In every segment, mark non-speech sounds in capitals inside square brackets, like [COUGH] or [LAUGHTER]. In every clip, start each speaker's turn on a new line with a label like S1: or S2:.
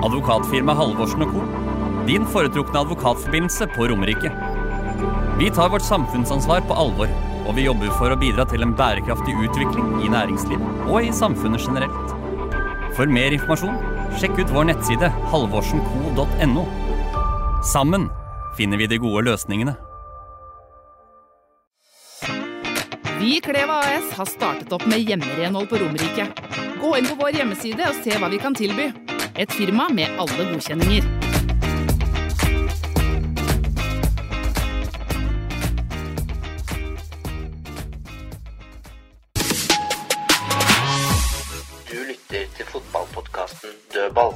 S1: Advokatfirma Halvorsen og Co. Din foretrukne advokatforbindelse på Romerike. Vi tar vårt samfunnsansvar på alvor, og vi jobber for å bidra til en bærekraftig utvikling i næringslivet og i samfunnet generelt. For mer informasjon, sjekk ut vår nettside halvorsenco.no. Sammen finner vi de gode løsningene.
S2: Vi i Kleva AS har startet opp med hjemmerenhold på Romerike. Gå inn på vår hjemmeside og se hva vi kan tilby. Et firma med alle godkjenninger.
S3: Du lytter til fotballpodkasten Dødball.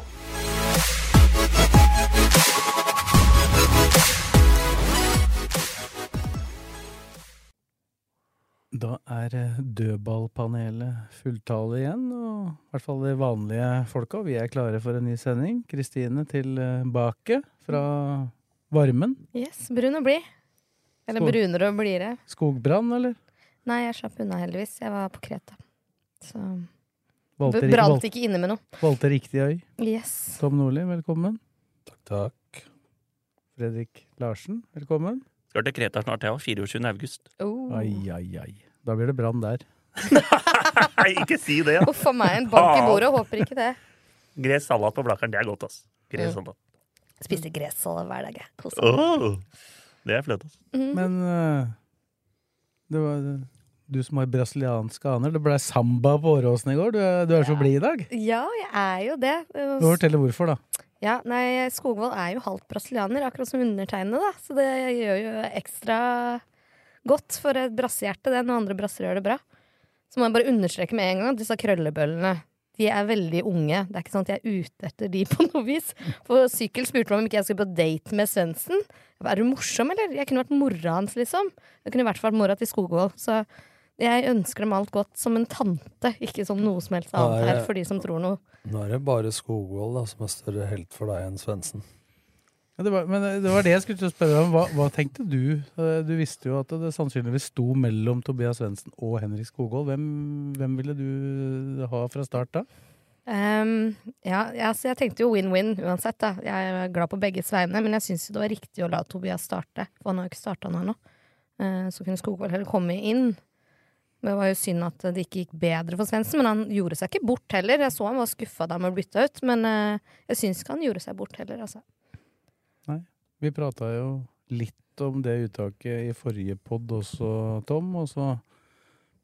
S4: Da er eh, dødballpanelet fulltale igjen, og i hvert fall de vanlige folka. Vi er klare for en ny sending. Kristine tilbake fra varmen.
S5: Yes, brun og blid. Eller
S4: Skål.
S5: brunere og blidere.
S4: Skogbrann, eller?
S5: Nei, jeg slapp unna, heldigvis. Jeg var på Kreta. Så
S4: Valgte, ri-
S5: bralt ikke inne med noe.
S4: valg- valgte riktig øy.
S5: Yes.
S4: Tom Nordli, velkommen.
S6: Takk.
S4: Fredrik Larsen, velkommen.
S1: Skal til Kreta snart, jeg òg. 24. august.
S5: Oh.
S4: Ai, ai, ai. Da blir det brann der.
S1: Nei, ikke si det!
S5: Uff a meg, en bank i bordet. Håper ikke det.
S1: Gress salat på Blakkern, det er godt, ass.
S5: Gress Mm.
S1: salat.
S5: Spiste gresshale hver dag, jeg. Kosa meg.
S1: Det er fløt, ass.
S5: Mhm.
S4: Men eh, det var eh, du som har brasilianske aner. Det blei samba på Åråsen i går. Du er, du er så blid i dag.
S5: Ja, jeg er jo det.
S4: Du må fortelle hvorfor, da.
S5: Ja, nei, Skogvold er jo halvt brasilianer, akkurat som undertegnede, da. Så det gjør jo ekstra godt for et brassehjerte, det, når andre brasser gjør det bra. Så må jeg bare understreke med en gang at disse krøllebøllene de er veldig unge. Det er ikke sånn at jeg er ute etter de på noe vis. For Sykkel spurte meg om ikke jeg skulle på date med Svendsen. Jeg ba, Er du morsom, eller? Jeg kunne vært mora hans, liksom. Jeg kunne i hvert fall vært mora til Skogvold. Så jeg ønsker dem alt godt som en tante, ikke som noe som helst annet her, for de som tror noe.
S6: Nå er det bare Skogvold da, som er større helt for deg enn Svendsen.
S4: Ja, det var, men eh, det var det jeg skulle til å spørre om. Hva, hva tenkte du? Eh, Du visste jo at det sannsynligvis sto mellom Tobias Svendsen og Henrik Skogvold. Hvem, hvem ville du ha fra start da?
S5: Ehm, ja, ja, altså jeg tenkte jo win-win uansett. Da. Jeg er glad på begges vegne, men jeg syns det var riktig å la Tobias starte. For han har jo ikke starta nå ennå. Eh, så kunne Skogvold heller komme inn. Men Det var jo synd at det ikke gikk bedre for Svendsen, men han gjorde seg ikke bort heller. Jeg så han var skuffa da han ble bytta ut, men eh, jeg syns ikke han gjorde seg bort heller, altså.
S4: Vi prata jo litt om det uttaket i forrige pod også, Tom. Og så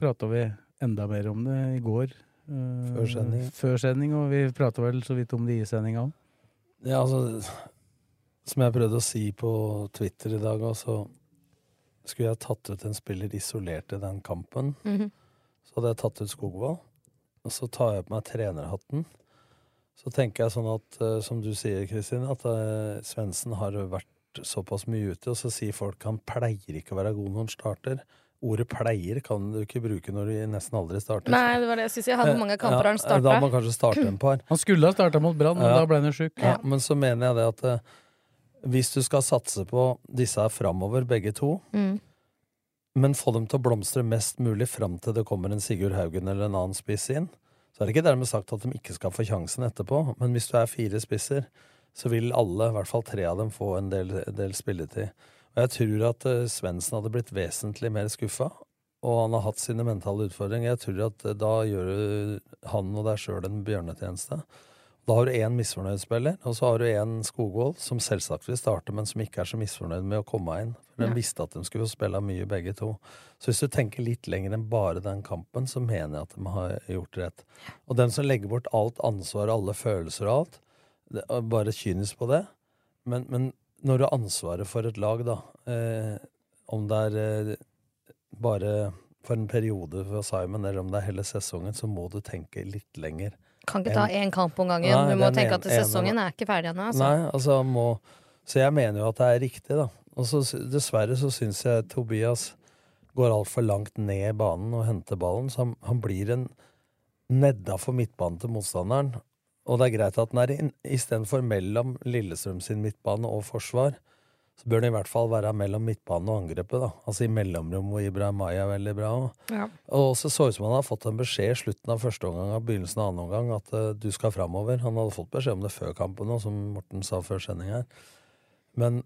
S4: prata vi enda mer om det i går. eh,
S6: Før sending.
S4: Før sending, og vi prata vel så vidt om det i sendinga òg.
S6: Ja, altså, som jeg prøvde å si på Twitter i dag, altså, skulle jeg tatt ut en spiller isolert i den kampen, så hadde jeg tatt ut Skogvold. Og så tar jeg på meg trenerhatten. Så tenker jeg sånn at, eh, som du sier, Kristin, at eh, Svendsen har vært såpass mye ute, og så sier folk han pleier ikke å være god når han starter. Ordet 'pleier' kan du ikke bruke når du nesten aldri starter.
S5: Nei, det var det jeg syns. Jeg hadde mange kamper
S6: Eh, Ja, Da må
S5: han starta.
S6: man kanskje starte en par.
S4: Han skulle ha starta mot Brann, men
S6: Ja.
S4: da ble han jo sjuk.
S6: Ja, men så mener jeg det at eh, hvis du skal satse på disse her framover, begge to,
S5: Mm.
S6: men få dem til å blomstre mest mulig fram til det kommer en Sigurd Haugen eller en annen spiss inn, så er det ikke dermed sagt at de ikke skal få sjansen etterpå. Men hvis du er fire spisser, så vil alle, i hvert fall tre av dem, få en del, del spilletid. Og jeg tror at eh, Svendsen hadde blitt vesentlig mer skuffa, og han har hatt sine mentale utfordringer. Jeg tror at eh, da gjør du han og deg sjøl en bjørnetjeneste. Da har du én misfornøyd spiller, og så har du én Skogvold, som selvsagt vil starte, men som ikke er så misfornøyd med å komme inn. For
S5: Ja.
S6: de visste at de skulle få spille mye, begge to. Så hvis du tenker litt lenger enn bare den kampen, så mener jeg at de har gjort rett. Og den som legger bort alt ansvar, alle følelser og alt, det er bare kynisk på det. Men, men når du har ansvaret for et lag, da, eh, om det er eh, bare for en periode for Simon, eller om det er hele sesongen, så må du tenke litt lenger
S5: Kan ikke ta
S6: En-
S5: én kamp om gangen.
S6: Nei,
S5: du må
S6: den
S5: tenke
S6: ene-
S5: at sesongen
S6: ene-
S5: er ikke ferdig ennå. Altså.
S6: Nei, altså han må Så jeg mener jo at det er riktig, da. Og så sy- dessverre så syns jeg Tobias går altfor langt ned i banen og henter ballen, så han, han blir en nedafor midtbanen til motstanderen. Og det er greit at den er inn- istedenfor mellom Lillestrøm sin midtbane og forsvar, så bør den i hvert fall være mellom midtbanen og angrepet, da. Altså i mellomrom hvor Ibrahim Maya er veldig bra òg.
S5: Ja.
S6: Og så så ut som han hadde fått en beskjed i slutten av første omgang og begynnelsen av annen omgang at eh, du skal framover. Han hadde fått beskjed om det før kampen òg, som Morten sa før sending her. Men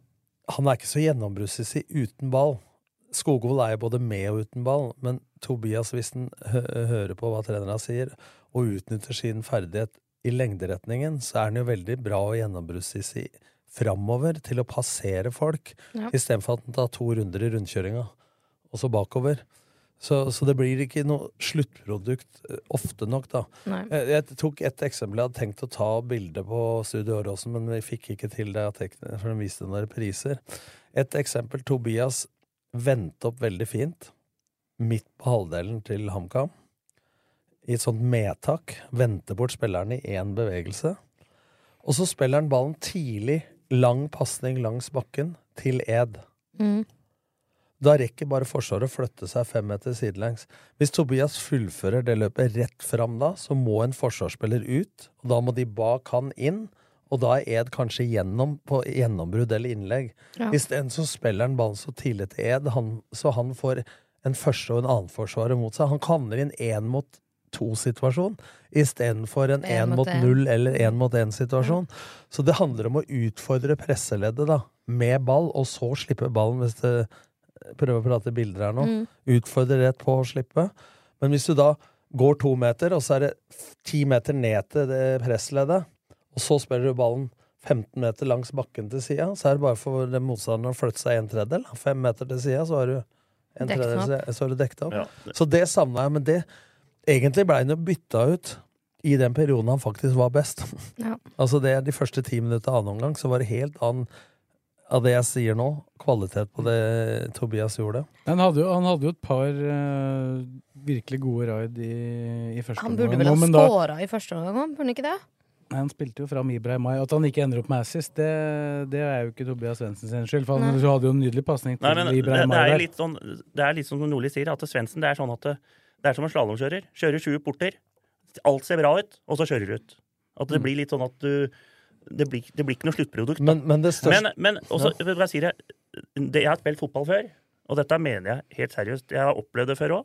S6: han er ikke så gjennombrussig uten ball. Skogvold er jo både med og uten ball, men Tobias, hvis han hø hører på hva trenerne sier, og utnytter sin ferdighet i lengderetningen, så er han jo veldig bra og gjennombrussig framover til å passere folk,
S7: Ja.
S6: istedenfor at han tar to runder i rundkjøringa, og så bakover. Så, så det blir ikke noe sluttprodukt eh, ofte nok, da.
S7: Nei.
S6: Eh, Jeg tok et eksempel. Jeg hadde tenkt å ta bilde på Studio Åråsen, men vi fikk ikke til det, av teknikerne, for de viste noen repriser. Et eksempel. Tobias vendte opp veldig fint midt på halvdelen til HamKam. I et sånt medtak. Vendte bort spilleren i én bevegelse. Og så spiller han ballen tidlig, lang pasning langs bakken, til Ed.
S5: Mm.
S6: Da rekker bare Forsvaret å flytte seg fem meter sidelengs. Hvis Tobias fullfører det løpet rett fram da, så må en forsvarsspiller ut, og da må de bak han inn, og da er Ed kanskje gjennom på gjennombrudd eller innlegg.
S7: Ja.
S6: Isteden så spiller han ballen så tidlig til Ed, han, så han får en første og en annen forsvarer mot seg. Han kanner inn én mot to-situasjon istedenfor en
S7: En
S6: én
S7: mot
S6: mot
S7: en. Mm.
S6: null eller én mot én-situasjon. Så det handler om å utfordre presseleddet da, med ball, og så slippe ballen hvis det prøve å prate bilder her nå.
S7: Mm.
S6: Utfordre rett på å slippe. Men hvis du da går to meter, og så er det f- ti meter ned til det pressleddet, og så spiller du ballen 15 meter langs bakken til sida, så er det bare for den motstanderen å flytte seg en tredjedel. da. Fem meter til sida, så har du en
S7: Dekket
S6: tredjedel,
S7: opp.
S6: så- så har du dekket opp. Så det savna jeg, men det Egentlig blei han jo bytta ut i den perioden han faktisk var best. [LAUGHS]
S5: Ja.
S6: Altså det er De første ti minutter av annen omgang så var det helt annen av det jeg sier nå, kvalitet på det Tobias gjorde.
S4: Han hadde, jo, han hadde jo et par eh, virkelig gode raid i, i første
S5: Han burde vel
S4: nå,
S5: ha
S4: men da-
S5: scora i første omgang òg, burde han ikke det?
S4: Nei, Han spilte jo fram Ibra i mai. At han ikke ender opp med assist, det, det er jo ikke Tobias Svendsen sin skyld. For han
S8: Nei.
S4: du hadde jo en nydelig pasning til
S8: Nei, men det,
S4: Ibra i
S8: det
S4: mai
S8: er jo
S4: der.
S8: litt sånn, det er litt sånn som Nordli sier, at Svendsen det er sånn at det, det er som en slalåmkjører. Kjører 20 porter, alt ser bra ut, og så kjører du ut. At det blir litt sånn at du Det blir, det blir ikke noe sluttprodukt. da.
S6: Men, men det
S8: Men,
S6: største
S8: men også, vet du hva jeg sier jeg, det, jeg har spilt fotball før, og dette mener jeg helt seriøst. Jeg har opplevd det før òg.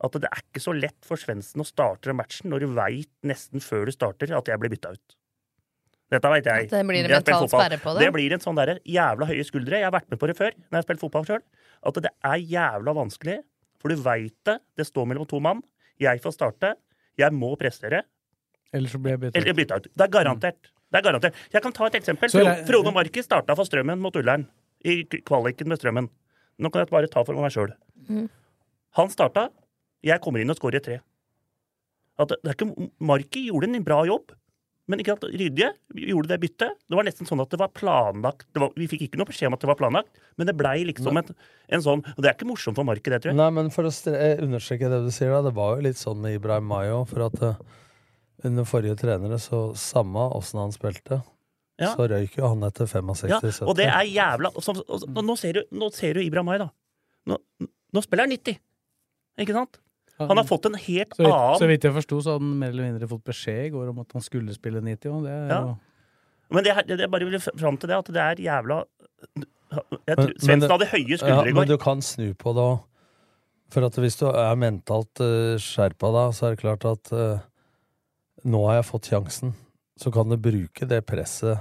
S8: At det er ikke så lett for Svendsen å starte den matchen når du veit nesten før du starter at jeg blir bytta ut. Dette veit jeg.
S5: At det blir
S8: Jeg
S5: en
S8: har spilt
S5: mental
S8: fotball.
S5: sperre på det?
S8: Det blir en sånn der jævla høye skuldre. Jeg har vært med på det før når jeg har spilt fotball sjøl. At det er jævla vanskelig, for du veit det. Det står mellom to mann. Jeg får starte. Jeg må prestere.
S4: Ellers så ble jeg byttet
S8: Eller bytta ut. Det er garantert. Det er garantert. Jeg kan ta et eksempel.
S4: Så
S8: Fro-
S4: jeg-
S8: Frode Marki starta for Strømmen mot Ullern. I k- kvaliken med Strømmen. Nå kan jeg bare ta for meg sjøl.
S7: Mm.
S8: Han starta, jeg kommer inn og scorer tre. At det det er ikke, Marki gjorde en bra jobb, men ikke at Rydje gjorde det byttet. Det var nesten sånn at det var planlagt. Det var, vi fikk ikke noe beskjed om at det var planlagt, men det blei liksom en, en sånn Og det er ikke morsomt for Marki, det, tror jeg.
S6: Nei, men for å stre- eh, understreke det du sier, da. Det var jo litt sånn med Ibrahim Mayo, for at eh, under forrige trenere, så samme åssen han spilte,
S8: Ja.
S6: så røyk jo han etter 65-70.
S8: Ja, og det er jævla og, så- og, og, nå, ser du, nå ser du Ibra Mai, da. Nå, nå spiller han 90. Ikke sant? Han har fått en helt
S4: Så vidt, så
S8: annen
S4: vidt jeg forsto, så hadde han mer eller mindre fått beskjed i går om at han skulle spille 90. Og det er
S8: Ja.
S4: jo
S8: Men det, her- det, jeg bare vil fram til det, at det er jævla jeg
S6: Men-
S8: tror,
S6: men det-
S8: Svendsen hadde høye
S6: ja,
S8: skuldre i
S6: Men
S8: går.
S6: du kan snu på det òg. For at hvis du er mentalt eh, skjerpa da, så er det klart at eh, nå har jeg fått sjansen. Så kan du bruke det presset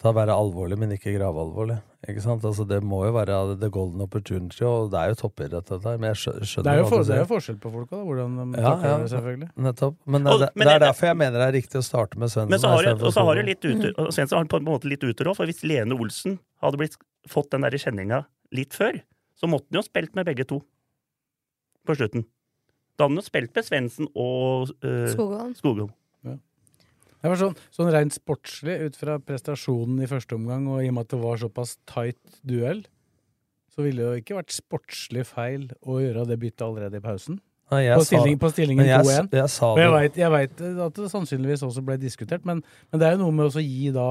S6: til å være alvorlig, men ikke gravalvorlig. Ikke sant? Altså, det må jo være the golden opportunity, og det er jo toppidrett, dette her. Men jeg skjø- skjønner
S4: Det er jo,
S6: hva
S4: for,
S6: du
S4: det er
S6: sier.
S4: jo forskjell på folka, da. Hvordan de
S6: Ja,
S4: takler
S6: ja,
S4: det, selvfølgelig.
S6: Nettopp. Men det,
S8: Og-
S6: det,
S8: men
S6: det
S8: det-
S6: er derfor jeg mener det er riktig å starte med Svendsen.
S8: Men så har,
S6: i stedet
S8: du-
S6: for
S8: og så har du
S6: Solberg.
S8: litt utur. Og Svendsen har på en måte litt utur òg, for hvis Lene Olsen hadde blitt, fått den der kjenninga litt før, så måtte han jo spilt med begge to på slutten. Da hadde han jo spilt med Svendsen og eh,
S5: Skogholm.
S8: Skogholm.
S4: Det var sånn, sånn rent sportslig, ut fra prestasjonen i første omgang, og i og med at det var såpass tight duell, så ville det jo ikke vært sportslig feil å gjøre det byttet allerede i pausen.
S6: Nei, jeg
S4: på,
S6: sa-
S4: stilling, på stillingen
S6: men jeg s-
S4: 2-1.
S6: jeg sa
S4: Og jeg
S6: det-
S4: vet- Jeg veit at det sannsynligvis også ble diskutert, men, men det er jo noe med også å gi da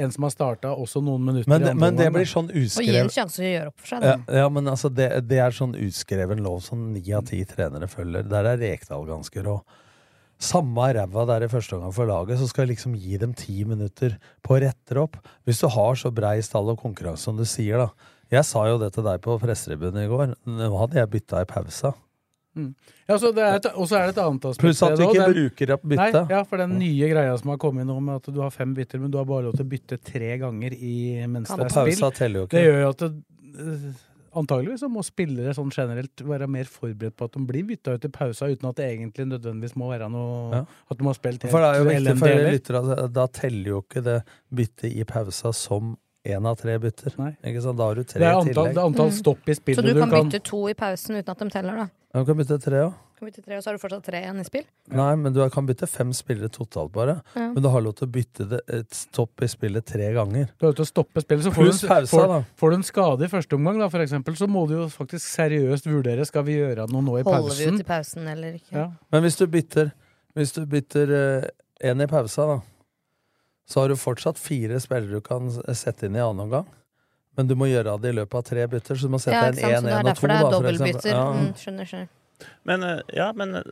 S4: en som har starta, også noen minutter.
S6: Men
S4: i
S6: det-
S4: andre
S6: men det
S4: omgang, da.
S6: blir sånn uskrevet-
S5: Og gi en sjanse til å gjøre opp for seg. Da.
S6: Ja,
S4: Mm.
S6: ja, men altså, det, det er sånn utskreven lov som ni av ti trenere følger. Der er Rekdal ganske rå. Samme ræva der i første omgang for laget, så skal jeg liksom gi dem ti minutter på å rette det opp. Hvis du har så brei stall og konkurranse som du sier, da. Jeg sa jo det til deg på pressetribunen i går. Nå hadde jeg bytta i pausa.
S4: Mm. Ja, så det er et, Og så er det et annet aspekt.
S6: Pluss at
S4: ved
S6: du
S4: det
S6: ikke
S4: også.
S6: bruker opp byttet.
S4: Nei, ja, for den nye greia som har kommet nå med at du har fem bytter, men du har bare lov til å bytte tre ganger i, mens
S6: Og
S4: det er
S6: pausa
S4: spill.
S6: teller jo ikke.
S4: Det gjør jo at det, eh, antageligvis så må spillere sånn generelt være mer forberedt på at de blir bytta ut i pausa, uten at det egentlig nødvendigvis må være noe
S6: Ja.
S4: At de har spilt helt
S6: For det er jo viktig
S4: elendig
S6: for
S4: heller.
S6: lyttere at da teller jo ikke det byttet i pausa som én av tre bytter. Ikke sant? Da har du tre
S4: Det
S6: i
S4: er antall-
S6: tillegg.
S4: det er antall
S5: Mm.
S4: stopp i
S5: Så du, kan bytte to i pausen uten at de teller, da.
S6: Ja, Du kan bytte tre, ja.
S5: Du kan bytte tre, og så har du fortsatt tre igjen i spill.
S6: Nei, men du kan bytte fem spillere totalt, bare.
S5: Ja.
S6: Men du har lov til å bytte det, et stopp i spillet tre ganger.
S4: Du har lov til å stoppe spillet. Så får du,
S6: Pluss pausa,
S4: får,
S6: da.
S4: får du en skade i første omgang, da, for eksempel, så må du jo faktisk seriøst vurdere skal vi gjøre noe nå i
S5: Holder vi
S4: pausen.
S5: ut i pausen eller ikke?
S4: Ja.
S6: Men hvis du bytter Hvis du bytter én i pausa, da, så har du fortsatt fire spillere du kan s- sette inn i annen omgang. Men du må gjøre av det i løpet av tre bytter, så du må sette
S5: Ja,
S6: inn
S5: ikke sant? Så
S6: én,
S5: det
S6: én
S5: er
S6: og to.
S5: derfor det er
S6: da, for eksempel.
S5: dobbeltbytter.
S6: Ja.
S5: Mm, skjønner, skjønner.
S8: Men eh, ja, men eh,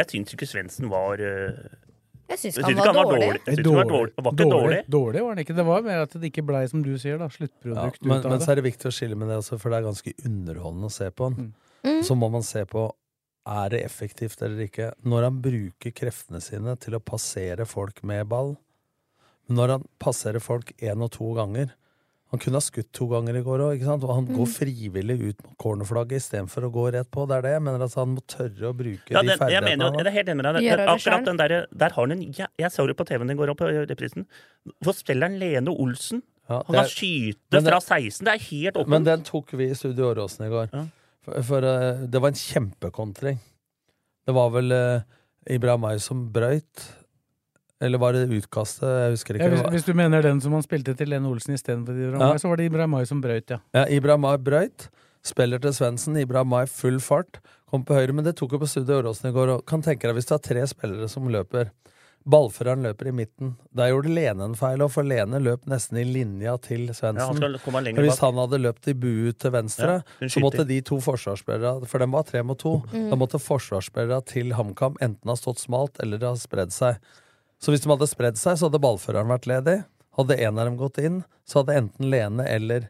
S8: jeg syns ikke Svendsen var eh,
S5: Jeg syns
S8: jeg
S5: ikke han
S8: ikke
S5: var dårlig.
S8: Jeg syns ikke han var dårlig. Han var ikke dårlig.
S4: Dårlig var den ikke. Det var mer at det ikke blei, som du sier, da,
S6: Ja,
S4: sluttprodukt
S6: men,
S4: ut av
S6: men
S4: det.
S6: så er det viktig å skille med det også, for det er ganske underholdende å se på han.
S4: Mm.
S6: Så må man se på er det effektivt eller ikke. Når han bruker kreftene sine til å passere folk med ball Men når han passerer folk én og to ganger Han kunne ha skutt to ganger i går òg, og han
S8: Mm.
S6: går frivillig ut mot cornerflagget istedenfor å gå rett på. Det er det jeg mener, altså, han må tørre å bruke
S8: Ja, den,
S6: de
S8: jeg
S6: ferdighetene
S8: mener jo,
S6: han
S8: jeg er helt enig med deg.
S6: Gjøre
S8: Den-
S6: det
S8: Akkurat
S6: selv.
S8: den der, der har han en Jeg, jeg så det på TV-en i går, og på reprisen. Forstelleren Lene Olsen.
S6: Ja,
S8: han
S6: det
S8: kan
S6: er-
S8: skyte
S6: men det-
S8: fra 16. Det er helt åpent.
S6: Men den tok vi i Studio Åråsen i går. For, for eh, det var en kjempekontring. Det var vel uh, Ibrahimay som brøyt. Eller var det utkastet? Jeg husker ikke.
S4: Ja, hvis,
S6: Det var-
S4: hvis du mener den som han spilte til Lene Olsen istedenfor Ibrahimai,
S6: Ja.
S4: så var det Ibrahimai som brøyt, ja.
S6: Ja, Ibrahimay brøyt. Spiller til Svendsen. Ibrahimay full fart. Kom på høyre, men det tok jo på Studio Åråsen i går. Og kan tenke deg hvis du har tre spillere som løper. Ballføreren løper i midten. Der gjorde Lene en feil, og for Lene løp nesten i linja til
S8: Ja, han
S6: Svendsen.
S8: skal komme lenger
S6: Men hvis
S8: bak.
S6: han hadde løpt i bue til
S8: Ja,
S6: venstre,
S8: hun
S6: så måtte
S8: skyter.
S6: de to forsvarsspillere For den var tre mot to.
S8: Mm.
S6: Da måtte forsvarsspillere til HamKam enten ha stått smalt eller ha spredd seg. Så hvis de hadde spredd seg, så hadde ballføreren vært ledig. Hadde en av dem gått inn, så hadde enten Lene eller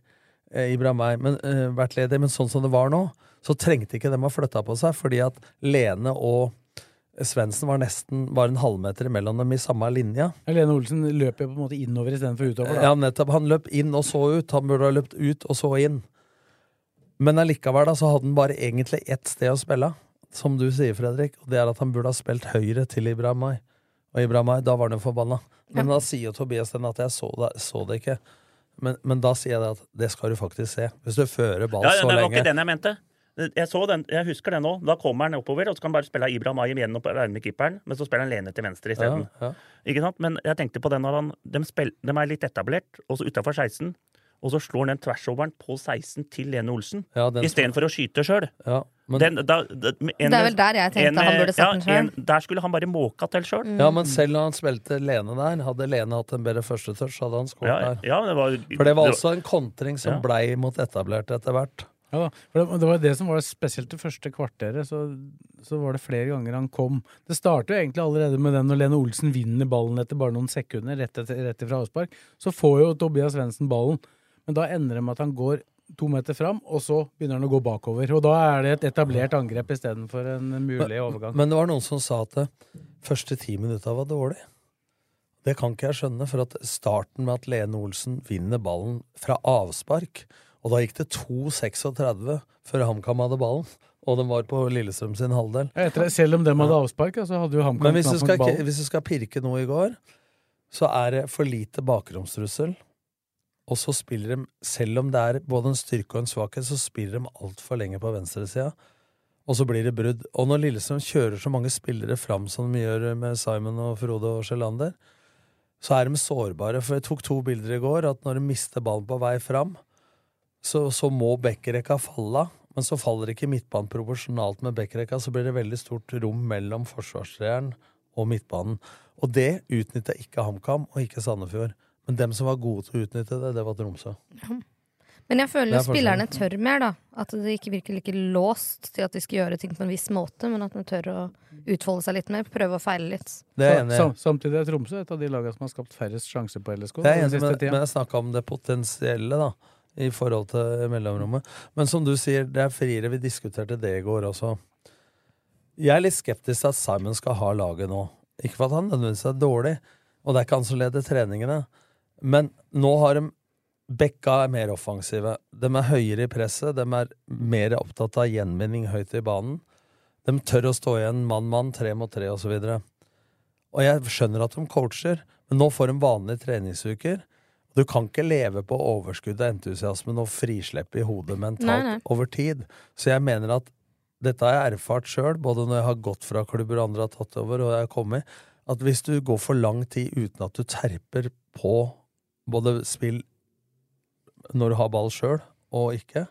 S6: eh, Ibrahimay men, eh, vært ledig. Men sånn som det var nå, så trengte ikke dem å flytte på seg, fordi at Lene og Svendsen var nesten bare en halvmeter imellom dem i samme linja.
S4: Ja, Lene Olsen løper jo på en måte innover istedenfor utover,
S6: Ja,
S4: da.
S6: nettopp. Han løp inn og så ut. Han burde ha løpt ut og så inn. Men allikevel da, så hadde han bare egentlig ett sted å spille, som du sier, Fredrik. Og det er at han burde ha spilt høyre til Ibrahimay. Og Ibrahimay, da var han jo forbanna. Men da sier jo Tobias den at jeg så det, så det ikke. Men, men da sier jeg det at det skal du faktisk se. Hvis du fører ball
S8: Ja, ja,
S6: så
S8: det var
S6: lenge.
S8: ikke den jeg mente. Jeg, så den, jeg husker den nå. Da kommer han oppover, og så kan han bare spille Ibra Mayim gjennom på armen med keeperen, men så spiller han Lene til venstre isteden.
S6: Ja, ja.
S8: Ikke sant? Men jeg tenkte på den når han De, spill, de er litt etablert, og så utafor 16, og så slår han den tversoveren på 16 til Lene Olsen,
S6: Ja, den-
S8: istedenfor å skyte sjøl.
S6: Ja, men-
S8: Den- da- da- med en-
S5: Det er vel der jeg tenkte
S8: en-
S5: han burde satt den
S8: en-
S5: selv.
S8: Der skulle han bare måka til sjøl.
S6: Ja, men selv når han spilte Lene der, hadde Lene hatt en bedre førstetouch, hadde han skåret
S8: Ja,
S6: der.
S8: ja, men det var,
S6: For det var også en kontring som
S4: Ja.
S6: blei mot etablert etter hvert.
S4: Ja, da. For det, det var det som var spesielt det første kvarteret. Så, så var det flere ganger han kom. Det starter jo egentlig allerede med den når Lene Olsen vinner ballen etter bare noen sekunder, rett, etter, rett ifra avspark. Så får jo Tobias Svendsen ballen, men da ender det med at han går to meter fram, og så begynner han å gå bakover. Og da er det et etablert angrep istedenfor en mulig overgang.
S6: Men det var noen som sa at det første ti minutta var dårlig. Det kan ikke jeg skjønne, for at starten med at Lene Olsen vinner ballen fra avspark, og da gikk det 2.36 før HamKam hadde ballen, og den var på Lillestrøm sin halvdel.
S4: Ja, etter, selv om dem hadde avspark, ja, så hadde jo HamKam
S6: Men hvis du,
S4: knapt nok
S6: skal,
S4: ballen.
S6: hvis du skal pirke noe i går, så er det for lite bakromstrussel. Og så spiller de, selv om det er både en styrke og en svakhet, så spiller de altfor lenge på venstresida. Og så blir det brudd. Og når Lillestrøm kjører så mange spillere fram som de gjør med Simon og Frode og Sjelander, så er de sårbare. For jeg tok to bilder i går, at når de mister ballen på vei fram, så, så må bekkerekka falle av. Men så faller ikke midtbanen proporsjonalt med backrekka, så blir det veldig stort rom mellom forsvarstreeren og midtbanen. Og det utnytta ikke HamKam og ikke Sandefjord. Men dem som var gode til å utnytte det, det var Tromsø.
S5: Men jeg
S6: Det
S5: føler
S6: er
S5: spillerne
S6: forskjellen.
S5: tør mer, da. At det ikke virker like låst til at de skal gjøre ting på en viss måte, men at de tør å utfolde seg litt mer, prøve å feile litt.
S4: Sam- Samtidig er Tromsø et av de lagene som har skapt færrest sjanser på LSK.
S6: Det er
S4: den
S6: enig,
S4: Sånn siste
S6: men,
S4: tiden.
S6: men jeg snakka om det potensielle, da. I forhold til mellomrommet. Men som du sier, det er friere. Vi diskuterte det i går også. Jeg er litt skeptisk til at Simon skal ha laget nå. Ikke for at han nødvendigvis er dårlig, og det er ikke han som leder treningene. Men nå har de Bekka er mer offensive. De er høyere i presset. De er mer opptatt av gjenvinning høyt i banen. De tør å stå igjen mann-mann, tre mot tre osv. Og jeg skjønner at de coacher, men nå får de vanlige treningsuker. Du kan ikke leve på overskudd av entusiasmen og frislepp i hodet mentalt
S7: Nei, nei.
S6: over tid. Så jeg mener at dette har jeg erfart sjøl, både når jeg har gått fra klubber andre har tatt over, og jeg har kommet, at hvis du går for lang tid uten at du terper på både spill når du har ball sjøl og ikke,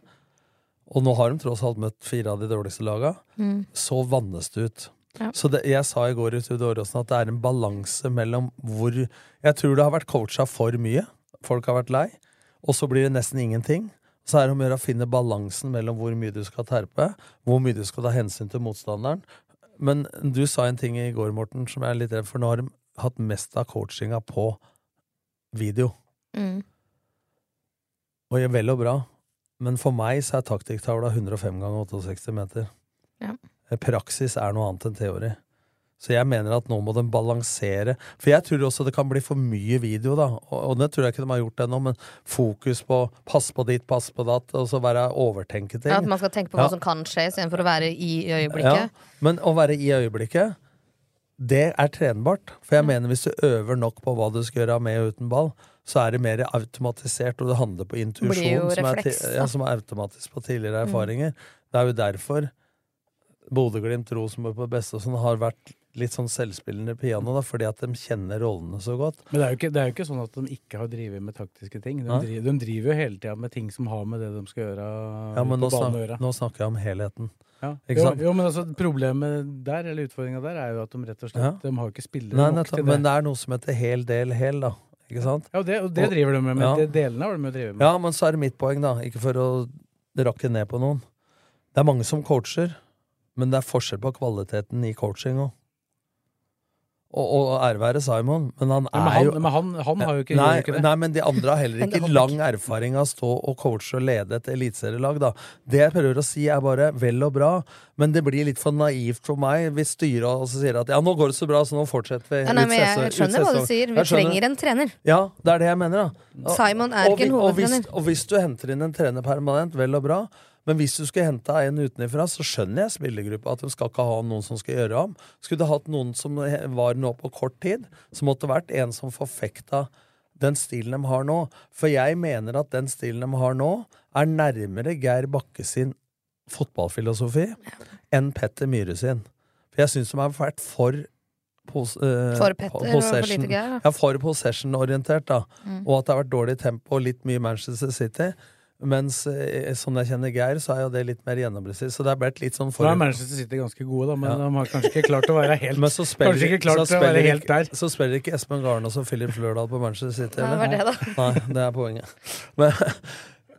S6: og nå har de tross alt møtt fire av de dårligste laga,
S7: Mm.
S6: så vannes det ut.
S7: Ja.
S6: Så det, jeg sa i går i Studio Åråsen at det er en balanse mellom hvor Jeg tror det har vært coacha for mye, folk har vært lei, og så blir det nesten ingenting. Så er det om å gjøre å finne balansen mellom hvor mye du skal terpe, hvor mye du skal ta hensyn til motstanderen. Men du sa en ting i går, Morten, som jeg er litt redd for. Nå har de hatt mest av coachinga på video.
S5: Mm.
S6: Og gjør vel og bra, men for meg så er taktikktavla 105 ganger 68 meter. Eh,
S5: Ja.
S6: Praksis er noe annet enn teori. Så jeg mener at nå må de balansere. For jeg tror også det kan bli for mye video, da. Og, og det tror jeg ikke de har gjort ennå, men fokus på pass på ditt, pass på datt, og så være overtenke ting.
S5: At man skal tenke på
S6: Ja.
S5: hva som kan skje, istedenfor å være i øyeblikket.
S6: Ja, men å være i øyeblikket, det er trenbart. For
S7: Mm.
S6: jeg mener hvis du øver nok på hva du skal gjøre med og uten ball, så er det mer automatisert, og det handler på
S7: Blir jo
S6: intuisjon, som, er ti-
S7: refleks, da.
S6: ja, som er automatisk på tidligere
S7: Mm.
S6: erfaringer. Det er jo derfor Bodø-Glimt, Rosenborg på det beste og sånn har vært litt sånn selvspillende piano, da, fordi at de kjenner rollene så godt.
S4: Men det er, jo ikke, det er jo ikke sånn at de ikke har drevet med taktiske ting. De
S6: Nei.
S4: driver, de driver jo hele tida med ting som har med det de skal gjøre
S6: Ja, men
S4: på
S6: nå,
S4: banen å
S6: snak,
S4: gjøre.
S6: nå snakker jeg om helheten.
S4: Ja.
S6: Ikke
S4: Jo,
S6: sant?
S4: jo, men altså, problemet der, eller utfordringa der, er jo at de rett og slett
S6: Ja.
S4: de har jo ikke spillere
S6: Nei,
S4: nok
S6: nettopp,
S4: til det.
S6: men det er noe som heter hel del hel, da. Ikke sant?
S4: Ja, og det, og det driver de med, men
S6: ja.
S4: de delene har de jo drevet med.
S6: Ja, men så er det mitt poeng, da. Ikke for å rakke ned på noen. Det er mange som coacher, men det er forskjell på kvaliteten i coaching òg. Og, og ære være Simon, men han
S4: Ja, men
S6: er
S4: han-
S6: jo
S4: men han- han har jo ikke-
S6: nei,
S4: gjør jo ikke det.
S6: Nei, men de andre har heller
S4: Men det
S6: ikke
S4: har
S6: lang erfaring av å stå og coache og lede et eliteserielag, da. Det jeg prøver å si, er bare vel og bra, men det blir litt for naivt for meg hvis styret også sier at ja, nå går det så bra, så nå fortsetter vi.
S5: Ja, nei,
S6: ut
S5: men jeg
S6: sesong- ut
S5: skjønner hva du
S6: sesong».
S5: sier. Vi
S6: Jeg skjønner.
S5: trenger en trener.
S6: Ja, det er det jeg mener, da.
S5: Simon er
S6: Og
S5: ikke en
S6: vi- og hvis-
S5: hovedtrener.
S6: Og hvis du henter inn en trener permanent, vel og bra, men hvis du skulle henta en utenfra, så skjønner jeg spillergruppa at de skal ikke ha noen som skal gjøre ham. Skulle du hatt noen som he- var nå på kort tid, så måtte det vært en som forfekta den stilen de har nå. For jeg mener at den stilen de har nå, er nærmere Geir Bakke sin fotballfilosofi enn Petter Myhre sin. For jeg syns de har vært for pos, eh,
S7: For Petter og for
S6: possession-
S7: lite Geir, da.
S6: Ja, for possession-orientert, da.
S7: Mm.
S6: Og at det har vært dårlig tempo og litt mye Manchester City. Mens eh, som jeg kjenner Geir, så er jo det litt mer gjennombrisitt. Så det har blitt litt sånn
S4: Nå er Manchester City ganske gode, da, men
S6: Ja.
S4: de har kanskje ikke klart
S6: [LAUGHS]
S4: å være helt,
S6: Men så spiller,
S4: kanskje ikke klart
S6: så
S4: å være
S6: spiller
S4: helt
S6: ikke, så spiller ikke Espen Garnås og Philip Flørdal på Manchester City.
S4: Nei,
S6: eller?
S4: det var det, da.
S6: Nei, det er poenget. Men,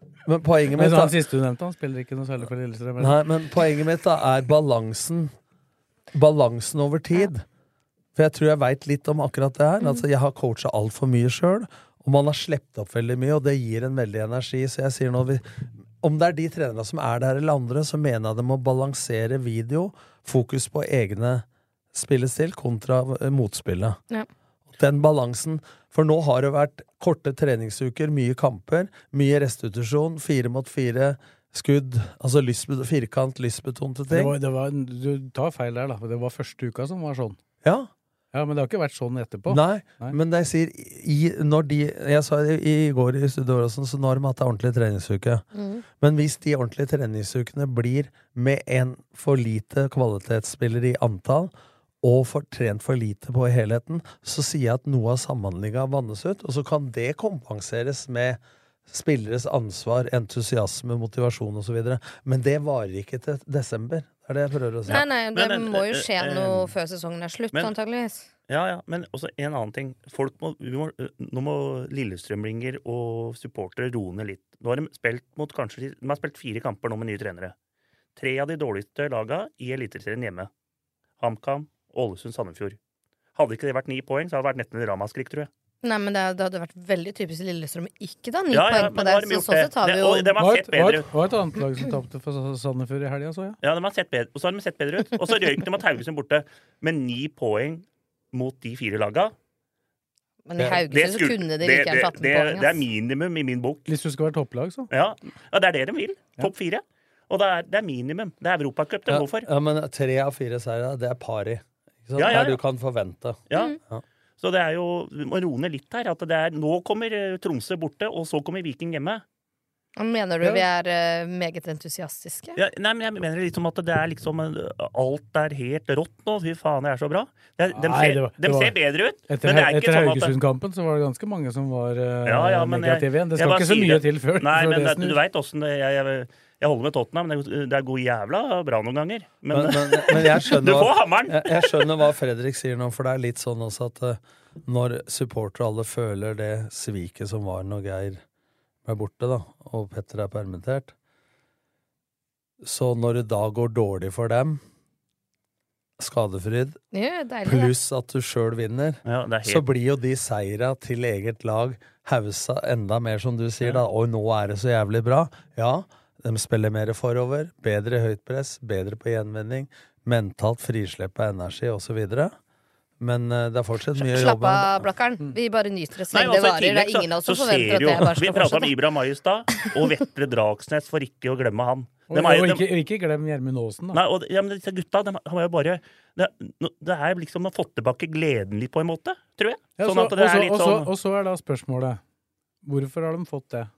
S6: [LAUGHS] men poenget
S4: Men sånn
S6: mitt da,
S4: han siste du nevnte, han spiller ikke noe særlig for Lillestrøm. eller?
S6: Nei, men poenget mitt da er balansen. Balansen over tid. For jeg tror jeg veit litt om akkurat det her. Altså, jeg har coacha altfor mye sjøl, og man har sluppet opp veldig mye, og det gir en veldig energi. Så jeg sier nå vi, Om det er de trenerne som er der, eller andre, så mener jeg det må balansere video, fokus på egne spillestil kontra eh, motspillet.
S5: Ja.
S6: Den balansen. For nå har det vært korte treningsuker, mye kamper, mye restitusjon, fire mot fire skudd, altså lystbe- firkant, lystbetonte
S4: Det
S6: ting.
S4: var, det var, du tar feil der, da. Det var første uka som var sånn.
S6: Ja.
S4: Ja, Men det har ikke vært sånn etterpå.
S6: Nei, men det jeg sier i, når de, Jeg sa det i går i studio, også, så nå har de hatt ei ordentlig treningsuke.
S7: Mm.
S6: Men hvis de ordentlige treningsukene blir med en for lite kvalitetsspiller i antall, og for, trent for lite på helheten, så sier jeg at noe av samhandlinga vannes ut, og så kan det kompenseres med Spilleres ansvar, entusiasme, motivasjon osv. Men det varer ikke til desember. Det er det jeg prøver å si.
S5: Nei, nei, det
S8: Men, men,
S5: må jo
S8: eh,
S5: skje
S8: eh,
S5: noe før sesongen er slutt,
S8: men-
S5: antageligvis.
S8: Ja, ja, men også en annen ting. Folk må, vi må, nå må Lillestrømlinger og supportere roe ned litt. Nå har de spilt mot kanskje De har spilt fire kamper nå med nye trenere. Tre av de dårligste laga i Eliteserien hjemme. HamKam, Ålesund, Sandefjord. Hadde ikke det vært ni poeng, så hadde det vært nesten et ramaskrik, tror jeg.
S5: Nei, men det, det hadde vært veldig typisk Lillestrøm å ikke ta ni
S8: Ja, ja,
S5: poeng
S8: men
S5: på
S8: nå
S5: det.
S8: har de
S5: Så
S8: gjort
S5: sånn
S8: det.
S5: sett har
S8: Det-
S5: vi jo
S8: og det var
S4: var,
S8: fett
S4: et, var,
S8: bedre
S4: et, var et annet lag som tapte for Sa- Sandefjord i helga, så jeg.
S8: Ja, de har sett bedre, og så har de sett bedre ut. Og så røyk de mot Haugesund borte med ni poeng mot de fire laga.
S5: Men i Haugesund så kunne de like gjerne tatt
S8: det,
S5: med poeng.
S8: det er
S5: ass.
S8: minimum i min bok.
S4: Hvis du skal være topplag, så.
S8: Ja, ja det er det de vil. Topp fire. Og det er, det er minimum. Det er Europacup de
S6: Ja,
S8: går for.
S6: ja, men tre av fire seire, det er pari. Ikke sant?
S8: Ja, ja,
S6: Det
S8: ja.
S6: du kan forvente.
S8: Ja.
S5: Mm.
S6: Ja.
S8: Så det er jo Vi må roe ned litt her. At det er Nå kommer eh, Tromsø borte, og så kommer Viking hjemme.
S5: Mener du
S8: Ja.
S5: vi er eh, meget entusiastiske?
S8: Ja, nei, men jeg mener liksom at det er liksom eh, Alt er helt rått nå. Fy faen, det er så bra. Det er, de,
S4: Nei,
S8: ser,
S4: det var-
S8: de
S4: det var-
S8: ser bedre ut,
S4: Etter,
S8: men det er
S4: etter
S8: ikke sånn at
S4: Haugesund-kampen så var det ganske mange som var eh,
S8: ja, ja, men jeg-
S4: negative igjen.
S8: jeg
S4: Det skal
S8: bare
S4: ikke så
S8: sier
S4: mye
S8: det.
S4: til før.
S8: Nei,
S4: før
S8: men
S4: [LAUGHS] det
S8: det, du
S4: snur.
S8: veit åssen det jeg, jeg, jeg holder med Tottenham. Det er, det er god jævla bra noen ganger. Men, [LAUGHS]
S6: Men, men, men jeg skjønner
S8: Du får
S6: hva-
S8: hammeren!
S6: Jeg, jeg skjønner hva Fredrik sier nå, for det er litt sånn også at eh, når supportere alle føler det sviket som var når Geir ble borte, da, og Petter er permittert Så når det da går dårlig for dem, skadefryd,
S5: Ja, deilig, det.
S6: pluss at du sjøl vinner,
S8: det er helt-
S6: så blir jo de seira til eget lag hausa enda mer, som du sier, da. Og nå er det så jævlig bra. Ja, de spiller mer forover, bedre høyt press, bedre på gjenvinning, mentalt frislipp av energi, osv. Men eh, det er fortsatt mye å
S5: Slapp
S6: jobbe
S5: av,
S4: Mm.
S5: Blakkaren. Vi bare nyter det så
S8: Nei,
S5: lenge det
S8: altså, i
S5: varer. Det
S8: tillegg
S5: er
S8: så-
S5: ingen av oss
S8: så
S5: som forventer
S8: ser
S5: at det
S8: jo- Vi
S5: bare skal
S8: prata om
S5: fortsette.
S8: Ibra Mai i stad, og Vetle Dragsnes, for ikke å glemme han.
S4: Og,
S8: Dem er jo- dem-
S4: og ikke, ikke glem Gjermund Aasen, da.
S8: Nei, og, ja, men disse gutta, de har jo bare det, nå- det er liksom å få tilbake gleden litt, på en måte, tror jeg.
S4: Ja,
S8: Sånn
S4: så-
S8: at det
S4: og så-
S8: er litt
S4: og så-
S8: sånn
S4: Og så er da spørsmålet Hvorfor har de fått det?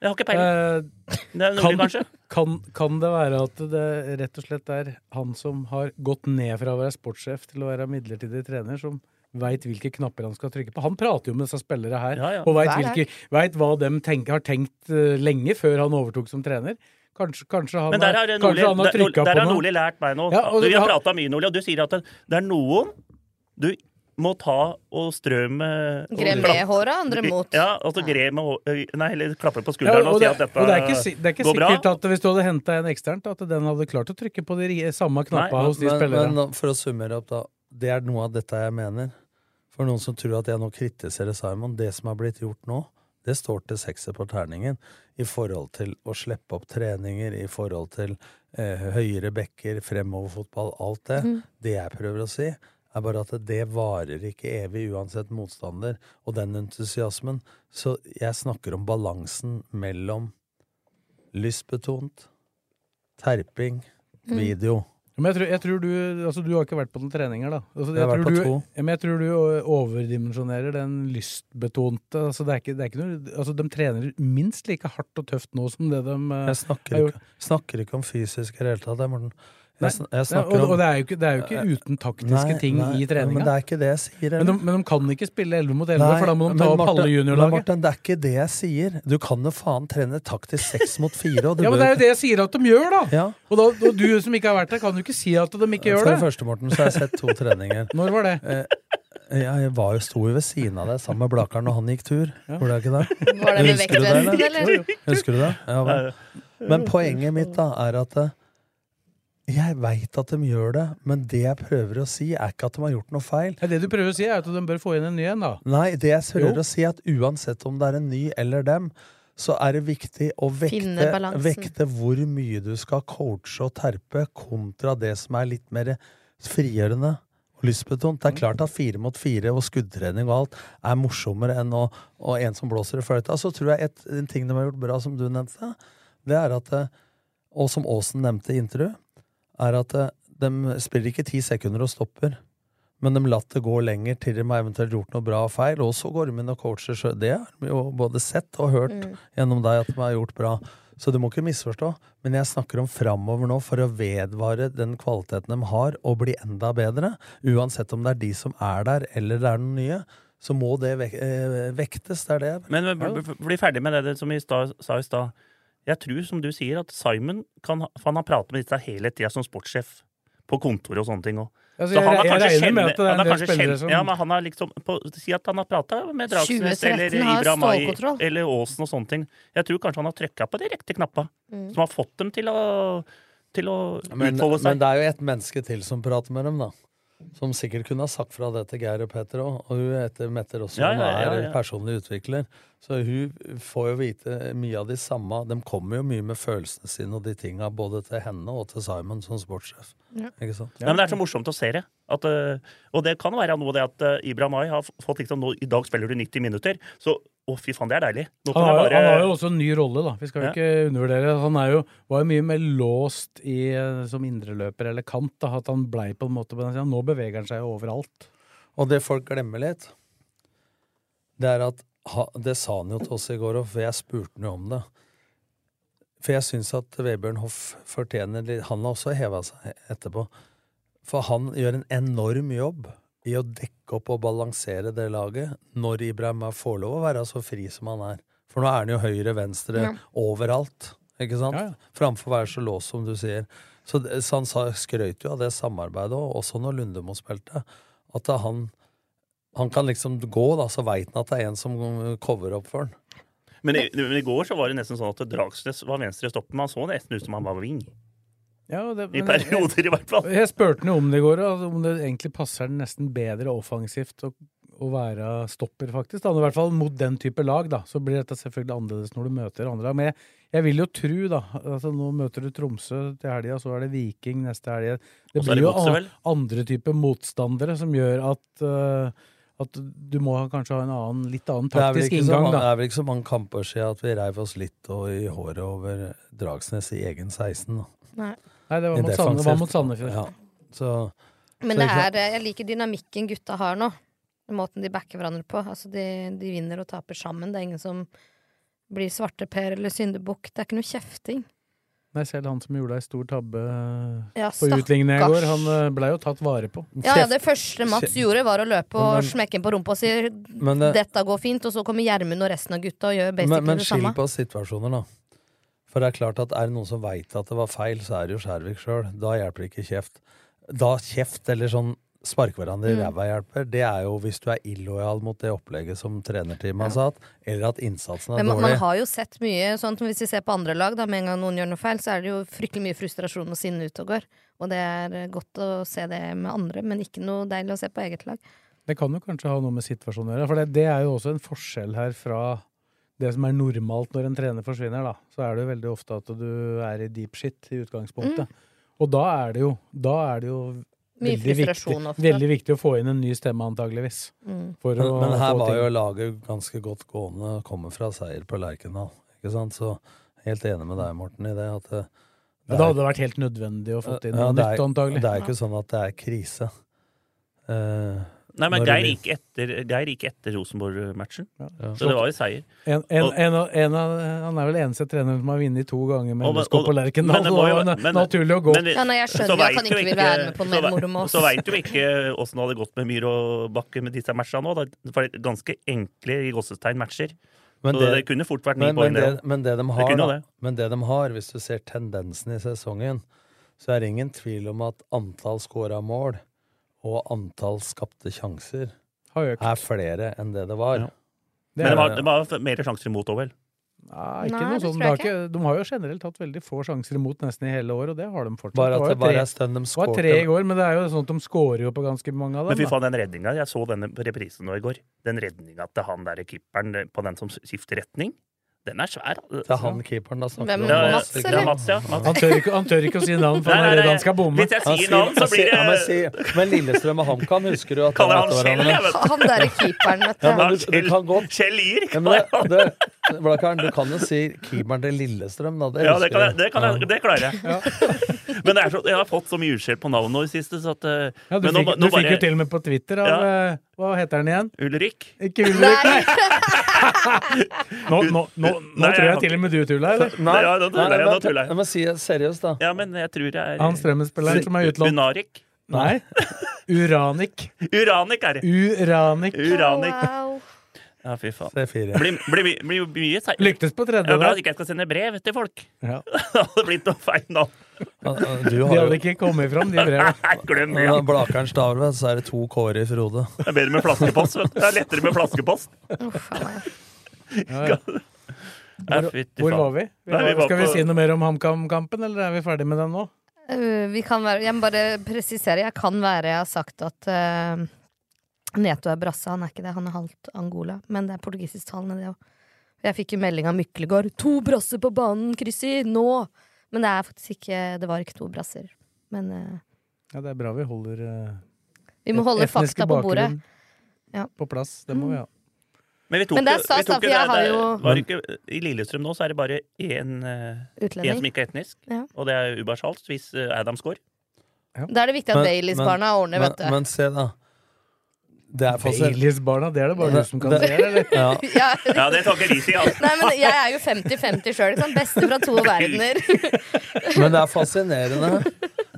S4: Eh,
S8: Jeg har ikke peiling. Det er
S4: kan,
S8: noe, kanskje.
S4: kan, kan det være at det rett og slett er han som har gått ned fra å være sportssjef til å være midlertidig trener, som veit hvilke knapper han skal trykke på? Han prater jo med disse spillere her,
S8: ja.
S4: og veit
S8: Hver helg.
S4: hva de tenker, har tenkt eh, lenge før han overtok som trener. Kanskje, kanskje han
S8: Men der
S4: har,
S8: har Nordli,
S4: kanskje han har
S8: der, der
S4: trykka på
S8: har
S4: noe.
S8: Nordli lært meg noe.
S4: Ja, og-
S8: du, vi har
S4: ja.
S8: prata mye, Nordli, og du sier at det, det er noen du må ta og strø med
S5: Gre med
S8: klapp-
S5: håret, andre mot.
S8: Ja, altså gre med hå- Nei, eller klappe på
S4: Ja,
S8: skulderen og,
S4: og,
S8: si
S4: det,
S8: at dette
S4: og det er ikke, si- det er ikke
S8: går bra.
S4: sikkert at hvis du hadde henta en eksternt, at den hadde klart å trykke på de ri- samme knappa hos de
S6: men,
S4: spillerne.
S6: Men for å summere opp, da. Det er noe av dette jeg mener. For noen som tror at jeg nå kritiserer Simon, det som har blitt gjort nå, det står til sekser på terningen i forhold til å slippe opp treninger, i forhold til eh, høyere bekker, fremoverfotball, alt det.
S9: Mhm.
S6: Det jeg prøver å si, er bare at det varer ikke evig uansett motstander og den entusiasmen. Så jeg snakker om balansen mellom lystbetont, terping,
S4: Mhm.
S6: video.
S4: Ja, Men jeg tror, jeg tror du altså Du har ikke vært på noen treninger, da. Altså,
S6: Jeg har vært
S4: tror
S6: på
S4: du,
S6: to.
S4: Ja, men jeg tror du eh, overdimensjonerer den lystbetonte altså, det er ikke, det er ikke noe, altså, De trener minst like hardt og tøft nå som det de eh,
S6: Jeg snakker
S4: har
S6: ikke, snakker ikke om fysisk i det hele tatt, jeg, Morten.
S4: Nei,
S6: Jeg, sn- jeg
S4: nei,
S6: snakker
S4: og,
S6: om Eh,
S4: og det er jo ikke, det er jo ikke uten taktiske
S6: Nei,
S4: ting
S6: nei,
S4: i treninga.
S6: Men det er ikke det jeg sier.
S4: Men de,
S6: eller?
S4: men de kan ikke spille 11 mot 11,
S6: Nei,
S4: for da må
S6: men
S4: de ta opp
S6: Morten-
S4: halve
S6: men
S4: juniorlaget.
S6: Morten, det er ikke det jeg sier. Du kan jo faen trene taktisk seks mot fire, og du
S4: Ja, men Det er jo det jeg sier at de gjør, da!
S6: Ja.
S4: Og, da og du som ikke har vært der, kan jo ikke si at de ikke gjør
S6: For det
S4: det.
S6: første, Morten, så har jeg sett to treninger.
S4: Når var det?
S6: Jeg var jo, sto jo ved siden av deg sammen med Blakeren når han gikk tur. Gjorde jeg ikke det?
S5: Var
S6: Husker
S5: det med
S6: du
S5: vektvesten,
S6: det,
S5: eller? Jo, jo.
S6: Husker du det? Ja, vel. Men poenget mitt da er at eh, jeg veit at de gjør det, men det jeg prøver å si, er ikke at de har gjort noe feil.
S4: Ja, det du prøver å si, er at de bør få inn en ny en, da.
S6: Nei, det jeg prøver
S4: Jo.
S6: å si er at uansett om det er en ny eller dem, så er det viktig å
S5: Finne
S6: vekte,
S5: balansen.
S6: vekte hvor mye du skal coache og terpe, kontra det som er litt mer frigjørende og lystbetont. Det er klart at fire mot fire og skuddtrening og alt er morsommere enn å, og en som blåser i fløyta. Så tror jeg et, en ting de har gjort bra, som du nevnte, det er at eh, Og som Aasen nevnte i intervju, er at eh, de spiller ikke ti sekunder og stopper. Men de latt det gå lenger til de har eventuelt gjort noe bra og feil. Og så går de inn og coacher sjøl. Det har vi jo både sett og hørt
S9: Mm.
S6: gjennom deg at de har gjort bra. Så du må ikke misforstå. Men jeg snakker om framover nå for å vedvare den kvaliteten de har, og bli enda bedre. Uansett om det er de som er der, eller det er noen nye. så må det vek eh, vektes. Det er det.
S8: Men b- b- b- bli ferdig med det det som vi sta- sa i stad. Jeg tror, som du sier, at Simon kan, ha- for han har pratet med disse hele tida som sportssjef på kontoret og sånne ting òg.
S4: Altså, jeg- jeg regner med at det er en del spillere som-
S8: Ja, men han har liksom på, Si at han har prata med Dragsnes
S5: 2013
S8: eller
S5: har
S8: Ibra Mai
S5: stålkontroll.
S8: eller Aasen og sånne ting. Jeg tror kanskje han har trykka på de riktige knappa,
S5: Mm.
S8: som har fått dem til å, til å
S6: Men,
S8: utfolde seg.
S6: men det er jo et menneske til som prater med dem, da. Som sikkert kunne ha sagt fra det til Geir og Petter òg, og hun heter Mette også,
S8: Ja,
S6: hun
S8: ja, ja,
S6: er
S8: ja.
S6: personlig utvikler. Så hun får jo vite mye av de samme De kommer jo mye med følelsene sine og de tinga, både til henne og til Simon som sportssjef.
S8: Ja.
S6: Ikke sant?
S8: Nei, men Det er så morsomt å se det. At, eh, og det kan være noe det at eh, Ibra Mai har f- fått liksom nå, I dag spiller du 90 minutter, så å, fy faen, det er deilig. Nå
S4: Han
S8: kan
S4: har,
S8: jeg bare
S4: jo- han har jo også en ny rolle, da. Vi skal jo
S8: Ja.
S4: ikke undervurdere. Han er jo, var jo mye mer låst i, eh, som indreløper eller kant. Da, at han blei på en måte på den siden. Nå beveger han seg jo overalt.
S6: Og det folk glemmer litt, det er at ha, Det sa han jo til oss i går, og for jeg spurte han jo om det. For jeg syns at Vebjørn Hoff fortjener litt Han har også heva seg etterpå. For han gjør en enorm jobb i å dekke opp og balansere det laget når Ibrahim er- får lov å være så fri som han er. For nå er han jo høyre, venstre,
S7: Ja.
S6: overalt. Ikke sant? Framfor å være så låst, som du sier. Så, det- så han sa, skrøt jo av det samarbeidet, og også når Lundemo spilte, at det er han han kan liksom gå, da, så veit han at det er en som cover opp for han.
S8: men, i, men i går så var det nesten sånn at Dragsnes var venstre i stoppen. men Han så nesten ut som han var wing.
S4: Ja, det,
S8: I
S4: men-
S8: perioder, i hvert fall.
S4: Jeg spurte ham om det i går, altså, om det egentlig passer han nesten bedre offensivt å, å være stopper, faktisk. Da. I hvert fall mot den type lag, da. Så blir dette selvfølgelig annerledes når du møter andre lag. Men jeg, jeg vil jo tro, da altså, Nå møter du Tromsø til helga, så er det Viking neste helg. Det
S8: Og så er
S4: blir
S8: det
S4: jo
S8: Godset,
S4: an-
S8: vel?
S4: andre type motstandere som gjør at, eh, at du må ha- kanskje ha en annen, litt annen
S6: Det er, vel
S4: taktisk
S6: ikke så
S4: inngang,
S6: mange,
S4: da.
S6: det er vel ikke så mange kamper siden at vi reiv oss litt og i håret over Dragsnes i egen 16. Da.
S5: Nei.
S4: Nei, det var
S6: I
S4: mot Sande- det var
S6: defensivt.
S4: mot Sandefjord.
S6: Ja. Så, så
S5: Men det
S6: ikke sant?
S5: er, eh, jeg liker dynamikken gutta har nå. Måten de backer hverandre på. Altså de, de vinner og taper sammen. Det er ingen som blir svarteper eller syndebukk. Det er ikke noe kjefting.
S4: Nei, selv han som gjorde ei stor tabbe eh,
S5: Ja,
S4: på utligninga i
S5: stakkars.
S4: går, han eh, ble jo tatt vare på.
S5: Ja, ja, det første Mats
S4: Kjeft.
S5: gjorde, var å løpe og
S6: Men-
S5: smekke en på rumpa og si
S6: Men det-
S5: 'dette går fint', og så kommer Gjermund og resten av gutta og gjør basically
S6: Men, men
S5: det
S6: skill
S5: samme.
S6: på situasjoner, da. For det er klart at er det noen som veit at det var feil, så er det jo Skjærvik sjøl. Da hjelper det ikke kjeft. Da kjeft eller sånn sparke hverandre i
S7: Mm.
S6: ræva hjelper, det er jo hvis du er illojal mot det opplegget som trenerteamet har satt, eller at innsatsen er
S5: Men man,
S6: dårlig.
S5: man har jo sett mye sånt, hvis vi ser på andre lag, da, med en gang noen gjør noe feil, så er det jo fryktelig mye frustrasjon og sinne ute og går. Og det er eh, godt å se det med andre, men ikke noe deilig å se på eget lag.
S4: Det kan jo kanskje ha noe med situasjonen å gjøre. For det, det er jo også en forskjell her fra det som er normalt når en trener forsvinner, da. Så er det jo veldig ofte at du er i deep shit i utgangspunktet. Og da er det jo, da er det jo
S5: Mm. Mye
S4: veldig, viktig,
S5: frustrasjon ofte.
S4: veldig viktig å få inn en ny stemme, antageligvis.
S5: Mm.
S4: For
S6: men,
S4: å
S6: men her
S4: få
S6: var
S4: ting.
S6: jo laget ganske godt gående, kommer fra seier på Lerkendal. Ikke sant? Så helt enig med deg, Morten, i det. At eh, det,
S4: Men da hadde det vært helt nødvendig å få inn noe
S6: det er-
S4: nytt, antagelig.
S6: Det er jo ikke sånn at det er krise. Eh,
S8: Nei, men
S6: når
S8: Geir
S6: det
S8: gikk etter, Geir gikk etter Rosenborg-matchen.
S6: Ja.
S8: Så det var jo seier.
S4: En, en,
S8: Og-
S4: en, av- en av, han er vel eneste treneren som har vunnet to ganger med
S8: Og-
S4: LSK på
S8: og- men
S4: Lerkendal.
S8: det
S4: så
S8: må jo-
S4: det var
S8: men-
S4: naturlig å gå.
S8: men vi-
S5: Ja, nei, jeg
S8: så
S5: skjønner jo at
S8: vet
S5: han
S8: jo
S5: ikke vil være med på
S8: så
S5: mer
S8: ve-
S5: moro med oss.
S8: Så veit jo ikke åssen det hadde gått med Myhr og Bakke med disse matchene nå. da. Det var ganske enkle i gåsetegn matcher.
S6: Men
S8: så det,
S6: det-
S8: kunne fort vært ni
S6: men,
S8: poeng,
S6: men,
S8: det
S6: det,
S8: òg.
S6: men det de
S8: Det
S6: har,
S8: kunne
S6: da,
S8: det.
S6: men det de har, hvis du ser tendensen i sesongen, så er det ingen tvil om at antall scora mål og antall skapte sjanser
S4: Har økt.
S6: er flere enn det det var.
S8: Men det var, det var mer sjanser imot òg, vel?
S4: Nei, ikke
S6: Nei,
S4: noe
S6: det
S4: sånn.
S6: tror
S4: Det har
S6: jeg
S4: ikke. De har jo generelt hatt veldig få sjanser imot nesten i hele år, og det har de fortsatt.
S6: Bare at
S4: var jo
S6: det bare
S4: tre-
S6: er stund de
S4: det var
S6: skårte.
S4: tre i går, men det er jo sånn at de skårer jo på ganske mange av
S8: Men
S4: dem.
S8: fy
S4: da.
S8: faen, den redninga. Jeg så denne reprisen nå i går. Den redninga til han der keeperen på den som skifter retning, den er svær.
S6: Det er han keeperen, da. snakker
S8: Hvem?
S6: vi om.
S8: Ja, Mats, eller? Ja, Mats, ja. Mats.
S4: Han, tør ikke, han tør ikke å si navn, for
S8: Nei,
S4: han
S8: nei,
S4: er redd
S8: nei.
S4: han skal bomme.
S8: Hvis jeg sier navn, så blir det-
S6: Ja, men, si, men Lillestrøm og HamKam husker du at
S8: Kaller han
S6: de møtte
S8: Kjell,
S6: hverandre.
S8: jeg vet.
S5: Han der er keeperen, vet du.
S6: Ja, men du, du kan godt
S8: Kjell Lier!
S6: Ja, men det, det, Blakkaren, du kan jo si keeperen til Lillestrøm, da. Det
S8: Ja, det,
S6: husker
S8: kan jeg,
S6: du.
S8: det, kan jeg,
S6: Ja.
S8: det klarer jeg. [LAUGHS] Men det er så, jeg har fått så mye uskjell på navnet nå i det siste, så at eh,
S4: Ja, du
S8: men nå
S4: fikk,
S8: ba-
S4: du
S8: nå
S4: fikk
S8: bare-
S4: jo til og med på Twitter av eh, Hva heter han igjen?
S8: Ulrik.
S4: Ikke Ulrik, nei! Nå, nå, nå, nå
S8: Nei,
S4: tror jeg
S8: han-
S4: til og med du tulla, eller?
S8: Nei, ja, da tuller jeg, da tuller jeg.
S6: si seriøst, da.
S8: Ja, men jeg tror jeg er
S4: Han Strømmen-spilleren som er i utlandet.
S8: Unarik.
S4: Nei. Uranik.
S8: Uranik er det.
S4: Uranik.
S8: Uranik. Ja, fy faen.
S6: C4.
S8: Blir blir my- blir jo mye seig.
S4: Lyktes på tredje
S8: Det er bra at
S4: der.
S8: ikke jeg skal sende brev til folk.
S4: Ja.
S8: [LAUGHS] det hadde blitt noe feil navn.
S6: Du
S4: De
S6: har
S4: hadde
S6: jo
S4: ikke kommet fram, de brevene.
S8: Nei, glem det.
S6: Ja, Blakeren Stavre, så er det to K-er i Frode.
S8: Det er bedre med flaskepost. vet du. Det er lettere med flaskepost. Nei,
S4: Hvor,
S8: fytti
S4: hvor
S8: faen.
S4: var vi? vi,
S8: Nei, vi
S4: var,
S8: var
S4: skal vi
S8: på-
S4: si noe mer om HamKam-kampen, eller er vi ferdig med den nå?
S5: Øh, Vi kan være, jeg må bare presisere, jeg kan være jeg har sagt at øh, Neto er brasse, han er ikke det, han er halvt Angola, men det er portugisisktalende det òg. Jeg fikk jo melding av Myklegård 'To brasser på banen, Kryssi! Nå!' Men det er faktisk ikke Det var ikke to brasser. Men øh,
S4: Ja, det er bra vi holder eh,
S5: vi må holde
S4: etniske
S5: fakta på bordet.
S4: bakgrunn
S5: Ja.
S4: På plass, det må vi ha.
S8: Men, vi tok,
S5: Men det er
S8: jo- vi
S5: stas, da,
S8: tok
S5: for jeg har
S8: det-
S5: jo-
S8: det var ikke, I Lillestrøm nå så er det bare én, eh,
S5: Utlending.
S8: én som ikke er etnisk,
S5: Ja.
S8: og det er Ubar Charles hvis eh, Adam scorer.
S5: Da er det viktig
S6: Men-
S5: at Baileys-barna
S6: men-
S5: ordner, vet du.
S6: Men,
S5: [LAUGHS]
S6: men se, da. Det er fasit.
S4: Baileys-barna, det er det bare
S6: Det-
S4: du som kan
S6: det-
S4: se, eller?
S6: Ja.
S5: ja.
S8: Ja, det tar ikke de si, altså.
S5: Nei, men jeg er jo 50-50 sjøl, liksom. Beste fra to verdener.
S6: Men det er fascinerende.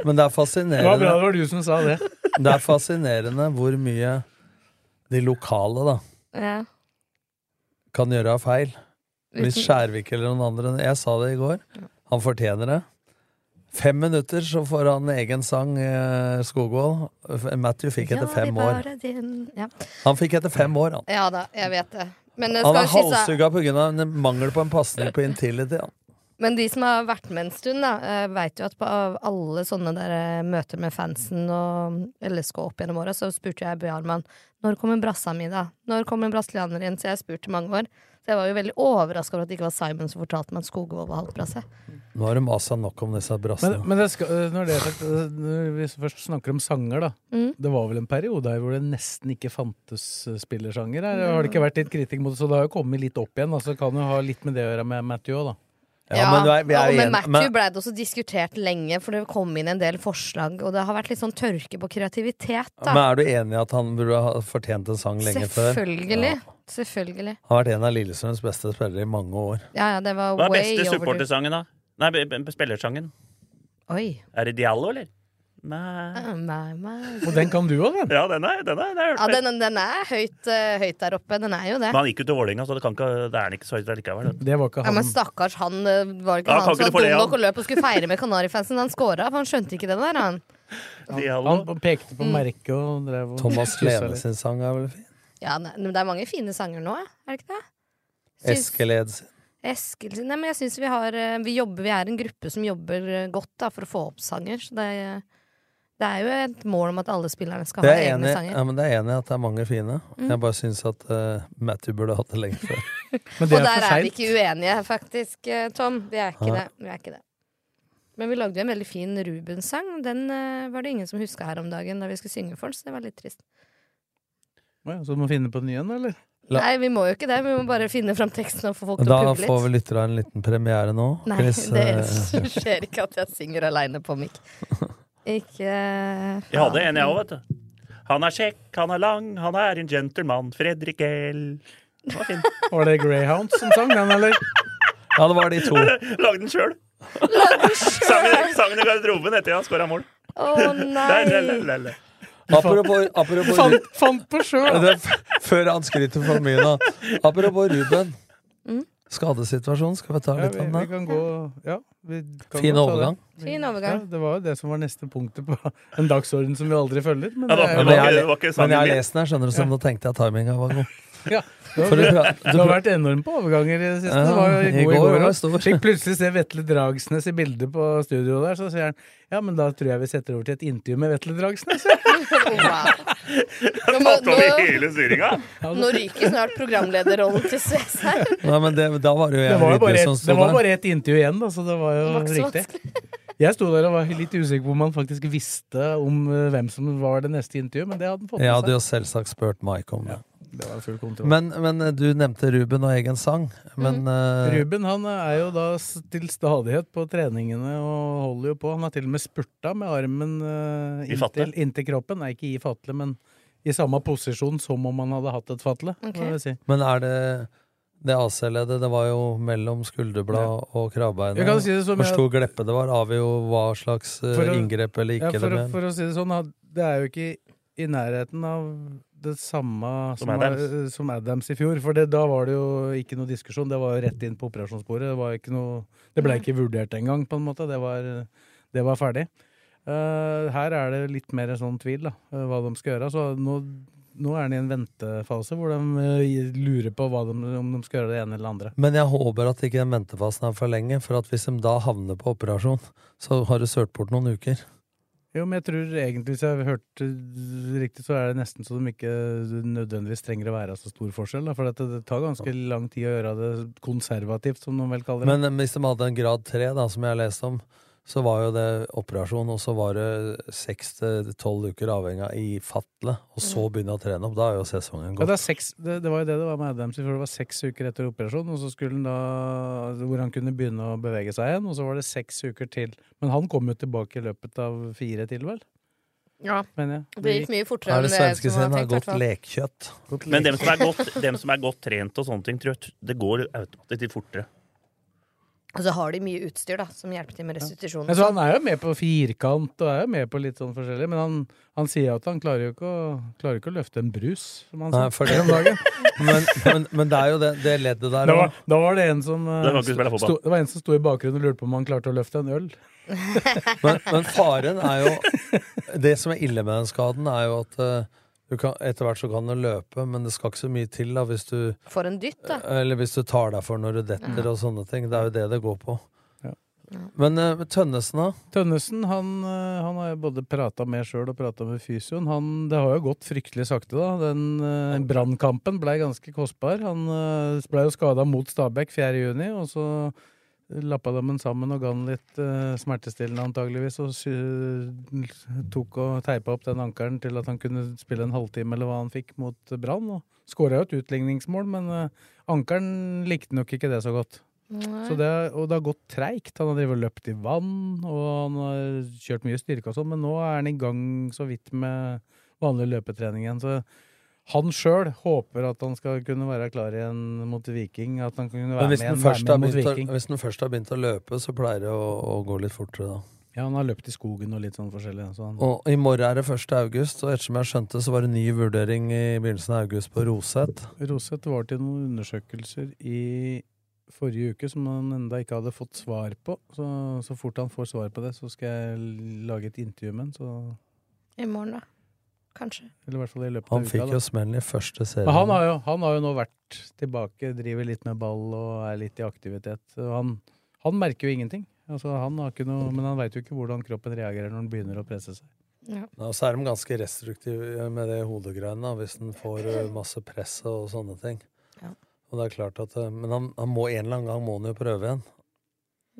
S6: Men det er
S4: Det var bra
S6: fascinerende,
S4: det var du som sa [LAUGHS] det.
S6: det er fascinerende hvor mye de lokale da
S5: Ja.
S6: kan gjøre av feil. Hvis
S5: Uten-
S6: Skjærvik eller noen andre Jeg sa det i går. Han fortjener det. Fem minutter, så får han egen sang, eh, Skogvold. Matthew fikk etter fem
S5: Ja,
S6: år.
S5: det var din- Ja.
S6: Han fikk etter fem år, han.
S5: ja da, jeg vet det. Men, det
S6: Han
S5: skal
S6: er
S5: jo sies, da,
S6: halshugga pga. mangel på en pasning på intility. han.
S5: men de som har vært med en stund, da, veit jo at på av alle sånne der eh, møter med fansen og LSK opp gjennom åra, så spurte jeg Bjarman når kommer brassa mi, da? Når kommer brasilianer igjen? Så jeg har spurt i mange år. Så jeg var jo veldig overraska over at det ikke var Simon som fortalte meg at Skogvold var halvt brasse.
S6: Nå har de masa nok om disse
S4: Men,
S6: brassene.
S4: men det skal, eh, når det er sagt, når vi først snakker om sanger, da.
S5: Mm.
S4: Det var vel en periode her hvor det nesten ikke fantes eh, spillersanger her. Har det ikke vært litt kritikk mot det, så det har jo kommet litt opp igjen. Altså, kan jo ha litt med det å gjøre med Matthew òg, da.
S5: Ja,
S6: vi er- vi er
S5: og med
S6: igjen-
S5: Matthew
S6: men-
S5: ble det også diskutert lenge, for det kom inn en del forslag, og det har vært litt sånn tørke på kreativitet, da.
S6: Men er du enig i at han burde ha fortjent en sang lenge før?
S5: Selvfølgelig.
S6: Ja.
S5: Selvfølgelig.
S6: Han har vært en av Lillestrøms beste spillere i mange år.
S5: Ja, ja, det var
S8: Hva er
S5: way
S8: beste
S5: overdue.
S8: supportersangen, da? Nei, be- be- spillersangen.
S5: Oi.
S8: Er det Diallo, eller? Nei.
S5: Ah, Nei, nei.
S4: Og den kan du òg, den.
S8: Ja, den er, den er, den er,
S5: Ja, den, den er høyt, eh, høyt der oppe. Den er jo det.
S8: Men han gikk jo til Vålerenga, så det, kan ikke, det er han ikke så høyt likevel.
S4: Det var ikke
S5: Ja, men
S4: han.
S5: stakkars, han eh, var ikke
S8: Ja, kan
S5: han
S8: ikke
S5: som
S8: du
S5: var
S8: få det,
S5: dum
S8: han?
S5: nok og løp og skulle feire med Kanarifansen. Han scora, for han skjønte ikke det der, han.
S8: Diallo.
S4: Han pekte på merket og drev og [LAUGHS]
S6: Thomas
S4: kyssa
S6: Lene
S4: litt.
S6: sin sang er vel fin.
S5: Ja, nei, men det er mange fine sanger nå, er det ikke det? Syns-
S6: Eskil Ed sin.
S5: Eskil sin. Nei, men jeg syns vi har eh, Vi jobber, vi er en gruppe som jobber eh, godt da, for å få opp sanger. Så det, er- det er jo et mål om at alle spillerne skal
S6: Det
S5: ha
S6: er jeg
S5: egne
S6: enig, i-
S5: sanger. Mm.
S6: ja, men det er jeg enig i at det er mange fine. Jeg bare syns at eh, Matthew burde hatt det lenge før.
S4: Men
S5: Og
S4: det er
S5: der
S4: for
S5: er vi
S4: seint.
S5: ikke uenige, faktisk, eh, Tom. Vi er ikke,
S6: Nei.
S5: det. Vi er ikke det. Men vi lagde jo en veldig fin Ruben-sang. Den eh, var det ingen som huska her om dagen da vi skulle synge for den, så det var litt trist.
S4: Å ja, Så du må finne på en ny en, eller?
S6: La-
S5: Nei, vi må jo ikke det. Vi må bare finne fram teksten [LAUGHS] og få folk til å
S6: Da
S5: puble
S6: får vi
S5: litt.
S6: lyttere en liten premiere nå.
S5: Nei,
S6: [LAUGHS] Chris, eh,
S5: det [LAUGHS] skjer ikke at jeg synger aleine på
S6: [LAUGHS]
S5: mic. Ikke eh,
S8: Jeg hadde en, jeg òg, vet du. Han er kjekk, han er lang, han er en gentleman. Fredrik L. Det var fint. [LAUGHS]
S4: Var det Greyhound som sang den, eller?
S6: ja, det var de to.
S8: Lagde den sjøl. [LAUGHS] Sangen, sangen i garderoben etter at han scora mål.
S5: Å
S8: Nei, nei,
S5: nei!
S8: nei, nei.
S6: Apropos,
S5: [LAUGHS]
S6: apropos
S4: [LAUGHS] Fant, fant på sjøl!
S6: Det er f- [LAUGHS] Før han skryter for mye nå. Apropos Ruben.
S5: Mm.
S6: Skadesituasjonen, skal vi ta
S4: Ja,
S6: litt
S4: vi,
S6: om
S4: vi
S6: det?
S4: kan gå sånn, ja, vi
S6: Fin
S4: kan godt ta det.
S6: overgang.
S5: Fin
S4: Ja,
S5: overgang. [LAUGHS]
S4: det var jo det som var neste punktet på en dagsorden som vi aldri følger. Men
S8: Ja,
S4: det
S8: da-
S4: er
S6: Men
S4: jo,
S8: det
S6: jeg, har
S8: det var
S6: le-
S8: ikke sangen
S6: men jeg har
S8: min.
S6: lest den her, skjønner du, så nå tenkte jeg timinga var god.
S4: ja, [LAUGHS] det,
S6: For du
S4: var,
S6: pra-
S4: det
S6: du
S4: har
S6: pra-
S4: vært enormt på overganger i det siste. det var jo
S6: Ja,
S4: god i går,
S6: var det
S4: også.
S6: stor.
S4: Fikk plutselig se Vetle Dragsnes i bildet på studio der, så sier han ja, men da tror jeg vi setter over til et intervju med Vetle Dragsnes.
S5: Wow. Nå, må-
S8: Tatt over
S5: nå,
S8: hele styringa.
S5: nå ryker snart programlederrollen til Sves her.
S6: Nei, men det, da var det jo
S4: Det
S6: jeg
S4: var jo bare,
S6: videre som
S4: et,
S6: sto
S4: det var
S6: der.
S4: bare et intervju igjen, da, så det var jo
S5: Det var ikke så
S4: riktig. Jeg sto der og var litt usikker på om han faktisk visste om eh, hvem som var det neste intervjuet, men det hadde han fått
S6: Jeg hadde
S4: med seg.
S6: jo selvsagt spurt Mike om det.
S4: Det var Mm. full kontroll.
S6: Men, men eh, du nevnte Ruben og egen sang. Men eh,
S4: Ruben han er jo da s- til stadighet på treningene og holder jo på. Han har til og med spurta med armen eh,
S8: I
S4: inntil,
S8: fatle?
S4: inntil kroppen. Nei, ikke i fatle, men i samme posisjon som om han hadde hatt et fatle. må
S5: Ok.
S4: jeg Si.
S6: Men er det Det AC-leddet, det var jo mellom skulderblad og krabbeinet.
S4: Jeg kan si det som
S6: Hvor
S4: jeg-
S6: stor gleppe det var, avgjør jo hva slags eh,
S4: For å-
S6: inngrep eller
S4: Ja,
S6: ikke.
S4: for,
S6: eller
S4: å-
S6: mer.
S4: for å si det sånn, da, det er jo ikke i nærheten av det samme
S8: Som
S4: som,
S8: Adams.
S4: eh, som Adams i fjor. For det, da var det jo ikke noe diskusjon. Det var jo rett inn på operasjonsbordet. Det, var ikke noe, det ble ikke vurdert engang, på en måte. Det var, det var ferdig. Eh, her er det litt mer sånn tvil, da, eh, hva de skal gjøre. Så nå, nå er den i en ventefase hvor de eh, lurer på hva de, om de skal gjøre det ene eller det andre.
S6: Men jeg håper at ikke den ventefasen er for lenge, for at hvis de da havner på operasjon, så har du sølt bort noen uker.
S4: Jo, men jeg tror egentlig, hvis jeg har hørt eh, riktig, så er det nesten så de ikke eh, nødvendigvis trenger å være så stor forskjell. Da, for at det, det tar ganske lang tid å gjøre det konservativt, som noen vel kaller det.
S6: Men eh, hvis de hadde en grad 3, da, som jeg har lest om, så var jo det operasjon, og så var det seks til tolv uker avhengig av i fatle, og så begynne å trene opp. Da er jo sesongen
S4: ja,
S6: gått.
S4: det, er seks, det, det var jo det det var med Adams. i fjor, Det var seks uker etter operasjonen, og så skulle han da, hvor han kunne begynne å bevege seg igjen. Og så var det seks uker til. Men han kom jo tilbake i løpet av fire til, vel?
S5: Ja.
S4: Mener jeg.
S5: Det gikk mye fortere
S6: Er
S5: enn
S6: det
S5: det
S6: svenske
S5: som
S6: scenen
S5: var
S6: har
S5: tenkt.
S6: godt
S5: hvertfall.
S6: lekkjøtt?
S8: Men dem som, er godt, dem som er godt trent og sånne ting, tror jeg t- det går automatisk litt fortere.
S5: Og så har de mye utstyr da, som hjelper til med restitusjon.
S4: Men så han er jo med på firkant og er jo med på litt sånn forskjellig, men han, han sier jo at han klarer jo ikke å, klarer ikke å løfte en brus, som han sa.
S6: Nei, for det, men, men, men det er jo det, det leddet der
S4: Da var,
S6: også.
S4: da var det en som eh,
S6: Det var ikke å spille fotball.
S4: sto, det var en som sto i bakgrunnen og lurte på om han klarte å løfte en øl.
S6: Men, men faren er jo Det som er ille med den skaden, er jo at eh, du kan, etter hvert så kan du løpe, men det skal ikke så mye til da hvis du
S5: For en dytt, da.
S6: Eh, Eller hvis du tar deg for når du detter og sånne ting. Det er jo det det går på. Men eh, Tønnesen, da?
S4: Tønnesen han, eh, han har jeg både prata med sjøl og prata med fysioen. Han, det har jo gått fryktelig sakte, da. Den eh, brannkampen blei ganske kostbar. Han eh, blei jo skada mot Stabæk 4. juni, og så lappa de den sammen og ga han litt eh, smertestillende antageligvis, og sy tok og teipa opp den ankelen til at han kunne spille en halvtime eller hva han fikk mot Brann. og Skåra jo et utligningsmål, men eh, ankelen likte nok ikke det så godt.
S5: Nei.
S4: Så det, og det har gått treigt. Han har drevet og løpt i vann, og han har kjørt mye styrke og sånn, men nå er han i gang så vidt med vanlig løpetrening igjen. Så han sjøl håper at han skal kunne være klar igjen mot Viking. At han kan kunne
S6: Men
S4: være med
S6: hvis den,
S4: igjen,
S6: først
S4: være
S6: har
S4: med mot
S6: begynt å,
S4: Viking.
S6: hvis den først har begynt å løpe, så pleier det å, å gå litt fortere, da.
S4: Ja, han har løpt i skogen og litt sånn forskjellig. Så han,
S6: Og i morgen er det 1. august, og ettersom jeg skjønte, så var det ny vurdering i begynnelsen av august på Roseth.
S4: Roseth var til noen undersøkelser i forrige uke som han enda ikke hadde fått svar på. Så, så fort han får svar på det, så skal jeg lage et intervju med han. så-
S5: I morgen, da. Kanskje.
S4: Eller i hvert fall i løpet
S6: Han
S4: av uka.
S6: fikk
S4: da.
S6: jo smellen i første
S4: Men han
S6: serie.
S4: har, jo, han har jo nå vært tilbake, driver litt med ball og er litt i aktivitet. Så Han, han merker jo ingenting. Altså, han har ikke noe, men han veit jo ikke hvordan kroppen reagerer når den begynner å presse seg.
S6: Ja, Og så er de ganske restriktive med det hodegreiene, da, hvis den får eh, masse press og sånne ting. Og det er klart at, eh, Men han, han må en eller annen gang må han jo prøve igjen.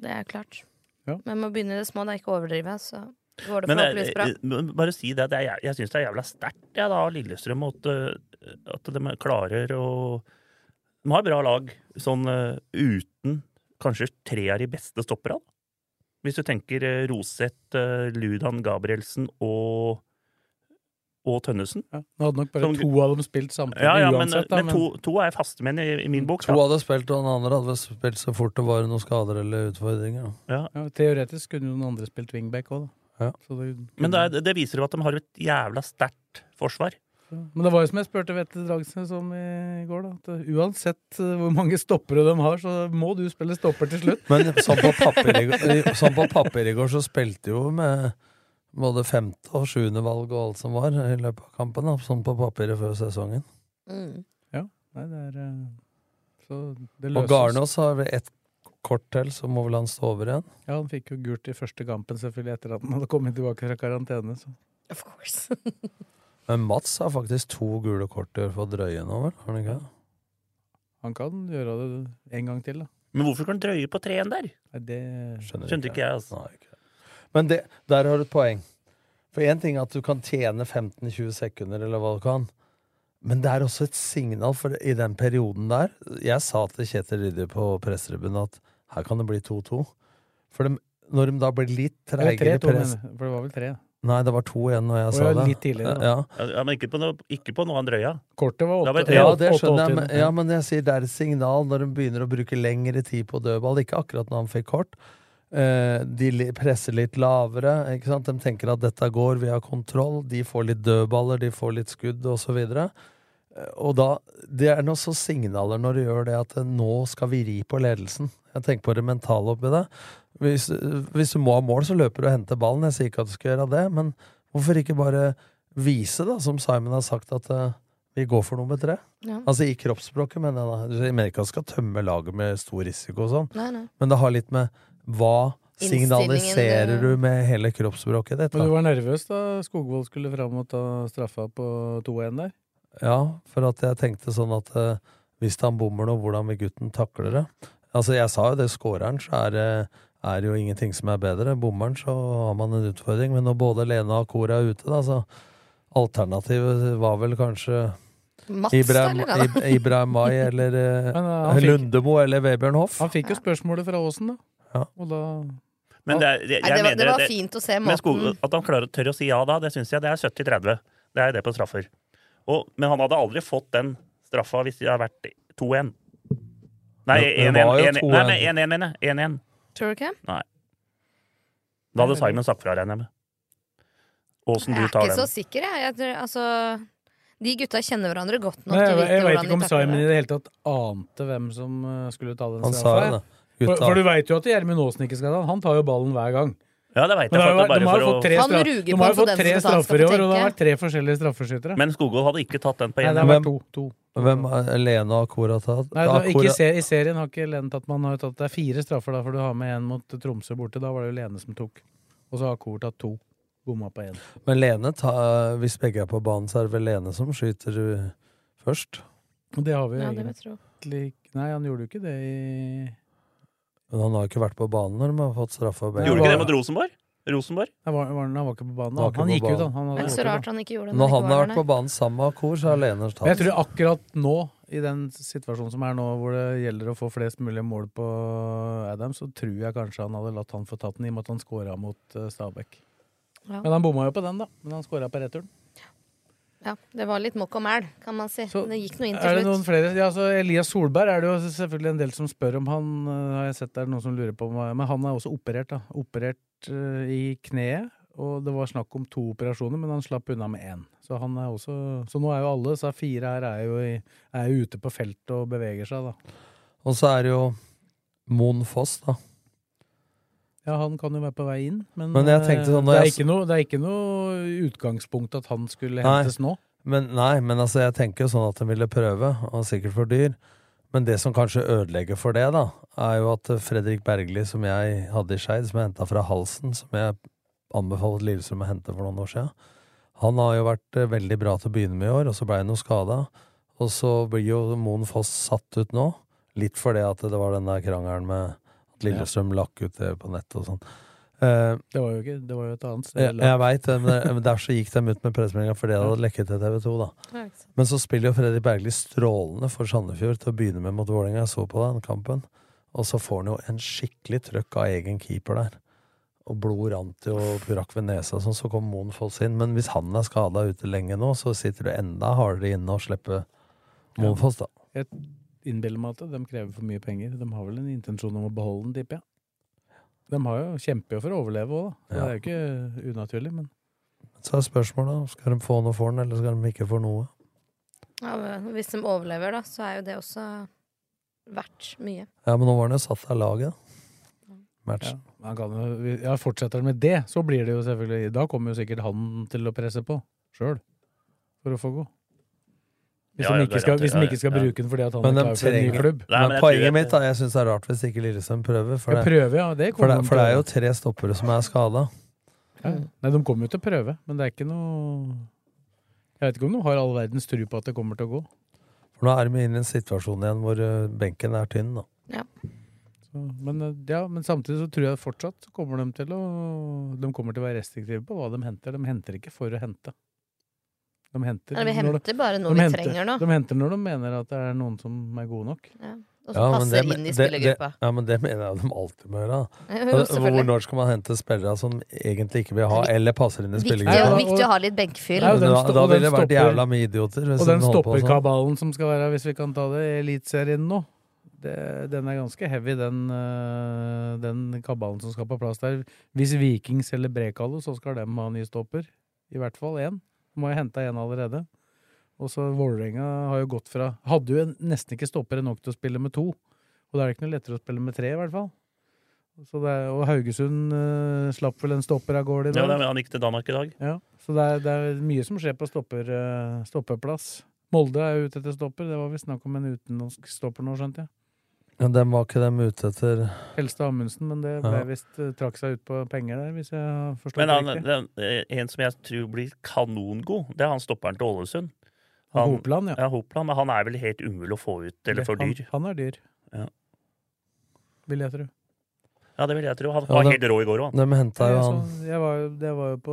S5: Det er klart.
S4: Ja.
S5: Men må begynne i det små, da. Ikke overdrive, så går det
S8: Men
S5: forhåpentligvis bra.
S8: eh, men bare si det, at jeg, jeg syns det er jævla sterkt ja, da, av Lillestrøm at, eh, at de klarer å De har bra lag sånn eh, uten kanskje tre av de beste stopperne. Hvis du tenker eh, Roseth, eh, Ludan Gabrielsen og, og Tønnesen.
S4: Nå hadde nok bare
S8: Som-
S4: to av dem spilt samtidig
S8: Ja, ja, men,
S4: uansett. da,
S8: men to, to er faste menn i, i min bok.
S6: To hadde spilt, og den andre hadde vel spilt så fort det var noen skader eller utfordringer. da.
S8: Ja.
S4: teoretisk kunne jo noen andre spilt wingback òg, da.
S6: Ja.
S4: Så det,
S8: Men det, er- det viser jo at de har et jævla sterkt forsvar.
S4: men det var jo som jeg spurte Vetle Dragsnes om i går, da. At uansett eh, hvor mange stoppere de har, så må du spille stopper til
S8: [LAUGHS]
S4: slutt.
S6: Men sånn på, papir i, går- sånn på papir i går så spilte jo med både femte og sjuende valg og alt som var i løpet av kampen. Da, sånn på papiret før sesongen.
S5: eh, Mm.
S4: Ja, nei, det er eh, Så det
S6: Og
S4: løses.
S6: Garnås har vel ett kort til, så må vel han stå over igjen.
S4: Ja, han fikk jo gult i første kampen selvfølgelig etter at han hadde kommet tilbake fra karantene. Så.
S5: Of course.
S6: Men Mats har faktisk to gule kort i år for drøye nå, vel? Har han ikke? det?
S4: Han kan gjøre det en gang til, da.
S8: Men hvorfor skal han drøye på treen der?
S4: Nei, det
S8: Skjønte ikke jeg, altså.
S6: Nei, ikke. Men det, der har du et poeng. For én ting er at du kan tjene 15-20 sekunder, eller hva du kan, men det er også et signal, for i den perioden der Jeg sa til Kjetil Rydde på pressetribunen at her kan det bli 2-2. For dem, når de da blir litt
S4: Eller
S6: treigere i
S4: tre, to,
S6: press
S4: mener jeg, For det var vel tre. da.
S6: Nei, det var to igjen når jeg
S4: Å,
S6: sa
S4: ja,
S6: det.
S4: litt tidligere, da.
S6: Ja.
S8: Ja, men ikke på, noe, ikke på noe han drøya.
S4: Kortet var
S8: Da var
S4: åtte.
S8: det-
S6: Ja,
S4: åtte-
S6: det
S4: åtte-
S6: skjønner jeg,
S4: åtte-
S6: men, ja, men jeg sier det er et signal når hun begynner å bruke lengre tid på dødball. Ikke akkurat når han fikk kort. Eh, De li- presser litt lavere. Ikke sant? De tenker at dette går, vi har kontroll. De får litt dødballer, de får litt skudd osv. Eh, Og da, Det er noe så signaler når du gjør det, at eh, nå skal vi ri på ledelsen. Jeg tenker på det mentale oppi det. Hvis, hvis du må ha mål, så løper du og henter ballen. Jeg sier ikke at du skal gjøre det, men hvorfor ikke bare vise, da, som Simon har sagt, at eh, vi går for nummer tre?
S5: Ja.
S6: Altså i kroppsspråket, mener jeg da. Jeg mener ikke at du skal tømme laget med stor risiko og sånn,
S5: [LAUGHS] Nei, nei.
S6: men det har litt med hva signaliserer
S5: Innstillingen, eh,
S6: du med hele kroppsspråket ditt?
S4: Men du
S6: Da?
S4: var nervøs da Skogvold skulle fram og ta straffa på 2-1 der?
S6: Ja, for at jeg tenkte sånn at eh, hvis han bommer nå, hvordan vil gutten takle det? Altså, jeg sa jo det, skåreren så er det er jo ingenting som er bedre. Bommeren så har man en utfordring, men når både Lena og Kora er ute, da, så alternativet var vel kanskje
S5: Mats,
S6: Ibrahim,
S5: eller? da?
S6: Ib- Ibrahim Mai eller eh,
S4: [LAUGHS] Men, eh, han fikk-
S6: Lundemo eller Vebjørn Hoff.
S4: Han fikk jo spørsmålet fra Aasen, da. Og da
S8: Men det, er- jeg,
S5: Nei, det, var,
S8: mener
S5: det var
S8: at-
S5: fint å se
S8: Men Skog,
S5: måten.
S8: at han klarer å tørre å si ja da, det syns jeg. Det er 70-30. Det er det på straffer. Og, men han hadde aldri fått den straffa hvis det hadde vært 2-1. Nei, 1-1.
S6: Men det var jo
S8: 1-1. Nei,
S6: 2-1.
S8: men 1-1, mener jeg. 1-1.
S5: Tror du ikke?
S8: Nei. Da hadde Simon sagt fra, regner jeg med. Åssen
S5: Jeg
S8: du
S5: er
S8: tar
S5: ikke så
S8: den.
S5: sikker, jeg. jeg tror, altså, de gutta kjenner hverandre godt nok.
S4: Nei, jeg
S5: til å vite
S4: jeg veit
S5: hvordan
S4: ikke om
S5: de takler
S4: Simon i det hele tatt ante hvem som eh, skulle ta den
S6: Han sa jo det.
S4: For,
S6: Gutta.
S4: for du veit jo at Gjermund Aasen ikke skal ta den. Han tar jo ballen hver gang.
S8: Ja, det vet
S4: Men
S8: jeg.
S4: det har jo
S8: for at
S4: vært-
S8: det
S4: de har
S8: bare for
S4: jo fått tre,
S8: å...
S5: Han
S4: straf-
S5: ruger
S4: de
S5: på
S4: har jo
S5: for
S4: fått
S5: den
S4: tre
S5: som skal
S4: straffer i år, og det har
S5: tenke.
S4: vært tre forskjellige straffeskyttere.
S8: Men Skogvold hadde ikke tatt den på
S4: Nei,
S8: 1-1.
S4: det har vært to. to.
S6: Hvem er Lena og Kora tatt?
S4: Nei, det
S6: Ja,
S4: var, ikke i,
S6: Kora-
S4: se, I serien har ikke Lene tatt Man har jo tatt det er fire straffer, da, for du har med en mot Tromsø borte. Da var det jo Lene som tok. Og så har Kor tatt to. Bomma på én.
S6: Men Lene, ta, hvis begge er på banen, så er det vel Lene som skyter uh, først.
S4: Og det har vi jo
S5: Ja, det vil jeg tro.
S4: egentlig ikke- Nei, han gjorde jo ikke det i
S6: Men han har jo ikke vært på banen når de har fått straffa. begge.
S4: Nei,
S8: Gjorde ikke det
S4: var-
S8: mot Rosenborg? Rosenborg?
S4: Nei, var, var, han var ikke på
S6: Han
S4: banen.
S6: var
S4: Han,
S6: ikke
S4: han
S6: på
S4: gikk ut,
S6: banen.
S4: han. han
S5: Det
S4: hadde
S5: er
S4: gått
S5: så
S4: ut,
S5: rart han ikke gjorde det.
S6: Når
S5: ikke
S6: han har
S5: var
S6: vært
S5: der,
S6: på banen sammen med Kor, så har Lene
S4: Men Jeg
S6: tatt.
S4: tror akkurat nå, i den situasjonen som er nå, hvor det gjelder å få flest mulig mål på Adam, så tror jeg kanskje han hadde latt han få tatt den, i og med at han skåra mot eh, Stabæk.
S5: nei.
S4: Men han bomma jo på den, da. Men han skåra på returen.
S5: Ja. ja, Det var litt mokk og mæl, kan man si.
S4: Så,
S5: det gikk noe inn
S4: Er
S5: til
S4: det noen
S5: slutt.
S4: flere? Ja, altså Elias Solberg er det jo selvfølgelig en del som spør om han. eh, har jeg sett det er noen som lurer på om, Men han er også operert, da. Operert eh, i kneet. Og det var snakk om to operasjoner, men han slapp unna med én. Så, han er også, så nå er jo alle disse fire her er jo, i, er jo ute på feltet og beveger seg, da.
S6: Og så er det jo Moen Foss, da.
S4: Ja, han kan jo være på vei inn, men,
S6: Men jeg tenkte sånn,
S4: eh, det,
S6: når
S4: er
S6: jeg
S4: ikke noe, det er ikke noe utgangspunkt at han
S6: Nei.
S4: skulle hentes nå.
S6: Men, nei, men altså, jeg tenker jo sånn at de ville prøve, og sikkert for dyr. Men det som kanskje ødelegger for det, da, er jo at eh, Fredrik Bergli, som jeg hadde i Skeid, som jeg henta fra halsen, som jeg anbefalte Lillestrøm å hente for noen år siden, han har jo vært eh, veldig bra til å begynne med i år, og så blei han jo skada. Og så blir jo Moen Foss satt ut nå, litt fordi at det var den der krangelen med at Lillestrøm lakk ut det på nettet og sånn. Eh,
S4: Det var jo ikke, det var jo et annet sted.
S6: jeg jeg veit, men der så gikk de ut med pressemeldinga fordi det hadde lekket til TV 2, da.
S5: Ja, ikke sant.
S6: Men så spiller jo Fredrik Bergli strålende for Sandefjord til å begynne med mot Vålerenga. Jeg så på den kampen. Og så får han jo en skikkelig trøkk av egen keeper der. Og blod rant jo og rakk ved nesa, og sånn, så kom Moen Foss inn. Men hvis han er skada ute lenge nå, så sitter du enda hardere inne og slipper Moen Foss, da.
S4: Jeg innbiller meg at de krever for mye penger. De har vel en intensjon om å beholde den, tipper jeg. De har jo, kjemper jo for å overleve òg, da. Så
S6: Ja.
S4: Det er jo ikke unaturlig, men
S6: Så er spørsmålet, da. Skal de få noe for den, eller skal de ikke få noe?
S5: Ja, men hvis de overlever, da, så er jo det også verdt mye.
S6: Ja, men nå var han jo satt av laget.
S4: ja.
S6: Matchen.
S4: Man kan jo, ja, fortsetter han med det, så blir det jo selvfølgelig Da kommer jo sikkert han til å presse på sjøl for å få gå. Hvis
S8: Ja, ja,
S4: de ikke skal,
S8: garantert,
S4: hvis de
S8: ja,
S4: ikke skal
S8: ja.
S4: bruke den fordi at han
S6: Men de
S4: er klar for en ny
S6: trenger
S4: klubb.
S8: Nei, men
S6: men
S8: jeg tror
S6: poenget
S8: at-
S6: mitt, da. Jeg syns det er rart hvis ikke Lillestrøm prøver. For
S4: Skal
S6: det,
S4: prøve, ja. Det
S6: for
S4: kommer
S6: det,
S4: de
S6: for det
S4: til å
S6: er
S4: gjøre.
S6: jo tre stoppere som er skada.
S4: Ja. Nei, de kommer jo til å prøve, men det er ikke noe Jeg vet ikke om de har all verdens tru på at det kommer til å gå.
S6: For nå er vi inne i en situasjon igjen hvor eh, benken er tynn, da.
S4: Så, men, eh, ja, men samtidig så tror jeg fortsatt så kommer de til å De kommer til å være restriktive på hva de henter. De henter ikke for å hente. De henter,
S5: Eller vi
S4: når de,
S5: henter bare noe
S4: de
S5: vi
S4: henter-
S5: trenger nå.
S4: de henter når de mener at det er noen som er gode nok.
S5: Ja. og som
S6: men
S5: passer
S6: det-
S5: inn i
S6: det-
S5: spillergruppa.
S6: [LAUGHS] det- Ja, men det mener jeg de alltid må gjøre. da.
S5: Jo, jo, selvfølgelig.
S6: Hvor når skal man hente spillere som egentlig ikke vil ha, eller passer inn i
S5: Viktig,
S6: spillergruppa?
S5: viktig å ha litt benkfyll.
S6: Ja, da,
S4: sto-
S6: da
S4: og den
S6: ville det vært
S4: stopper-
S6: jævla mye idioter. hvis
S4: Og den
S6: de holdt på
S4: stopper
S6: sånn.
S4: kabalen som skal være, hvis vi kan ta det, i Eliteserien nå. Det, den er ganske heavy, den, øh, den kabalen som skal på plass der. Hvis Viking selger Brekalo, så skal de ha ny stopper. I hvert fall én. Må jeg hente én allerede. Og så Vålerenga har jo gått fra Hadde jo en, nesten ikke stoppere nok til å spille med to. Og da er det ikke noe lettere å spille med tre, i hvert fall. Så det er, og Haugesund øh, slapp vel en stopper av gårde i
S8: Ja,
S4: dag.
S8: det er- han gikk til Danmark i dag.
S4: Ja, så det er, det er mye som skjer på stopper, eh, stoppeplass. Molde er jo ute etter stopper. Det var visst snakk om en utenlandsk stopper nå, skjønte jeg.
S6: Ja, dem var ikke dem ute etter
S4: Helstad Amundsen, men det ble
S6: Ja.
S4: visst eh, trakk seg ut på penger der, hvis jeg har forstått
S8: Men
S4: det
S8: han,
S4: riktig.
S8: den, eh, en som jeg tror blir kanongod, det er han stopperen til Ålesund.
S4: Hopland, ja.
S8: ja Hopland, men han er vel helt umulig å få ut, eller for dyr.
S4: Han, han er dyr,
S8: Ja.
S4: vil jeg tro.
S8: ja, det vil jeg tro. Han
S6: Ja,
S8: var
S6: dem-
S8: helt rå i går òg.
S6: dem hentet jo
S4: Jeg
S6: han.
S4: så- Jeg var, jo- det var jo på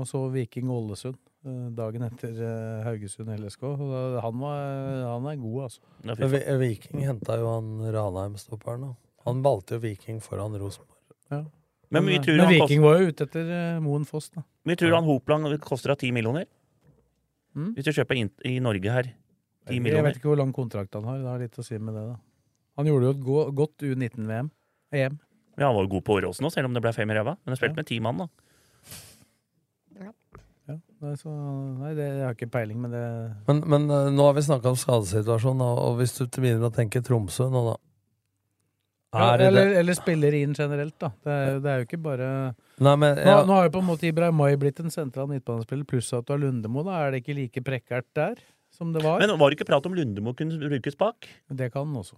S4: og så Viking Ålesund eh, dagen etter eh, Haugesund LSK. og da- Han, var, han er god, altså.
S6: Men Vi- Viking henta jo han Ranheim-stopperen. da. Han valgte jo Viking foran Rosenborg.
S4: Ja.
S8: Men vi
S4: men, eh,
S8: tror
S4: men
S8: han
S4: Viking
S8: kost-
S4: var jo ute etter eh, Moen Foss, da.
S8: Vi tror han Hopland koster av ti millioner.
S4: Mm.
S8: Hvis du kjøper inn i Norge her. Ti
S4: Jeg vet
S8: millioner.
S4: ikke hvor lang kontrakt han har. Det har litt å si med det, da. Han gjorde jo et go godt E U19-VM. EM.
S8: Ja, han var jo god på Åråsen òg, selv om det ble fem i ræva. Men han spilte med ti mann, da.
S4: Ja, nei, så, nei det, jeg har ikke peiling, men det
S6: Men, men eh, nå har vi snakka om skadesituasjonen, og, og hvis du begynner å tenke Tromsø nå, da
S4: ja,
S6: Er det
S4: eller,
S6: det?
S4: eller spiller inn generelt, da. Det er, jo- det er jo ikke bare
S6: Nei, men
S4: nå,
S6: ja.
S4: nå har jo på en måte Ibrahim May blitt en sentral midtbanespiller, pluss at du har Lundemo. Da er det ikke like prekkert der som det var.
S8: Men var det ikke prat om Lundemo kunne brukes bak?
S4: det kan han også.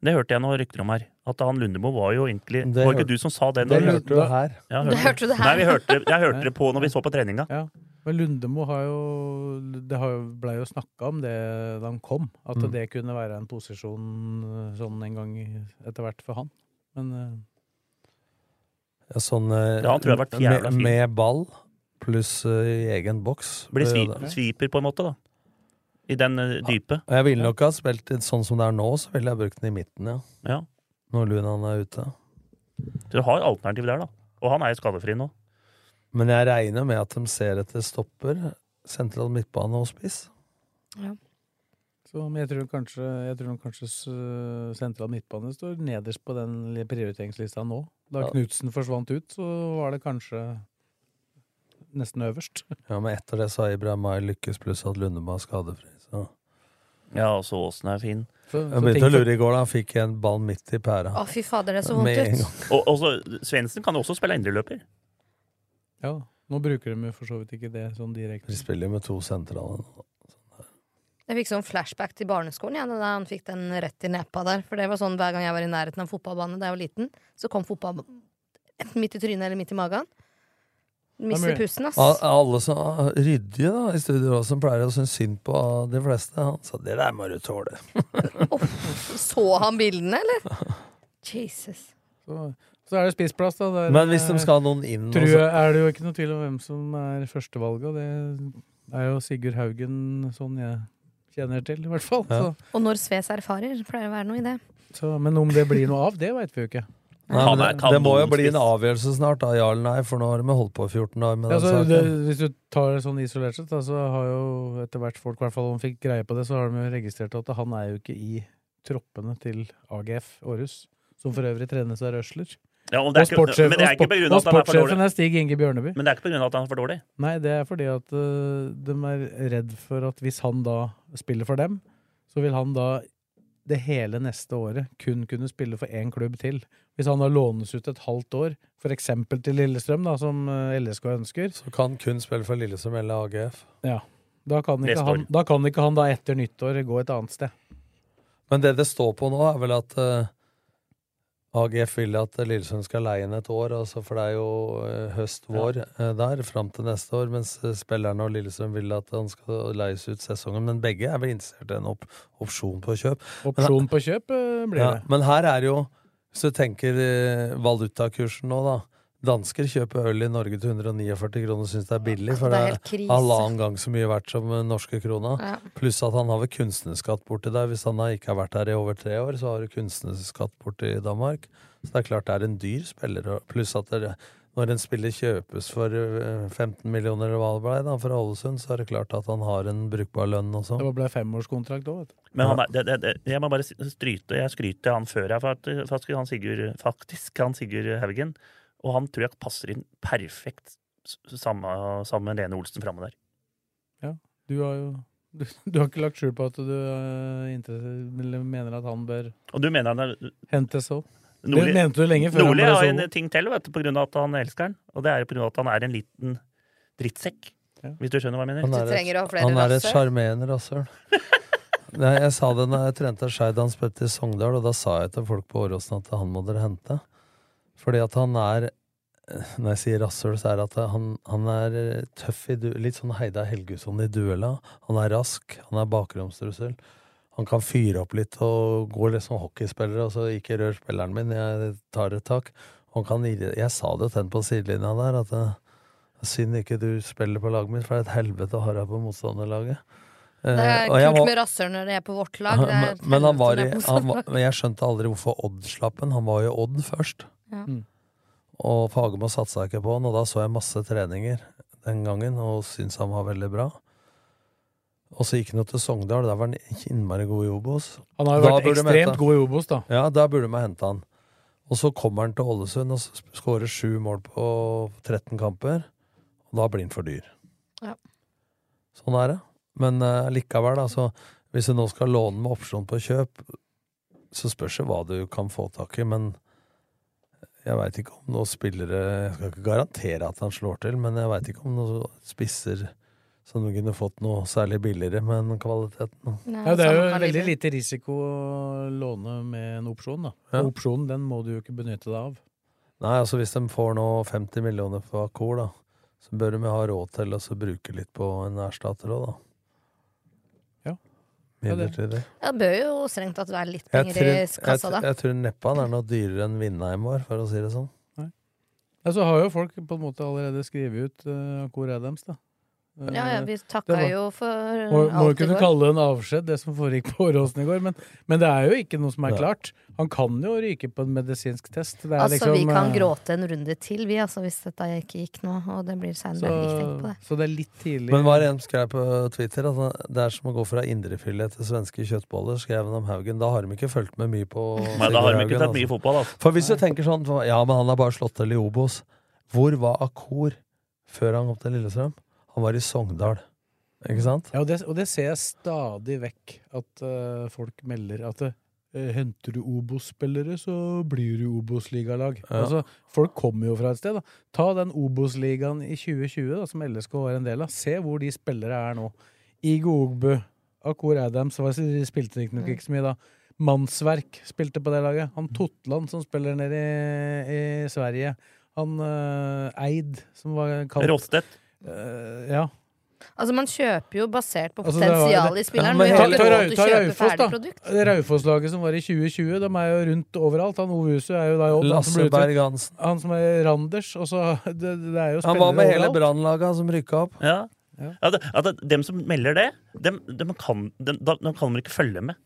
S8: Det hørte jeg noen rykter om her. At han Lundemo var jo egentlig
S4: Det
S8: Var
S4: hørte-
S8: ikke du som sa det?
S4: det
S8: når-
S4: hørte du her.
S8: Ja,
S4: Det hørte du her.
S8: Nei, vi hørte, jeg hørte det på når vi så på treninga.
S4: Ja. Men Lundemo har jo Det har jo, ble jo snakka om det da han kom, at
S8: Mm.
S4: det kunne være en posisjon eh, sånn en gang i- etter hvert for han. Men eh,
S6: Ja, sånn eh,
S8: Ja, han tror jeg har vært jævla
S6: med,
S8: fin.
S6: med ball pluss eh, i egen boks.
S8: Blir svi,
S6: Eh,
S8: sviper, på en måte, da. I den eh, dype.
S6: Og jeg ville nok ha spilt litt sånn som det er nå, så ville jeg brukt den i midten, ja.
S8: Ja.
S6: Når Lunan er ute.
S8: Du har alternativ der, da. Og han er jo skadefri nå.
S6: Men jeg regner med at de ser etter stopper, sentral midtbane og spiss.
S4: Så, men jeg tror kanskje, jeg tror nok kanskje s- eh, sentral midtbane står nederst på den li- prioriteringslista nå. Da
S6: Ja.
S4: Knutsen forsvant ut, så var det kanskje nesten øverst. [LAUGHS]
S6: Ja, men etter det så har Ibrahim May lykkes, pluss at Lundemo er skadefri. Så.
S8: Ja, også Åsen er fin.
S4: Så,
S6: Jeg begynte å lure i går da han fikk en ball midt i pæra.
S5: Å, fy fader, det så
S6: Med en
S5: vondt ut.
S6: gang.
S8: Og også, Svendsen kan jo også spille indreløper.
S4: Ja, nå bruker de jo for så vidt ikke det sånn direkte.
S6: De spiller jo med to sentrale nå.
S5: Jeg fikk sånn flashback til barneskolen ja, da han fikk den rett i nepa der. For det var sånn hver gang jeg var i nærheten av en fotballbane da jeg var liten, så kom fotball enten midt i trynet eller midt i magen. Mister pusten, ass.
S6: Al- Alle som ah, ryddige da, i studio også, som pleier å synes synd på ah, de fleste. Han sa 'det der må du tåle'.
S5: Så han bildene, eller? Jesus.
S4: Så, så er det spissplass, da. Der,
S6: Men hvis de
S4: eh,
S6: skal ha noen inn altså-
S4: tror
S6: også-
S4: jeg, Er det jo ikke noe tvil om hvem som er førstevalget, og det er jo Sigurd Haugen, sånn jeg kjenner til, i hvert fall.
S6: Ja.
S5: Og når Sves erfarer, pleier det å være noe i det.
S4: Så, så, men om det blir noe av, det veit vi jo ikke.
S6: Nei, men det, det må jo bli en avgjørelse snart, da. Ja eller nei, for nå har vi holdt på i 14 dager med
S4: Ja,
S6: den
S4: så det,
S6: saken.
S4: hvis du tar det sånn isolert sett, da, så har jo etter hvert folk, i hvert fall om de fikk greie på det, så har de jo registrert at han er jo ikke i troppene til AGF Aarhus, som for øvrig trenes av røsler.
S8: Ja, og det er
S4: og
S8: ikke-
S4: sportssjef-
S8: men det er
S4: og
S8: ikke
S4: sport-
S8: på grunn av at han er
S4: og
S8: for dårlig.
S4: sportssjefen er Stig Inge Bjørneby.
S8: Men det er ikke på grunn av at han er for dårlig.
S4: Nei, det er fordi at øh, de er redd for at hvis han da spiller for dem, så vil han da det hele neste året kun kunne spille for én klubb til. Hvis han da lånes ut et halvt år, for eksempel til Lillestrøm, da, som øh, LSK ønsker
S6: Så kan kun spille for Lillestrøm eller AGF.
S4: Ja. Da kan, ikke
S6: Neste
S4: han, da kan ikke han da etter nyttår gå et annet sted.
S6: Men det det står på nå, er vel at eh, AGF vil at Lillesund skal leie inn et år, altså for det er jo eh, høst, vår eh, der, fram til neste år, mens eh, spillerne og Lillestrøm vil at han skal leies ut sesongen. Men begge er vel interessert i en op opsjon på kjøp.
S8: Altså,
S4: Opsjon på kjøp øh, blir
S6: Ja,
S4: det.
S6: men her er jo, hvis du tenker eh, valutakursen nå, da. Dansker kjøper øl i Norge til 149 kroner og syns det er billig, for
S5: det
S6: det
S5: er
S6: er
S5: helt krise.
S6: halvannen gang så mye verdt som eh, norske krona.
S5: Ja.
S6: Pluss at han har vel kunstnerskatt borti der. Hvis han da ikke har vært her i over tre år, så har du kunstnerskatt borti Danmark. Så det er klart det er en dyr spiller. og- Pluss at det, når en spiller kjøpes for eh, 15 millioner eller hva det ble da, fra Ålesund, så er det klart at han har en brukbar lønn også.
S4: Det ble femårskontrakt òg, vet du.
S8: Men han, er- det, det, det, jeg må bare si- stryte Jeg skryter han før jeg for at, for at han Sigurd, faktisk han Sigurd Haugen. Og han tror jeg passer inn perfekt s- sammen sammen med Lene Olsen framme der.
S4: Ja, du har jo [LAUGHS] du, du har ikke lagt skjul på at du eh, interesse- eller mener at han bør
S8: Og du mener han er
S4: hentes opp? Det mente du lenge før han
S8: Nordli
S4: ble
S8: har
S4: solo.
S8: en ting til, vet du, på grunn av at han elsker han. Og det er jo på grunn av at han er en liten drittsekk. Hvis du skjønner hva jeg mener.
S6: Han er et- Han er et sjarmerende rasshøl. Nei, jeg sa det når jeg trente Skeid han spilte i Sogndal, og da sa jeg til folk på Åråsen at han må dere hente. Fordi at han er Når jeg sier rasshøl, så er det at han, han er tøff i du Litt sånn Heidar Helgusson i duella. Han er rask, han er bakromstrussel. Han kan fyre opp litt og gå litt som hockeyspiller, og så ikke rør spilleren min, jeg tar et tak. Han kan, irri- jeg sa det til han på sidelinja der, at eh, Synd ikke du spiller på laget mitt, for det er et helvete å ha deg på motstanderlaget. Eh,
S5: Det er
S6: og jeg
S5: kult
S6: var-
S5: med rasshøl når det er på vårt lag. Det er
S6: Men, men han var i,
S5: helvete når det er på
S6: han var,
S5: [LAUGHS] motsatt lag.
S6: men jeg skjønte aldri hvorfor Odd slapp en. Han var jo Odd først.
S5: Ja.
S6: Og Fagermo satsa ikke på han, og da så jeg masse treninger den gangen og syntes han var veldig bra. Og så gikk han jo til Sogndal, der var han ikke innmari god i Obos.
S4: Han har jo
S6: Da
S4: vært
S6: burde de
S4: ekstremt
S6: hente-
S4: god i Obos, da.
S6: Ja, da burde man hente han. Og så kommer han til Ålesund og s- skårer sju mål på 13 kamper, og da blir han for dyr.
S5: Ja.
S6: Sånn er det. Men eh, likevel, altså, hvis du nå skal låne med opsjon på kjøp, så spørs det hva du kan få tak i, men jeg veit ikke om noen spillere Jeg skal ikke garantere at han slår til, men jeg veit ikke om noen spisser som du kunne fått noe særlig billigere med den kvaliteten.
S4: Ja, det er jo veldig lite risiko å låne med en opsjon, da.
S6: Ja.
S4: Og opsjonen den må du jo ikke benytte deg av.
S6: Nei, altså hvis de får nå 50 millioner for Akor, da, så bør de jo ha råd til å så bruke litt på en erstatter òg, da.
S4: Ja.
S6: Midlertidig.
S5: Ja, det bør jo strengt tatt være litt
S6: Jeg
S5: penger
S6: tror,
S5: i kassa da.
S6: jeg, jeg tror neppe han er noe dyrere enn Vindheim var, for å si det sånn.
S4: Ja, så har jo folk på en måte allerede skrevet ut uh, Kor Adams, da. Eh,
S5: Ja, ja, vi
S4: det
S5: takka
S4: var-
S5: jo for eh,
S4: Må, må jo
S5: alt i
S4: kunne
S5: går.
S4: kalle det en avskjed, det som foregikk på Åråsen i går, men, men det er jo ikke noe som er
S6: Ja.
S4: klart. Han kan jo ryke på en medisinsk test. Det er
S5: Altså,
S4: liksom,
S5: vi kan
S4: eh,
S5: gråte en runde til, vi, altså, hvis dette ikke gikk nå. Og det blir seinere. Ikke tenk på det.
S4: Så det er litt tidlig.
S6: Men var det en som skrev på Twitter at han- det er som å gå fra indrefilet til svenske kjøttboller, skrev han om Haugen. Da har de ikke fulgt med mye på
S8: Nei, da har de ikke
S6: Sigurd
S8: sett
S6: Haugen,
S8: mye
S6: altså.
S8: fotball, altså.
S6: For hvis du tenker sånn Ja, men han har bare slått til i Obos. Hvor var Akor før han kom til Lillestrøm? Han var i Sogndal. Ikke sant?
S4: Ja, og, det, og det ser jeg stadig vekk, at eh, folk melder at eh, henter du Obos-spillere, så blir du Obos-ligalag.
S6: Ja.
S4: Altså, folk kommer jo fra et sted. Da. Ta den Obos-ligaen i 2020, da, som LSK var en del av. Se hvor de spillere er nå. Igo Ogbu, Akur Adams var, de spilte riktignok ikke så mye da. Mannsverk spilte på det laget. Han Totland, som spiller nede i, i Sverige. Han eh, Eid, som var kalt
S8: Rostedt.
S4: Eh, ja.
S5: Altså, man kjøper jo basert på
S4: Altså, det var-
S5: potensialet i
S4: det-
S5: spilleren.
S4: Ja,
S5: men vi har
S4: ta-
S5: ikke
S4: ta
S5: råd
S4: Rau-
S5: Eh, til å
S4: ta
S5: kjøpe
S4: Raufoss, da.
S5: ferdig produkt.
S4: Det Raufoss-laget som var i 2020, de er jo rundt overalt. Han Ove Husu er jo da i Odd. han som ble
S6: Lasse
S4: utsatt.
S6: Berg Hansen.
S4: Han som er Randers. Og så, det, det er jo
S6: Han
S4: spillere
S6: var med hele
S4: overalt.
S6: brannlaget som rykka opp.
S8: Ja. Ja, det, at det- dem som melder det, dem, dem kan, dem, da, da kan man ikke følge med,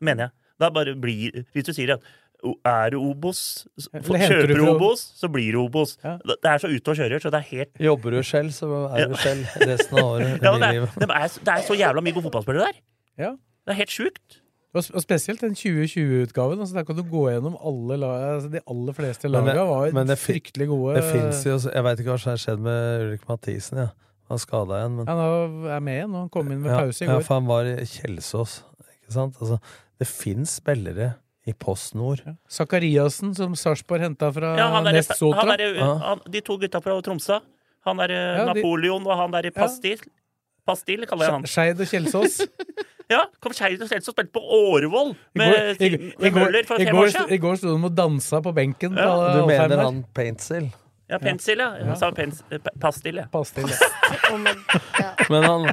S8: mener jeg. Da bare blir, hvis du sier at o- er du Obos, s-
S4: Eller
S8: få-
S4: henter du
S8: kjøper du
S4: fra-
S8: Obos, så blir du Obos. Det det er så ute og kjører, så det er helt
S6: Jobber du Skjell, så er du
S8: Ja.
S6: Skjell resten av året.
S8: ja, men det,
S6: i
S8: er,
S6: livet.
S8: dem er, det er så jævla mye gode fotballspillere der.
S4: Ja.
S8: Det er helt sjukt.
S4: Og, og spesielt den 2020-utgaven. Altså, der kan du gå gjennom alle la, altså, de aller fleste
S6: Men det-
S4: lagene var
S6: men det fin-
S4: fryktelig gode.
S6: Det finnes jo Jeg veit ikke hva som har skjedd med Ulrik Mathisen. Ja. Han er skada igjen, men
S4: Han er- er med igjen, og han kom inn med pause i
S6: ja,
S4: går.
S6: for han var i Kjelsås. Ikke sant? Altså, det fins spillere i Post Nord.
S4: Sakariassen, som Sarpsborg henta fra
S8: Ja, han er,
S4: Nest Sotra.
S8: han er, han, de to gutta fra Tromsø. Han er eh,
S4: Ja, de-
S8: Napoleon, og han er Pastil. Pastil kaller jeg han.
S4: Skeid og Kjelsås.
S8: [LAUGHS] Ja, kom Skeid og Seltz og spilte på Årvoll med,
S4: I går- i- i
S8: med
S4: går-
S8: Møller for
S4: i
S8: fem
S4: går
S8: år
S4: sto-
S8: siden.
S4: I går sto de og dansa på benken.
S8: Ja.
S4: på
S6: Du
S4: Alfheim
S6: mener
S4: der.
S6: han Paintsil?
S8: Ja, Pensil, ja. Jeg sa pens, eh, pa- Pastil, ja.
S4: Pastil,
S6: [LAUGHS]
S4: ja.
S6: Men han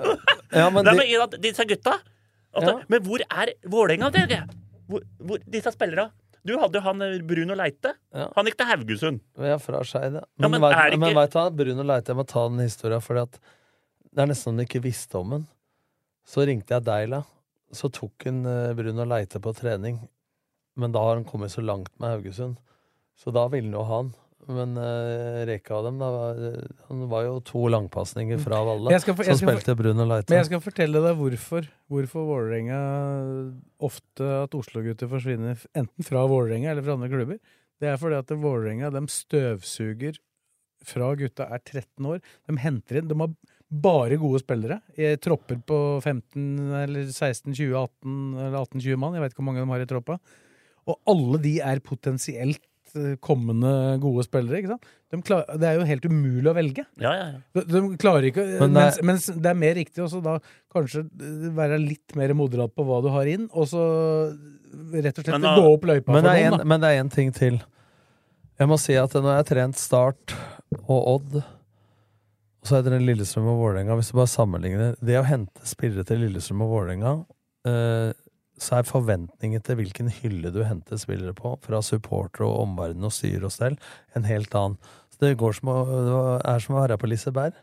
S4: [LAUGHS]
S6: Ja, men
S8: Nei,
S6: de,
S8: men i altså, at disse gutta at, Men hvor er Vålerenga, dere? Hvor, hvor, disse spillerne? Du hadde jo han eh, Bruno Leite. Han gikk til Haugesund.
S6: Jeg er fra Skeid, ja.
S8: Ja,
S6: Men,
S8: men
S6: vet-
S8: er det
S6: men
S8: ikke-
S6: veit du hva, Bruno Leite, jeg må ta den historien, fordi at det er nesten som de ikke visste om den. Så ringte jeg Deila, så tok hun eh, Bruno Leite på trening, men da har han kommet så langt med Haugesund, så da ville han jo ha han. Men eh, reka av dem, da var, han var jo to langpasninger fra Valle,
S4: Jeg skal få- jeg
S6: som
S4: skal få-
S6: spilte Bruno Leite.
S4: Men jeg skal fortelle deg hvorfor. Hvorfor Vålerenga eh, ofte at Oslo-gutter forsvinner f- enten fra Vålerenga eller fra andre klubber. Det er fordi at Vålerenga dem støvsuger fra gutta er 13 år. De henter inn De har bare gode spillere. I tropper på 15 eller 16, 20, 18 eller 18-20 mann. Jeg vet ikke hvor mange de har i troppa. Og alle de er potensielt eh, kommende gode spillere. ikke sant? De klar, det er jo helt umulig å velge.
S8: Ja, ja, ja.
S4: De, de klarer ikke
S6: Men det
S4: mens,
S6: er-
S4: mens det er mer riktig også da kanskje eh, være litt mer moderat på hva du har inn, og så rett og slett
S6: Men da-
S4: gå opp løypa
S6: men
S4: for
S6: det er
S4: noen.
S6: en-
S4: da.
S6: Men det er én ting til. Jeg må si at når jeg har trent Start og Odd, og så har jeg trent Lillestrøm og Vålerenga Hvis du bare sammenligner Det å hente spillere til Lillestrøm og Vålerenga, eh, så er forventningen til hvilken hylle du henter spillere på, fra supportere og omverden og styr og stell, en helt annen. Så det, går som å, det er som å være på Liseberg.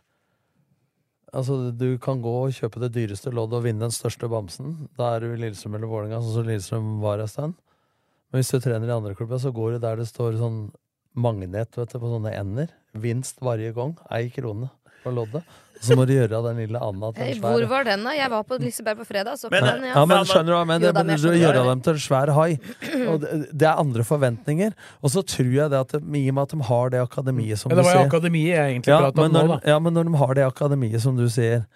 S6: Altså, Du kan gå og kjøpe det dyreste loddet og vinne den største bamsen. Da er du i Lillestrøm eller Vålerenga, sånn som Lillestrøm var en stund. Men hvis du trener i andre klubber, så går du der det står sånn magnet vet du, på sånne ender. Vinst varje gang. Ei krone på loddet. Så må du gjøre av den lille Anna til
S5: Hey,
S6: en
S5: hvor
S6: svær
S5: var den, da? Jeg var på Liseberg på fredag. Så
S6: men,
S5: kan
S4: eh,
S5: jeg-
S6: ja, men skjønner du hva jeg mener?
S5: Jo da,
S6: Men
S5: men
S6: Du
S5: jeg skjønner
S6: gjør
S5: hva
S6: dem til en svær hai. Og det, det er andre forventninger. Og så tror jeg det at de, i og med at de har det akademiet som
S4: Ja, det
S6: du
S4: var
S6: sier
S4: jo akademiet jeg egentlig pratet om
S6: men når,
S4: nå,
S6: Ja, men når de har det akademiet som du sier,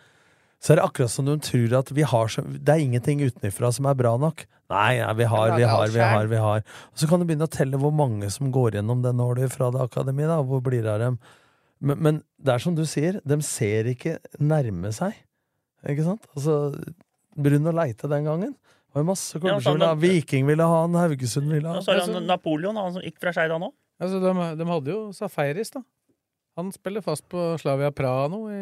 S6: så er det akkurat som de tror at vi har så, det er ingenting utenfra som er bra nok. Nei, nei, vi har, vi har, vi har. vi har. Og så kan du begynne å telle hvor mange som går gjennom den året fra det akademiet, da, og hvor blir det av dem. Men, men det er som du sier, de ser ikke nærme seg. Ikke sant? Altså, Brun og Leite den gangen. Det var jo masse
S8: Ja,
S6: klubber som ville ha
S8: sånn,
S6: Viking ville ha han, Haugesund ville ha
S8: Og
S6: han.
S8: så er han Napoleon, han som gikk fra Skeida nå.
S4: Altså, de, de hadde jo Safaris, da. Han spiller fast på Slavia Praha nå i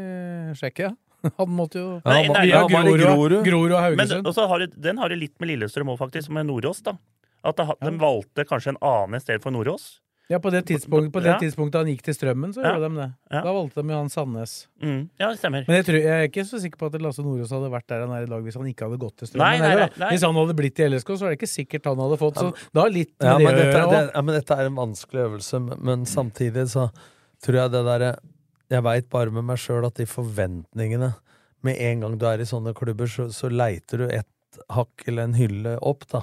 S4: Tsjekkia. [LAUGHS] Han måtte jo
S6: Ja, han var-
S4: via
S6: ja, han var i Grorud.
S4: Grorud og
S8: Men
S4: Haugesund.
S8: og så har det, den har det litt med Lillestrøm òg, faktisk, med Nordås. da. At det, har- De valgte kanskje en annen sted for Nordås.
S4: Ja, på det, tidspunktet, på det
S8: Ja.
S4: tidspunktet han gikk til Strømmen, så
S8: Ja.
S4: gjorde de det. Da valgte de jo han Sandnes.
S8: Mm. Ja, det stemmer.
S4: Men jeg, tror, jeg er ikke så sikker på at Lasse Nordås hadde vært der han er i dag hvis han ikke hadde gått til Strømmen.
S8: Nei, nei,
S4: heller, da.
S8: nei, nei.
S4: Hvis han hadde blitt i LSK, så er det ikke sikkert han hadde fått. Så da er litt med
S6: Ja, men
S4: det å
S6: dette,
S4: gjøre
S6: er- det,
S4: også.
S6: ja, men dette er en vanskelig øvelse, men- men samtidig så tror jeg det derre Jeg veit bare med meg sjøl at de forventningene Med en gang du er i sånne klubber, så, så leiter du et hakk eller en hylle opp, da.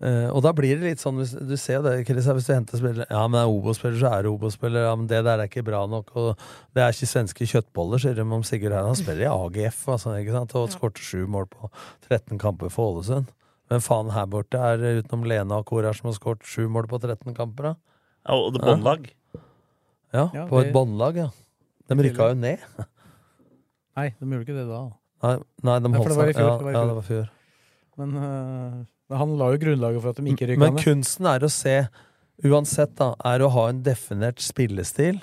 S6: Eh, og da blir det litt sånn hvis, Du ser jo det, Chris, her, hvis du henter spillere Ja, men det er Obo-spiller, så er det Obo-spiller. Ja, men det der er ikke bra nok. Og det er ikke svenske kjøttboller, sier de om Sigurd Heim. Han spiller i AGF altså, ikke sant? og skårte sju mål på 13 kamper for Ålesund. Men faen, her borte er det utenom Lena og Kor her som har skåret sju mål på 13 kamper, da.
S8: Ja, og det båndlag.
S6: Ja,
S4: Ja,
S6: på
S4: det-
S6: et båndlag, ja. De rykka jo ned.
S4: Nei, de gjorde ikke det da.
S6: Nei, nei de
S4: Nei,
S6: holdt
S4: for det var i
S6: seg
S4: fjor,
S6: ja,
S4: det var i
S6: ja,
S4: fjor.
S6: det var i fjor.
S4: Men øh, han la jo grunnlaget for at de ikke rykka
S6: Men
S4: ned.
S6: kunsten er å se, uansett da, er å ha en definert spillestil,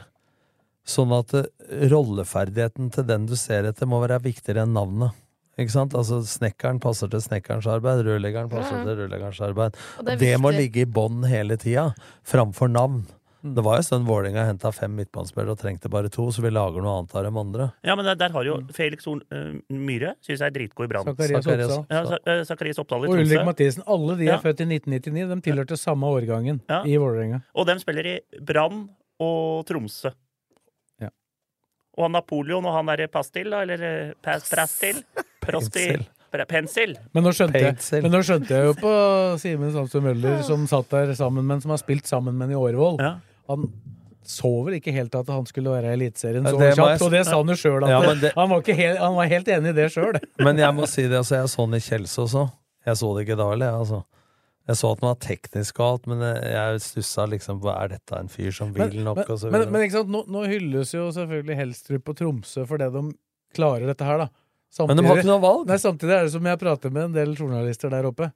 S6: sånn at eh, rolleferdigheten til den du ser etter må være viktigere enn navnet. Ikke sant? Altså, snekkeren passer til snekkerens arbeid, rørleggeren passer
S5: Ja, ja.
S6: til rørleggerens arbeid.
S5: Og det
S6: Det,
S5: er
S6: må
S5: viktig.
S6: ligge i bånn hele tida, framfor navn.
S4: Mm.
S6: Det var jo en stund Vålerenga henta fem midtbanespillere og trengte bare to, så vi lager noe annet av de andre.
S8: Ja, men der, der har
S4: Mm.
S8: jo Felix Horn eh, Myhre syns jeg er dritgod i Brann.
S4: Zacharias
S6: Zacharias
S4: Oppsal.
S8: Ja, Sa- eh, Zacharias Oppdal i
S4: Og Ulrik
S8: Tromsø.
S4: Mathisen. Alle de er
S8: Ja.
S4: født i 1999. De tilhørte samme årgangen
S8: Ja.
S4: i Vålerenga.
S8: Og dem spiller i Brann og Tromsø.
S4: Ja.
S8: Og han Napoleon og han derre Pastil, da, eller eh, Pas- Prastil? Prostil? Pre- Pensel?
S4: Men nå skjønte jeg,
S6: Peitzel.
S4: men nå skjønte jeg jo på Simen Samsø Møller, som satt der sammen med en som har spilt sammen med en i Årvoll. Han så vel ikke helt at han skulle være i Eliteserien
S6: Ja,
S4: så
S6: det må
S4: kjapt,
S6: jeg-
S4: og det sa han jo sjøl.
S6: Ja, men det-
S4: han, var ikke helt- han var helt enig i det
S6: [LAUGHS]
S4: sjøl.
S6: Men jeg må si det, altså, jeg så den i Kjelsås også. Jeg så det ikke da, eller? Altså. Jeg så at den var teknisk og alt, men jeg- jeg stussa liksom på er dette en fyr som vil nok, og så
S4: men,
S6: videre.
S4: men ikke sant, nå, nå hylles jo selvfølgelig Helstrup og Tromsø for det de klarer dette her, da.
S6: Men de har ikke noe valg.
S4: Nei, samtidig er det som jeg prater med en del journalister der oppe.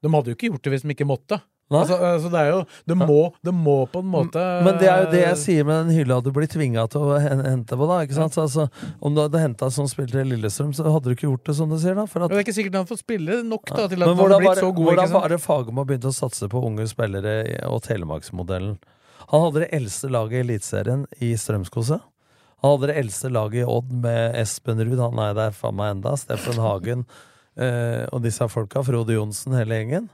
S4: De hadde jo ikke gjort det hvis de ikke måtte. Altså, altså, det er jo Det må, det må på en måte
S6: Men det er jo det jeg sier med den hylla du blir tvinga til å hen- hente på, da. Ikke sant? Så, altså, om du hadde henta som spilte i Lillestrøm, så hadde du ikke gjort det, som du sier. da for at,
S4: Det er ikke sikkert han får spille nok da, til at
S6: Men
S4: han har
S6: hvordan var,
S4: blitt
S6: det-
S4: så god. ikke
S6: hvordan
S4: sant?
S6: var det Fagermo begynte å satse på unge spillere i- og Telemarksmodellen? Han hadde det eldste laget i Eliteserien i Strømskose. Han hadde det eldste laget i Odd med Espen Ruud, han er der faen meg enda, Steffen Hagen [LAUGHS] eh, og disse folka, Frode Johnsen, hele gjengen.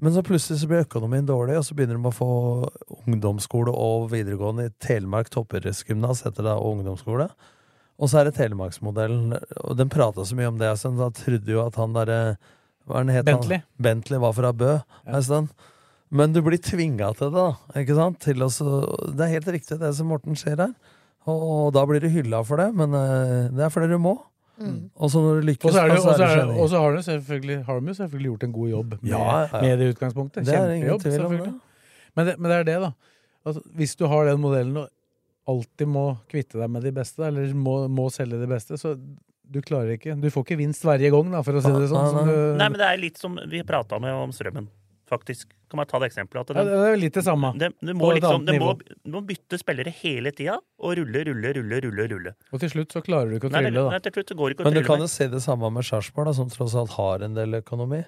S6: Men så plutselig så blir økonomien dårlig, og så begynner de å få ungdomsskole og videregående i Telemark toppidrettsgymnas, heter det, og ungdomsskole. Og så er det Telemarksmodellen, og den prata så mye om det, så da trodde jo at han derre Hva er den het? han?
S4: Bentley.
S6: Bentley var fra Bø. en stund. Men du blir tvinga til det, da. Ikke sant? Til å så- det er helt riktig det som Morten ser her. Og, og da blir du hylla for det, men eh, det er fordi du må. Og så når du lykkes,
S4: Og så er det jo-
S6: da,
S4: og så er det-
S6: skjønning.
S4: og så har de selvfølgelig, har de jo selvfølgelig gjort en god jobb med,
S6: Ja, ja.
S4: med det utgangspunktet.
S6: Det er det ingen
S4: Kjempejobb,
S6: tvil om,
S4: selvfølgelig. Men det, men det er det, da. Altså, hvis du har den modellen og alltid må kvitte deg med de beste, eller må, må selge de beste, så du klarer ikke Du får ikke vinst hver gang, da, for å si det sånn. Som du,
S8: Nei, men det er litt som vi prata med om strømmen, faktisk. Kan man ta det eksempelet? At
S4: Ja, det er jo litt det samme.
S8: Det, det
S4: På
S8: må,
S4: et
S8: liksom,
S4: annet
S8: det må,
S4: nivå.
S8: du må bytte spillere hele tida, og rulle, rulle, rulle, rulle. rulle.
S4: og til slutt så klarer du ikke å
S8: Nei, det-
S4: trylle, da.
S8: nei, til slutt så går det ikke å
S6: Men du
S8: trylle
S6: kan
S8: mer.
S6: jo si det samme med Sarpsborg, da, som tross alt har en del økonomi.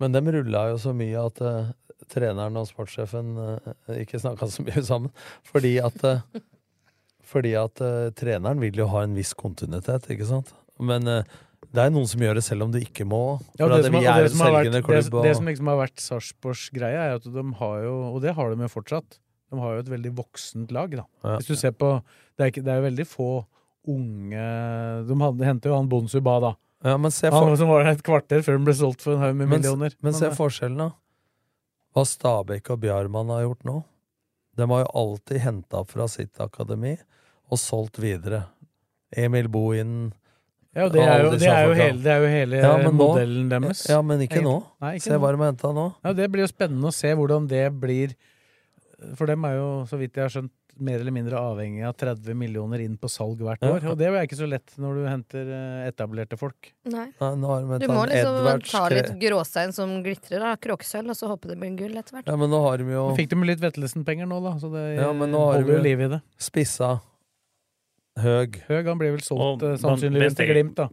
S6: Men dem rulla jo så mye at eh, treneren og sportssjefen eh, ikke snakka så mye sammen. Fordi at, eh, fordi at eh, treneren vil jo ha en viss kontinuitet, ikke sant? Men eh, det er noen som gjør det selv om du ikke må.
S4: Ja,
S6: For
S4: og
S6: at
S4: det, som,
S6: vi
S4: har- og
S6: er
S4: det,
S6: en
S4: som har vært,
S6: selgende
S4: det,
S6: klubb.
S4: det
S6: Og,
S4: som liksom har vært Sarpsborgs greie, er at de har jo, og det har de jo fortsatt, de har jo et veldig voksent lag. da.
S6: Ja.
S4: Hvis du ser på, Det er, ikke, det er jo veldig få unge De han- henter jo han Bonsu Ba, da.
S6: ja, men se
S4: han
S6: for-
S4: som var der et kvarter før han ble solgt for en haug med
S6: Men-
S4: millioner.
S6: Men se
S4: eh,
S6: forskjellen, da. Hva Stabæk og Bjarmann har gjort nå. De har jo alltid henta fra sitt akademi og solgt videre. Emil Bohinen
S4: ja, og det,
S6: og
S4: er
S6: alle
S4: jo,
S6: disse
S4: det, er jo
S6: folka.
S4: hele, det er jo hele
S6: Ja, men nå-
S4: modellen deres.
S6: Ja, men ikke nå.
S4: Egentlig. Nei, ikke
S6: Se
S4: nå.
S6: hva de har henta nå.
S4: Ja, Det blir jo spennende å se hvordan det blir. For dem er jo, så vidt jeg har skjønt, mer eller mindre avhengig av 30 millioner inn på salg hvert
S6: Ja.
S4: år. Og det er ikke så lett når du henter eh, etablerte folk.
S5: Nei.
S6: Nei, nå har de hentet
S5: Du må
S6: han
S5: liksom
S6: Edvards
S5: ta
S6: Kre-
S5: litt gråstein som glitrer, da. Kråkesølv, og så håpe det blir gull etter hvert.
S6: Ja, men nå har de jo
S4: Nå fikk de litt Vettelsen-penger nå, da, så det
S6: Ja, men nå har
S4: holder
S6: de
S4: jo liv i det.
S6: Spissa. Høg.
S4: Høg han blir vel
S8: Og
S4: solgt eh,
S8: man-
S4: sannsynligvis til Glimt, da.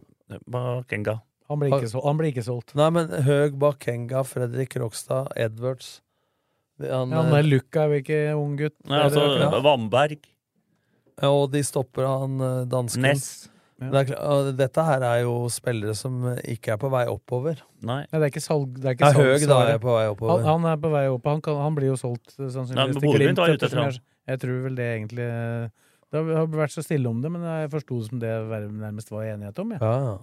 S8: Bakenga.
S4: Han blir ikke, sol han blir ikke solgt.
S6: Nei, men Høg, Bakenga, Fredrik Rokstad, Edwards Det-
S4: Ja, han der Luca er jo ikke ung gutt.
S8: Nei,
S4: Er det
S8: altså,
S4: akkurat?
S8: Vamberg.
S6: eh, Ja, og de stopper han eh, dansken.
S8: Ness.
S6: Det er klart- og dette her er jo spillere som eh, ikke er på vei oppover.
S8: Nei.
S4: Nei, det er ikke salg. Det er
S6: Ja,
S4: ikke
S6: Høg da er
S4: salgsvare.
S6: jeg på vei oppover.
S4: Han, han er på vei opp. Han, kan, han blir jo solgt eh,
S8: Nei, men
S4: sannsynligvis til
S8: Bodø Glimt
S4: Glimt.
S8: var ute
S4: ettersom
S8: etter han.
S4: Jeg, jeg tror vel det egentlig eh, Det har- har vært så stille om det, men jeg forsto det som det var- nærmest var enighet om. Ja.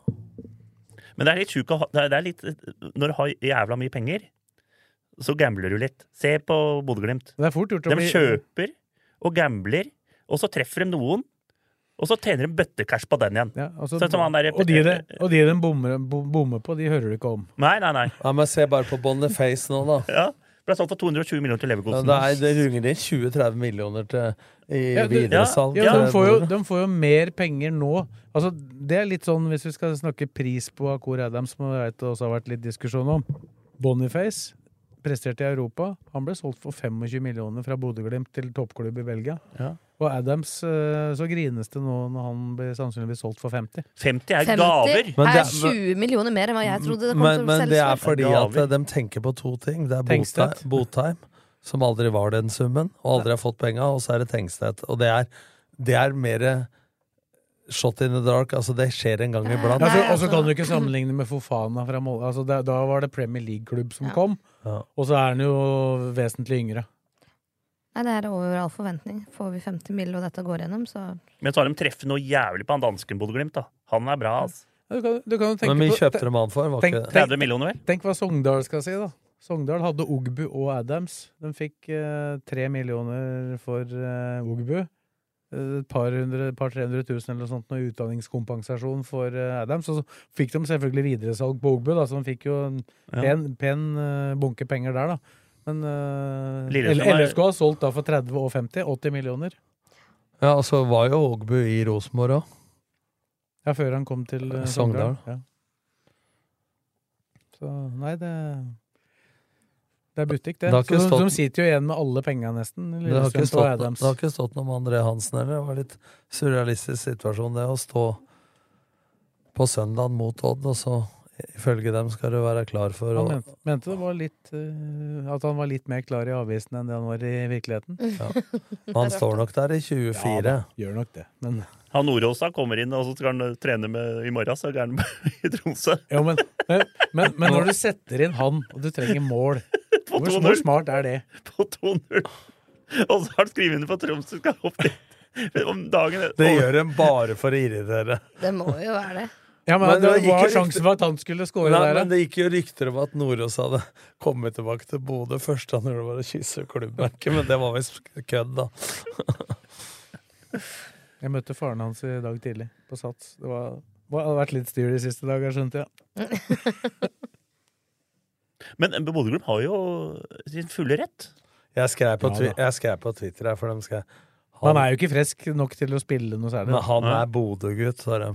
S8: Men det er litt sjukt å ha det er- det er litt, Når du har jævla mye penger, så gambler du litt. Se på Bodø-Glimt.
S4: Det er fort gjort å
S8: De
S4: bli
S8: kjøper og gambler, og så treffer de noen, og så tjener de bøttecash på den igjen.
S4: Ja, altså,
S8: Sånn som han der-
S4: og de det- og de de bommer, bom- bommer på, de hører du ikke om.
S8: Nei, nei, nei.
S6: Ja, men se bare på Boniface nå, da.
S8: Ja, Ble solgt for 220 millioner til
S6: Ja,
S8: Leverkosen.
S6: det, er, det runger inn 20-30 millioner til, i
S4: Ja, du-
S6: videresalg.
S4: Ja,
S6: til
S4: de, får jo,
S6: Bodø.
S4: de får jo mer penger nå. Altså, det er litt sånn, hvis vi skal snakke pris på Akor Adams, som jeg vet det også har vært litt diskusjon om. Boniface presterte i Europa. Han ble solgt for 25 millioner fra Bodø-Glimt til toppklubb i Belgia.
S8: Ja.
S4: Og Adams, eh, så grines det nå når han blir sannsynligvis solgt for 50.
S8: 50
S5: 50
S6: Men det
S5: er
S6: er-
S5: 20 millioner mer enn hva jeg trodde det kom
S6: Men,
S5: til å
S6: men det
S5: selges
S6: er
S5: for.
S6: fordi at eh, de tenker på to ting. Det er Botheim,
S4: Tengstedt.
S6: Botheim, som aldri var den summen, og aldri har fått penga, og så er det Tengstedt. Og det er, det er mer eh, shot in the dark. Altså, det skjer en gang iblant.
S4: Ja, for- Altså, og så kan du ikke sammenligne med Fofana fra Molde. Altså, da, da var det Premier League-klubb som kom,
S6: Ja.
S4: og så er han jo vesentlig yngre.
S5: Nei, det er over all forventning. Får vi 50 mill. og dette går gjennom, så
S8: Men så har de treffet noe jævlig på han dansken Bodø-Glimt. da. Han er bra, altså.
S4: Du kan, du kan jo tenke
S6: Men vi
S4: på-
S6: kjøpte dem an for, var
S4: Tenk-
S6: ikke det?
S8: 30 millioner, vel?
S4: Tenk hva Sogndal skal si, da. Sogndal hadde Ogbu og Adams. De fikk eh, tre millioner for eh, Ogbu. Eh, Et par hundre, et par 300 000 eller noe sånt noe utdanningskompensasjon for eh, Adams. Og så fikk de selvfølgelig videresalg på Ogbu, da, så de fikk jo en
S8: Ja.
S4: pen, pen eh, bunke penger der, da. Men eh,
S8: Lillestrøm
S4: L-
S8: er-
S4: LFK har solgt da for 30 og 50. 80 millioner.
S6: Ja, og så var jo Ågbu i Rosenborg òg.
S4: Ja, før han kom til eh,
S6: Sogndal.
S4: Sogndal. Ja. Så nei, det Det er butikk, det.
S6: Det har ikke
S4: Så de,
S6: stått-
S4: de sitter jo igjen med alle penga, nesten.
S6: Det har, ikke
S4: Lillestrøm på
S6: stått,
S4: Adams.
S6: det har ikke stått noe om André Hansen heller. Det var litt surrealistisk situasjon, det å stå på søndag mot Odd, og så ifølge dem skal du være klar for å
S4: Han mente, mente det var litt, eh, at han var litt mer klar i avisen enn det han var i virkeligheten.
S6: Men Han står nok der i 24.
S4: Ja, gjør nok det. Men
S8: Han Nordåsa kommer inn, og så skal han eh, trene med i morgen, så er han [LAUGHS] med i Tromsø.
S4: Jo, men, men, men, men når du setter inn han, og du trenger mål
S8: På 2-0.
S4: Hvor hvor smart er det?
S8: På 2-0. Og så har han skrevet under på Tromsø skal opp dit. [LAUGHS] Om dagen
S6: Det gjør en bare for å irritere.
S5: Det må jo være
S6: [LAUGHS]
S5: det.
S4: Ja, men,
S6: Men
S4: det
S6: det gikk
S4: var
S6: jo
S4: sjansen
S6: riktig-
S4: for at han skulle score
S6: Nei,
S4: der,
S6: men
S4: da.
S6: Det gikk jo rykter om at Nordås hadde kommet tilbake til Bodø. Første han gjorde, var å kysse klubbmerket, men det var visst kødd, da.
S4: Jeg møtte faren hans i dag tidlig, på Sats. Det var, det hadde vært litt styr de siste dager, skjønte jeg.
S8: Men Bodø Group har jo sin fulle rett.
S6: Jeg skrev på,
S4: Ja,
S6: twi
S4: da.
S6: jeg skrev på Twitter her, for dem skal
S4: Han er jo ikke frisk nok til å spille noe særlig.
S6: Men han er Bodø-gutt, sa de.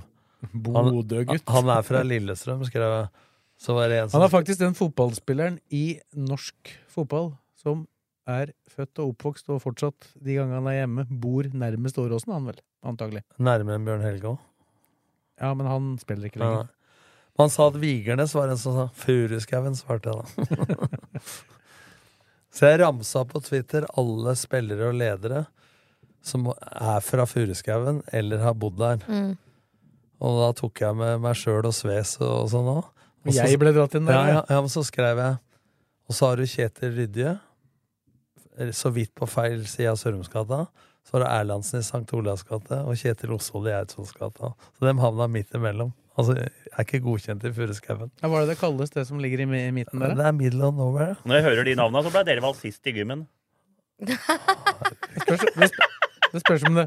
S4: Bodø-gutt.
S6: Han, han er fra Lillestrøm, skrev jeg. Så var det en som
S4: Han er faktisk den fotballspilleren i norsk fotball som er født og oppvokst og fortsatt, de gangene han er hjemme, bor nærmest Åråsen, han vel? Antagelig.
S6: nærmere enn Bjørn Helge òg.
S4: Ja, men han spiller ikke lenger.
S6: Han sa at Vigernes var en som sa Furuskauen, svarte jeg da. [LAUGHS] Så jeg ramsa på Twitter alle spillere og ledere som er fra Furuskauen eller har bodd der.
S5: Mm.
S6: Og da tok jeg med meg sjøl og Sves og, og sånn òg.
S4: Og jeg ble dratt inn der,
S6: Ja,
S4: ja.
S6: ja, ja, men så skrev jeg Og så har du Kjetil Rydje, eh, så vidt på feil side av Sørumsgata. Så har du Erlandsen i St. Olavs gate, og Kjetil Osvold i Eidsvollsgata. Så dem havna midt imellom. Altså, jeg er ikke godkjent i Furuskauen.
S4: Ja, var det det kalles, det som ligger i mi- i midten der?
S6: Det
S4: da?
S6: er middle of nowhere.
S8: Når jeg hører de navna, så ble dere valgt sist i gymmen.
S4: Det spørs, det sp- det spørs om det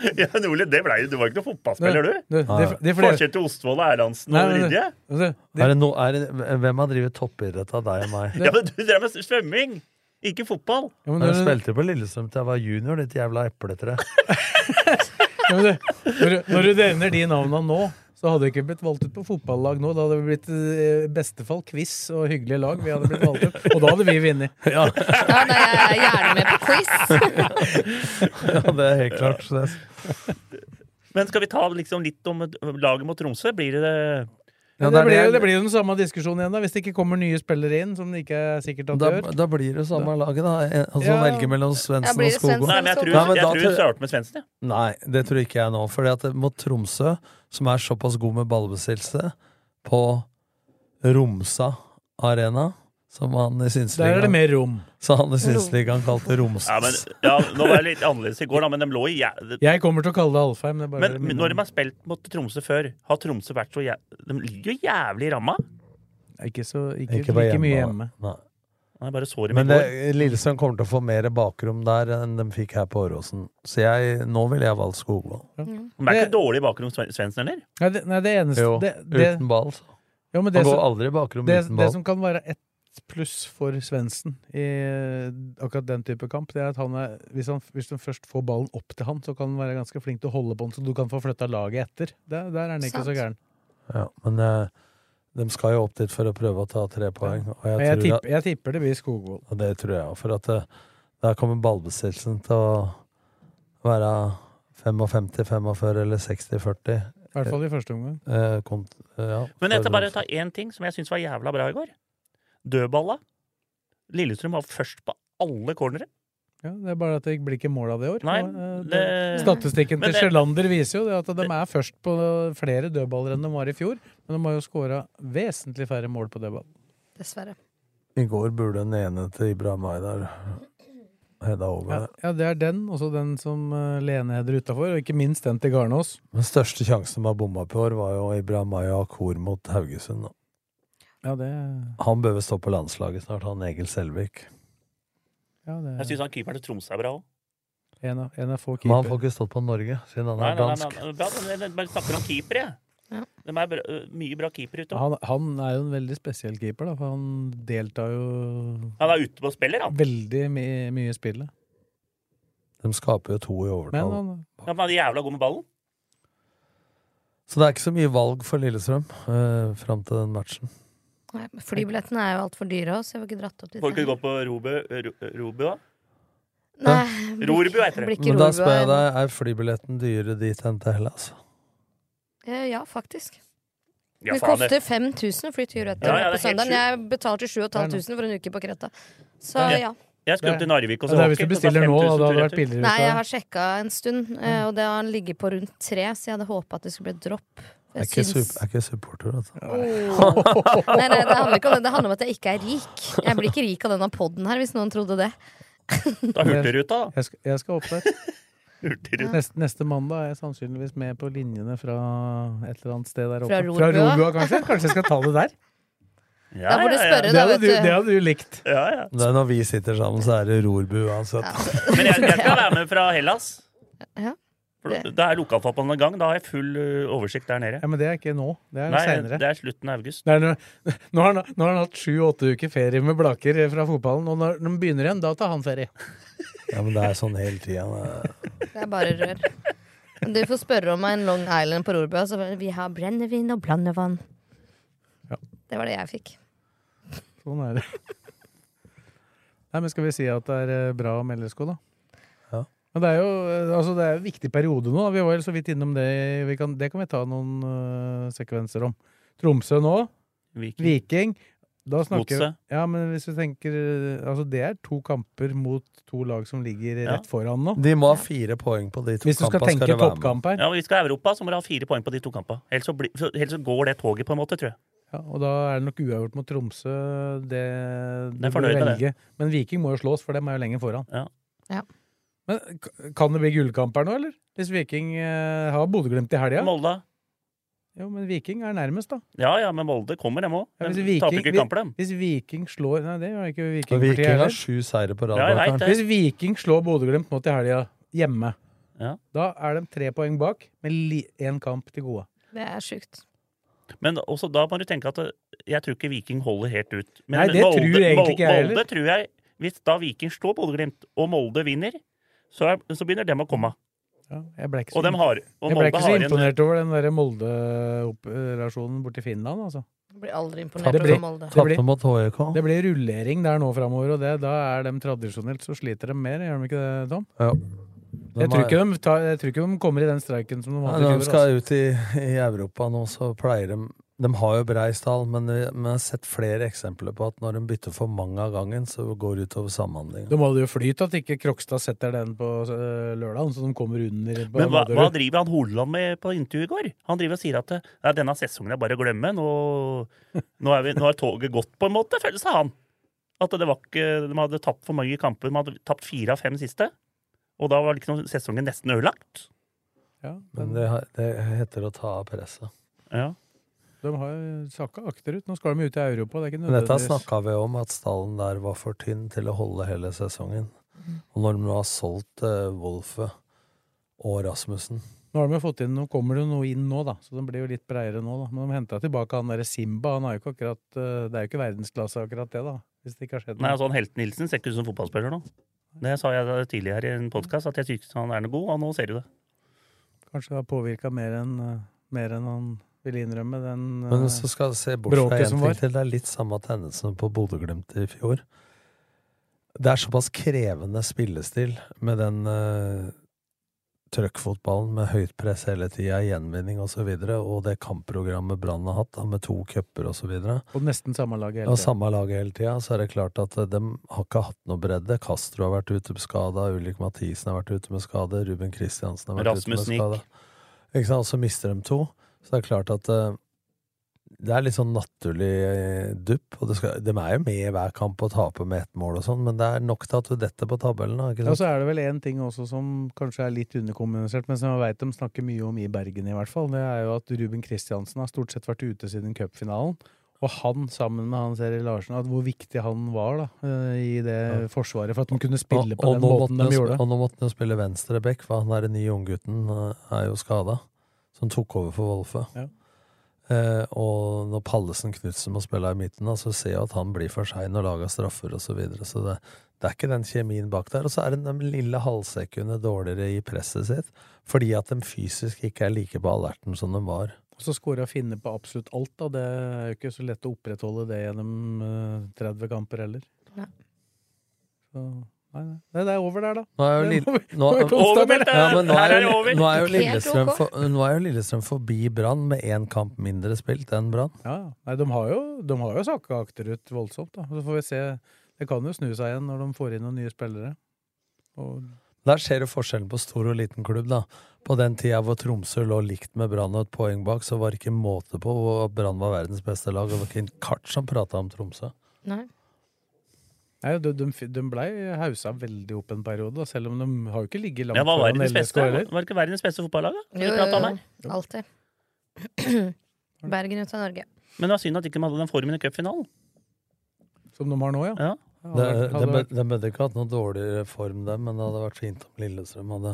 S8: [LAUGHS] Ja, Nordli, det ble, du var ikke noen fotballspiller, du.
S4: Du, de- de flere-
S8: Forskjell til Ostvold, Erlandsen og
S4: Nei, men-
S8: Rydje.
S4: altså, de-
S6: Er det no, er det, hvem har drevet toppidrett av deg og meg?
S8: Ja, men du drev med svømming, ikke fotball.
S4: Ja, men
S6: Jeg
S4: når-
S6: spilte på Lillestrøm til jeg var junior, ditt jævla epletre. [LAUGHS]
S4: Ja, men du, når, du- når du nevner de navnene nå, så hadde vi ikke blitt valgt ut på fotballag nå. Da hadde vi blitt eh, i beste fall quiz og hyggelige lag. Vi hadde blitt valgt ut, Og da hadde vi vunnet.
S6: Ja.
S5: Ja, nei, jeg er gjerne med på quiz.
S6: ja, det er helt klart. Så det,
S8: Men skal vi ta liksom litt om eh, laget mot Tromsø? Blir det
S4: Ja,
S6: Ja,
S4: det,
S6: det er
S4: blir, jo-
S6: det jeg-
S4: det blir jo den samme diskusjonen igjen, da, hvis det ikke kommer nye spillere inn. Som det ikke er sikkert at
S6: da,
S4: det gjør.
S6: da blir det samme laget, da. En- Altså,
S4: Ja.
S6: Velge mellom
S5: Ja,
S6: Svendsen
S5: blir
S6: og
S5: det
S6: Skogvold.
S8: Nei, men
S5: Svendsen?
S8: jeg tror,
S6: Nei, men
S8: jeg
S6: da
S8: tror
S6: tror-
S8: starter med Svendsen, ja.
S6: Nei, det tror ikke jeg nå. Fordi at mot Tromsø, som er såpass god med ballbesittelse, på Romsa arena, som han i
S4: Der er det
S6: Synsligaen
S4: mer rom.
S6: Så han i Synsligaen
S8: Ja, [LAUGHS]
S6: kalte
S8: men,
S6: Romsas.
S8: ja, nå var jeg litt annerledes i går, da, men de lå i jæ-
S4: Jeg kommer til å kalle det Alfheim. Det er bare
S8: Men når de har spilt mot Tromsø før, har Tromsø vært så jæ... De ligger jo jævlig i ramma.
S4: Ikke så ikke,
S6: på
S4: like mye hjemme.
S6: Nei.
S8: Jeg bare så dem i
S6: Men
S8: går.
S6: det- Lillesand kommer til å få mer bakrom der enn de fikk her på Åråsen. Så jeg, nå ville jeg valgt Skogvold.
S5: Mm.
S8: De er ikke dårlig i bakrom, Sven- Svendsen, eller?
S4: Nei, det, nei, det eneste
S6: Jo,
S4: det, det,
S6: uten ball. så.
S4: jo, men det
S6: Han går
S4: som-
S6: aldri i bakrom
S4: det,
S6: uten
S4: det
S6: ball.
S4: som kan være ett pluss for Svendsen i eh, akkurat den type kamp, det er at han er, hvis, han, hvis de først får ballen opp til han, så kan han være ganske flink til å holde på den, så du kan få flytta laget etter. Det, der er han ikke
S5: Sant.
S4: så gæren.
S6: Ja, men eh, de skal jo opp dit for å prøve å ta tre poeng. Og jeg,
S4: Men jeg,
S6: tror at,
S4: tipper, jeg tipper det blir Skogvold.
S6: og det tror jeg òg, for at eh, der kommer ballbesittelsen til å være 55-45 eller 60-40.
S4: I hvert fall i første omgang.
S6: eh, kont- eh, ja,
S8: Men jeg
S6: for-
S8: skal bare ta én ting som jeg syns var jævla bra i går. Dødballa. Lillestrøm var først på alle cornere.
S4: Ja, det er bare at det ikke blir ikke mål av det i år.
S8: Nei,
S4: Og, eh,
S8: det,
S4: Statistikken
S8: Men
S4: til
S8: det-
S4: Sjølander viser jo det at de er først på flere dødballer enn de var i fjor, men de har jo skåra vesentlig færre mål på dødball.
S5: Dessverre.
S6: I går burde den ene til Ibrahim Aydar hedda over.
S4: Ja,
S6: det.
S4: ja, det er den, også den som eh, Lene header utafor, og ikke minst den til Garnås.
S6: Den største sjansen de har bomma på i år, var jo Ibrahim Aydar Kor mot Haugesund. da.
S4: Ja, det,
S6: Han bør vel stå på landslaget snart, han Egil Selvik.
S4: ja, det
S8: jeg syns han keeperen til Tromsø er bra òg.
S4: er en av, en av få
S6: Men han
S4: keeper.
S6: får ikke stått på Norge, siden han
S8: Nei,
S6: er
S8: nei, nei,
S6: dansk.
S8: nei, nei, bra, men jeg bare snakker om keepere, jeg.
S5: Ja.
S8: De er bra, øh, mye bra keepere ute.
S4: Han, han er jo en veldig spesiell keeper, da, for han deltar jo
S8: Han er ute på spiller, han.
S4: veldig my mye i spillet.
S6: De skaper jo to i
S4: Men um,
S6: overtall.
S4: han,
S8: Han er jævla god med ballen.
S6: Så det er ikke så mye valg for Lillestrøm eh, fram til den matchen.
S5: Nei, men Flybillettene er jo altfor dyre også, så jeg får ikke dratt opp dit.
S8: Får ikke gå på Robu, Ro- Robu da?
S5: Nei,
S8: Rorbu heter det.
S5: blir ikke
S6: Men da
S5: Rorbu,
S6: spør jeg
S5: nei.
S6: deg, er flybilletten dyrere dit enn til Hellas?
S5: Eh, Ja, faktisk.
S6: Ja,
S5: det
S6: faen, det-
S5: koster 5000 å fly tur etter
S8: Ja, ja,
S5: på
S8: det er helt
S5: søndagen.
S8: sjukt.
S5: Jeg betalte 7500 for en uke på Kreta. Så
S8: Ja.
S5: ja.
S8: Jeg skulle til Narvik og så
S4: Ja, altså, det er hvis du
S8: Håker, kosta
S4: bestiller nå, da,
S8: 5000
S4: da hadde det
S8: tur-retur.
S4: vært billigere.
S5: Nei, jeg har sjekka en stund, eh, og det har ligget på rundt tre, så jeg hadde håpa at det skulle bli et dropp.
S6: Jeg er
S5: Jeg
S6: ikke,
S5: syns-
S6: sup- jeg er ikke supporter, altså. [LAUGHS]
S5: Oh. Nei, nei, det handler ikke om det. Det handler om at jeg ikke er rik. Jeg blir ikke rik av denne poden her, hvis noen trodde det.
S8: Da Hurtigruta, da.
S4: Jeg skal, jeg skal opp
S8: [LAUGHS]
S4: der.
S8: Hurtigruta.
S4: Neste, neste mandag er jeg sannsynligvis med på linjene fra et eller annet sted der oppe.
S5: Fra Rorbua?
S4: Rorbua, kanskje? Kanskje jeg skal ta det der?
S5: Da får du [LAUGHS] ja, ja. spørre,
S4: det
S5: da,
S4: hadde
S5: vet
S4: du.
S5: du.
S4: Det hadde du likt.
S6: Det er når vi sitter sammen, så er det rorbu uansett.
S8: Men jeg, jeg skal være med fra Hellas.
S5: Ja.
S8: For Da er lokalfotballen i gang. Da har jeg full ø, oversikt der nede.
S4: Ja, Men det er ikke nå. Det er
S8: Nei,
S4: seinere.
S8: det er slutten av august.
S4: Det er når- nå, [LAUGHS] har han, nå har han hatt sju-åtte uker ferie med Blaker fra fotballen, og når de begynner igjen, da tar han ferie.
S6: Ja, men det er sånn hele tida.
S5: Det er bare rør. Men Du får spørre om en Long Island på Rorbua. Så vi har brennevin og blandevann. Det var det jeg fikk.
S4: Sånn er det. Nei, men Skal vi si at det er eh, bra om LSK, da?
S6: Ja.
S4: Men det er jo eh, altså det er en viktig periode nå. Vi var jo så vidt innom det. Vi kan, det kan vi ta noen eh, sekvenser om. Tromsø nå.
S8: Viking.
S4: Da snakker vi-
S8: Godset.
S4: Ja, men hvis vi tenker eh, Altså, det er to kamper mot to lag som ligger
S8: Ja.
S4: rett foran nå.
S6: De må ha fire poeng på de to
S4: Hvis du skal
S6: kampene,
S4: tenke
S6: skal det være med.
S4: toppkamp her.
S8: Ja, og Vi skal ha Europa, så må du ha fire poeng på de to kampene. Ellers så, blir- så- ellers så går det toget, på en måte, tror jeg.
S4: Ja, og da er det nok uavgjort mot Tromsø. Det, du
S8: er
S4: bør
S8: fornøyd med det.
S4: velge. Men Viking må jo slås, for dem er jo lenger foran.
S8: Ja.
S5: Ja.
S4: Men k- kan det bli gullkamp her nå, eller? Hvis Viking eh, har Bodø-Glimt i helga?
S8: Molde.
S4: Jo, men Viking er nærmest, da.
S8: Ja ja, men Molde kommer, dem òg.
S4: Ja,
S8: De
S4: hvis,
S8: taper
S4: Viking,
S8: ikke
S4: hvis,
S8: kamper, dem.
S4: hvis Viking slår Nei, det gjør ikke
S6: Og
S4: Viking. for tida
S6: Viking
S4: heller.
S6: har sju seire på rad.
S8: Ja, jeg vet
S6: Blakkaren.
S8: det.
S4: Hvis Viking slår Bodø-Glimt nå til helga hjemme,
S8: Ja.
S4: da er de tre poeng bak, med én kamp til gode.
S5: Det er sjukt.
S8: Men også da må du tenke at ø, jeg tror ikke Viking holder helt ut. Men
S4: Nei, det tror egentlig
S8: Mol-
S4: ikke jeg heller.
S8: Molde tror jeg, Hvis da Viking slår Bodø-Glimt, og Molde vinner, så, er, så begynner dem å komme.
S4: Ja, jeg ble ikke så,
S8: Og dem har- og
S4: jeg ble
S8: Molde
S4: ikke så
S8: har en-
S4: imponert over den der Molde-operasjonen borti Finland, altså.
S5: Jeg blir aldri imponert
S4: Tapte
S5: over Molde.
S6: mot E HJK.
S4: Det blir rullering der nå framover, og det, da er de tradisjonelt så sliter de mer, gjør de ikke det, Tom?
S6: Ja. De
S4: Jeg tror,
S6: er-
S4: ikke de tar, jeg tror ikke de kommer i den streiken som de
S6: Ja,
S4: hadde
S6: når
S4: i
S6: de
S4: fjor. altså.
S6: skal ut i, i Europa nå, så pleier de De har jo Breisdal, men vi men jeg har sett flere eksempler på at når de bytter for mange av gangen, så går det utover samhandlinga.
S4: Da må det jo flyte at ikke Krokstad setter den på øh, lørdagen, så de kommer under. på
S8: Men hva,
S4: Vaderud.
S8: hva driver han Hordaland med på intervjuet i går? Han driver og sier at eh, ja, denne sesongen er bare å glemme. Nå, nå, er vi, nå er toget gått, på en måte, føles det han. At det var ikke, de hadde tapt for mange kamper. De hadde tapt fire av fem siste. Og da var liksom sesongen nesten ødelagt.
S6: Men det, har- det heter å ta av presset.
S4: De har jo sakka akterut. Nå skal de ut i Europa. Det er ikke
S6: Men dette
S4: nødvendigvis.
S6: snakka vi om, at stallen der var for tynn til å holde hele sesongen.
S4: Mhm.
S6: Og når de nå har solgt uh, Wolfe og Rasmussen
S4: Nå har de jo fått inn, nå kommer det jo noe inn nå, da, så de blir jo litt breiere nå. da. Men de henta tilbake han derre Simba. han er jo ikke akkurat, øh, Det er jo ikke verdensklasse akkurat det, da. Hvis det ikke har skjedd noe.
S8: Nei, altså han Helt Nilsen ser ikke ut som fotballspiller nå. Det sa jeg tidligere i en podkast, at jeg syns han er noe god, og nå ser du det.
S4: Kanskje det har påvirka mer enn eh, mer enn han ville innrømme. Den, eh,
S6: Men så skal jeg se bort fra
S4: bråket
S6: én
S4: som
S6: ting
S4: var.
S6: til. Det er litt samme tendensen på Bodø-Glimt i fjor. Det er såpass krevende spillestil med den eh, trøkkfotballen med høyt press hele tida, gjenvinning osv., og, så videre, og det kampprogrammet Brann har hatt, da, med to cuper osv.
S4: Og nesten samme laget hele
S6: Og
S4: tiden.
S6: samme laget hele tida, så er det klart at eh, de har ikke hatt noe bredde. Castro har vært ute med skade, Ulrik Mathisen har vært ute med skade, Ruben Kristiansen har vært
S8: Rasmus
S6: ute med
S8: Nick.
S6: skade. Ikke sant? Og så mister de to. Så det er klart at eh, det er litt sånn naturlig eh, dupp. Og det skal, de er jo med i hver kamp og taper med ett mål og sånn, men det er nok til at du detter på tabellen. Da, ikke
S4: Ja,
S6: sant?
S4: så er det vel én ting også som kanskje er litt underkommunisert, men som jeg veit de snakker mye om i Bergen, i hvert fall. Det er jo at Ruben Kristiansen har stort sett vært ute siden cupfinalen. Og han, sammen med Hans Erik Larsen, at hvor viktig han var da, eh, i det forsvaret for at de kunne spille på
S6: og,
S4: den
S6: nå
S4: måten
S6: måtte
S4: de
S6: han-
S4: gjorde.
S6: Og nå måtte han jo spille venstre back, for han der nye unggutten eh, er jo skada. Som tok over for Wolfe. Eh, og når Pallesen Knutsen må spille i midten, da, så ser jeg at han blir for sein og lager straffer osv. Så, videre. så det, det er ikke den kjemien bak der. Og så er det de lille halvsekundet dårligere i presset sitt fordi at de fysisk ikke er like på alerten som de var.
S4: Og så skåre og finne på absolutt alt, da. Det er jo ikke så lett å opprettholde det gjennom eh, 30 kamper heller.
S5: Nei.
S4: Så, nei, nei. nei, det er over der, da.
S6: Nå er jo
S4: Det
S6: Lille-
S4: må vi-
S6: nå-
S4: må vi konstatere.
S6: Ja, men nå er jo- Nå er jo
S4: Helt
S6: Lillestrøm,
S4: ok.
S6: for, nå er jo Lillestrøm forbi Brann med én kamp mindre spilt enn Brann.
S4: Ja, ja. Nei, de har jo, de har jo sakka akterut voldsomt, da. Så får vi se. Det kan jo snu seg igjen når de får inn noen nye spillere. Og
S6: Der ser du forskjellen på stor og liten klubb, da. På den tida hvor Tromsø lå likt med Brann og et poeng bak, så var det ikke måte på hvor Brann var verdens beste lag, og det var ikke en kart som prata om Tromsø.
S5: Nei.
S4: Nei, de, de, f- de blei hausa veldig opp en periode, da, selv om de har jo ikke ligget langt
S8: Ja, hva var verdens
S4: LSK
S8: beste?
S4: heller.
S8: Var det ikke verdens beste fotballag? da? Som vi
S5: Jo,
S8: pratet om
S5: jo,
S8: her?
S5: jo. Alltid. [CLEARS THROAT] Bergen ut av Norge.
S8: Men det var synd at ikke de hadde den formen i cupfinalen.
S4: Som de har nå, ja.
S6: Det, det, bød- det bødde ikke hatt noe dårligere form, dem, men det hadde vært fint om Lillestrøm hadde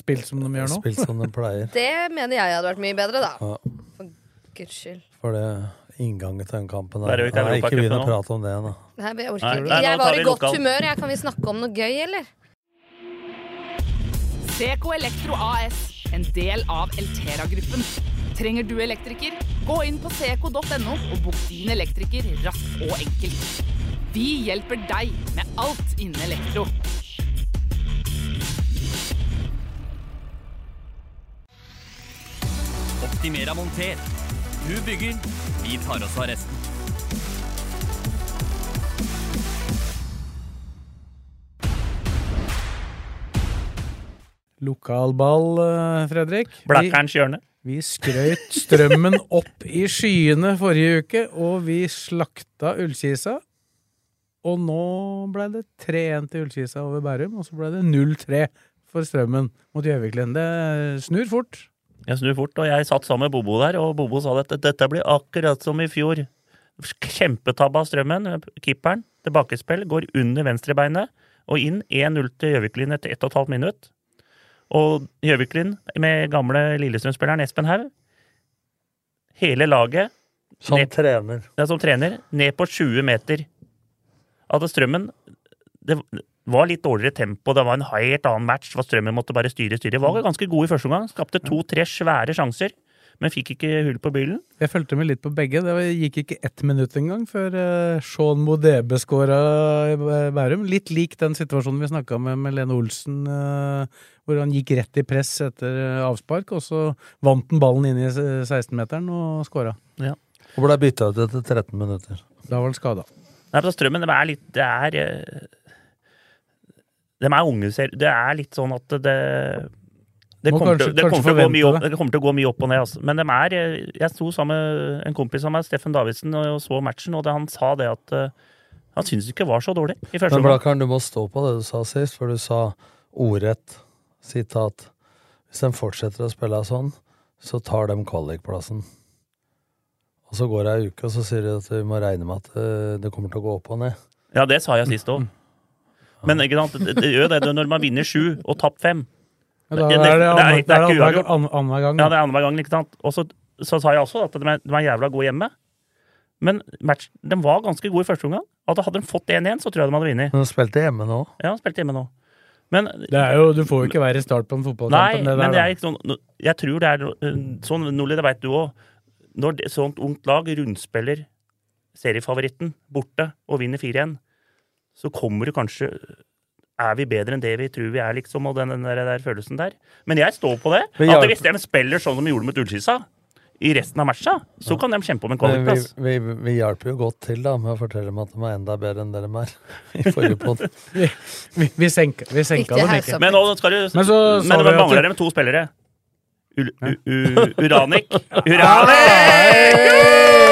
S4: Spilt som de gjør nå.
S6: Spilt som de pleier.
S5: Det mener jeg hadde vært mye bedre, da.
S6: Ja,
S5: For guds skyld.
S6: for det inngangen til den kampen
S8: Da er
S6: der.
S8: det jo ikke
S6: Nei, Ikke begynn
S8: Europacupen
S6: å
S8: nå.
S6: prate om det nå.
S5: Nei, men jeg
S6: Nei,
S5: orker
S6: nei, nå
S5: ikke. Jeg
S6: tar
S5: var
S6: vi
S5: i godt
S6: lokal.
S5: humør. Jeg kan vi snakke om noe gøy, eller?
S2: Seko Elektro AS, en del av Eltera-gruppen. Trenger du elektriker? Gå inn på seko.no og bok din elektriker raskt og enkelt. Vi hjelper deg med alt innen elektro.
S1: Optimera monter. Du bygger, vi tar oss av resten.
S4: Lokalball, eh, Fredrik.
S8: Blakkerens
S4: Vi-
S8: hjørne.
S4: Vi skrøt strømmen opp i skyene forrige uke, og vi slakta Ullkisa. Og nå ble det 3-1 til Ullkisa over Bærum, og så ble det 0-3 for strømmen mot Gjøviklend. Det snur fort.
S8: Jeg snur fort, og jeg satt sammen med Bobo der, og Bobo sa at dette blir akkurat som i fjor. Kjempetabbe av strømmen. Keeperen, tilbakespill, går under venstrebeinet og inn 1-0 til Gjøviklin etter 1 12 minutt. Og Gjøviklin med gamle Lillestrøm-spilleren Espen Haug Hele laget
S6: Som
S8: ned-
S6: trener.
S8: Ja, som Sånn trener. Ned på 20 meter. At strømmen Det var litt dårligere tempo, det var en helt annen match. hvor Strømmen måtte bare styre, styre. Var ganske god i første omgang. Skapte to-tre svære sjanser, men fikk ikke hull på bilen.
S4: Jeg fulgte med litt på begge. Det var- gikk ikke ett minutt engang før eh, Sean Modebe skåra i Bæ- Bærum. Litt lik den situasjonen vi snakka med med Lene Olsen, eh, hvor han gikk rett i press etter eh, avspark, og så vant han ballen inn i s- 16-meteren og skåra.
S6: Og ble bytta ut etter 13 minutter.
S4: Da var han skada.
S8: Nei, men strømmen, det er litt Det er eh, De er unge, ser Det er litt sånn at det det
S4: Må
S8: kommer,
S4: kanskje-
S8: til, det,
S4: kanskje
S8: kommer til å gå
S4: forvente
S8: mye opp,
S4: det.
S8: det kommer til å gå mye opp og ned. Altså. Men de er, eh, jeg sto sammen med en kompis av meg, Steffen Davidsen, og og så matchen, og det, han sa det at eh, han syntes det ikke var så dårlig i første
S6: Men
S8: omgang.
S6: Blakkaren, du må stå på det du sa sist, for du sa ordrett sitat Hvis de fortsetter å spille sånn, så tar de kvalikplassen. Og så går det ei uke, og så sier de at vi må regne med at eh, det kommer til å gå opp og ned.
S8: Ja, det sa jeg sist òg.
S4: Mm.
S8: Men ikke sant, det, det gjør jo det det når man vinner sju og tapt fem.
S4: Ja, da er det annet- da er det
S8: uavgjort.
S4: annet- annenhver gang, da.
S8: Ja, det er annenhver gang, ikke sant. Og så, så sa jeg også at de er, de er jævla gode hjemme. Men match, de var ganske gode i første omgang. At Hadde de fått 1-1, så tror jeg de hadde vunnet.
S6: Men de spilte hjemme nå.
S8: Ja, han spilte hjemme nå. Men
S4: Det er jo, du får jo ikke være i start på en fotballkamp.
S8: Nei, men det er ikke sånn Jeg tror det er no- sånn, Nordli, det veit du òg. Når det, sånt ungt lag rundspiller seriefavoritten borte og vinner 4-1, så kommer du kanskje Er vi bedre enn det vi tror vi er, liksom, og den, den der, der følelsen der? Men jeg står på det.
S6: Men
S8: At
S6: hjelp-
S8: hvis de spiller sånn som de gjorde mot Ullskisa i resten av matcha, så kan de kjempe om en
S6: Men vi,
S8: kvalikplass.
S6: vi, vi hjalp jo godt til da med å fortelle dem at de er enda bedre enn det de
S8: [LAUGHS]
S6: er. I forrige podd.
S4: vi, vi, vi senka, vi senka dem
S5: altså.
S4: ikke.
S8: Men nå skal du
S4: Men så sa
S8: Men
S4: vi
S8: det
S4: at
S8: mangler
S4: du-
S8: dem to spillere. U u u
S4: [LAUGHS]
S8: Uranik.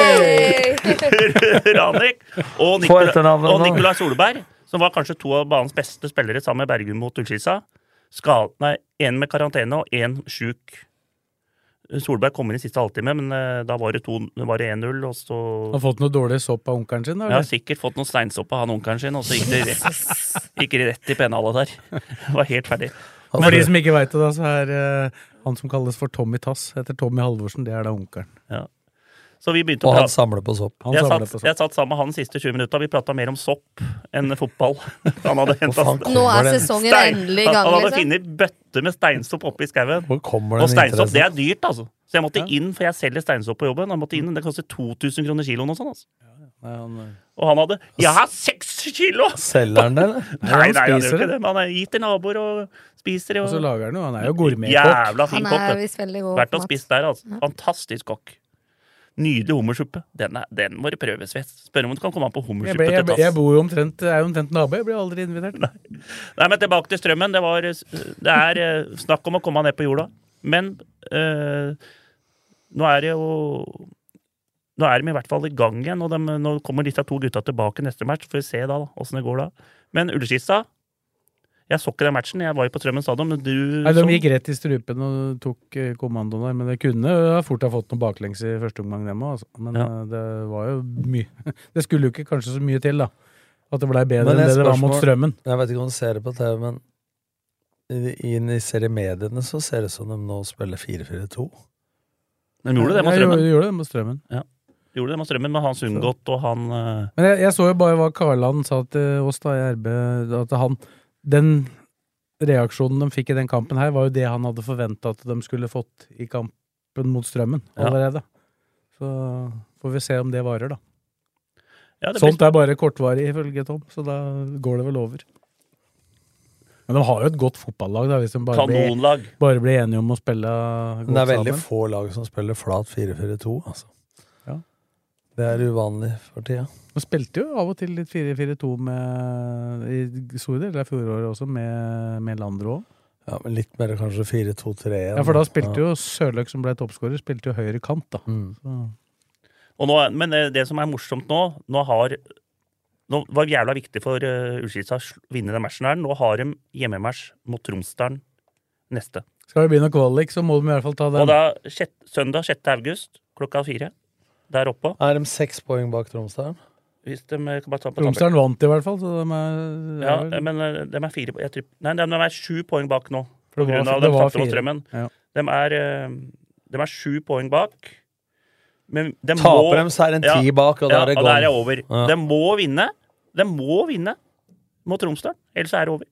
S8: [LAUGHS] Uranik! Uranik. Og,
S6: Få
S8: Nicola,
S6: etternavnet
S8: og
S6: nå.
S8: Nicolai Solberg, som var kanskje to av banens beste spillere sammen med Bergum mot Ullskisa. Skal, nei, én med karantene og én sjuk. Solberg kom inn i siste halvtime, men eh, da var det, to- det var det 1-0, og så
S4: Han har fått noe dårlig sopp av onkelen sin? da,
S8: jeg
S4: eller?
S8: har sikkert fått noen steinsopp av han onkelen sin, og så gikk det rett, gikk det rett i pennalet der. Var helt ferdig.
S4: Og for de som ikke veit det, da, så er eh, han som kalles for Tommy Tass, heter Tommy Halvorsen. Det er da onkelen.
S8: Ja. Så vi begynte å
S6: Og han
S8: prate-
S6: samler på sopp. Han
S8: jeg,
S6: samler
S8: satt,
S6: på sopp.
S8: jeg satt sammen med han de siste 20 minutta. Vi prata mer om sopp enn fotball. [LAUGHS] Han hadde hentet
S5: Nå er kommer den? sesongen
S8: Stein-
S5: endelig i gang,
S8: Han, han hadde
S5: liksom.
S8: funnet bøtter med steinsopp oppe i skauen.
S6: den
S8: Og steinsopp,
S6: interessen?
S8: det er dyrt, altså. Så jeg måtte inn, for jeg selger steinsopp på jobben. Jeg måtte inn, Det koster 2000 kroner kiloen og sånn. altså.
S4: eh,
S8: Og han hadde Jeg har seks kilo!
S6: Selger han det, eller?
S8: Nei, nei, han gjør
S4: spiser
S8: ikke
S4: det.
S8: det. Men han er- gir til naboer og spiser det.
S4: Og så lager han jo. Han er jo gourmetkokk.
S8: Jævla fin
S5: Han er
S8: kokk. vet du.
S5: visst veldig god
S8: Vært
S5: på
S8: og
S5: mat.
S8: spist der, altså. Fantastisk kokk. Nydelig hummersuppe. Den, er, den må du prøve, Svet. Spør om du kan komme an på
S4: Jeg,
S8: hummersuppe
S4: ble, jeg,
S8: til
S4: ble,
S8: tass.
S4: jeg bor jo omtrent, jeg er jo omtrent nabo. Jeg blir aldri invitert.
S8: Nei, men tilbake til strømmen. Det, var, det er eh, snakk om å komme ned på jorda. Men eh, nå er det jo Nå er de i hvert fall i gang igjen, og de, nå kommer disse to gutta tilbake neste match. Får vi se da, da åssen det går da. Men Ullskissa Jeg så ikke den matchen, jeg var jo på Strømmen stadion, men du
S4: Nei, De
S8: som-
S4: gikk rett i strupen og tok eh, kommandoen der, men det kunne ha fort ha fått noe baklengs i første omgang, dem òg. Altså. Men
S8: Ja.
S4: eh, det var jo mye [LAUGHS] Det skulle jo ikke kanskje så mye til, da. At det blei bedre
S6: Men
S4: enn
S6: et
S4: det det var mot
S6: spørsmål-
S4: strømmen.
S6: Jeg vet ikke om du ser det på TV, men i- inn i seriemediene så ser det ut som de nå spiller 4-4-2.
S8: Men gjorde det mot
S4: Ja,
S8: Strømmen?
S4: gjorde- gjorde det mot strømmen.
S8: Ja. Gjorde det mot Strømmen med Hans Unngått og han eh,
S4: Men jeg, jeg så jo bare hva Karland sa til oss da i RB, at han Den reaksjonen de fikk i den kampen her, var jo det han hadde forventa at de skulle fått i kampen mot strømmen
S8: Ja.
S4: allerede. Så får vi se om det varer, da.
S8: Ja, det blir-
S4: Sånt er bare kortvarig, ifølge Tom, så da går det vel over. Men de har jo et godt fotballag, da, hvis de bare
S8: Kanonlag.
S4: blir, bare blir enige om å spille godt
S6: Men det er veldig
S4: sammen.
S6: få lag som spiller flat 4-4-2, altså.
S4: Ja.
S6: Det er uvanlig for tida.
S4: De spilte jo av og til litt 4-4-2 med i store deler av fjoråret også, med, med Landro òg.
S6: Ja, men litt mer kanskje 4-2-3-1.
S4: Ja, for da spilte jo Sørløk, som ble toppskårer, spilte jo høyre kant, da. Så-
S8: Og nå, men eh, det som er morsomt nå, nå har Nå var det jævla viktig for uh, Ullskisa å sl- vinne den matchen her. Nå har de hjemmematch mot Tromsdalen neste.
S4: Skal vi begynne kvalik, så må de i hvert fall ta den.
S8: Og da sjett, søndag 6. august klokka fire. Der oppe.
S6: Er de seks poeng bak Tromsdalen?
S8: Hvis de eh, kan bare ta på
S4: Tromsdalen
S8: tabellen.
S4: vant i hvert fall, så de er,
S8: Ja,
S4: er vel-
S8: men eh, de er fire jeg tror, Nei, de, de er sju poeng bak nå. På
S4: For det var-
S8: grunn av
S4: det
S8: den
S4: var
S8: tapte mot
S4: fire.
S8: Strømmen.
S4: Ja.
S8: De er, eh, de er sju poeng bak. Men de
S6: Taper dem, så er det en ti bak, og da er det
S8: og da
S6: gone.
S8: er det over.
S6: Ja.
S8: De må vinne. De må vinne mot Tromsdalen, ellers er det over.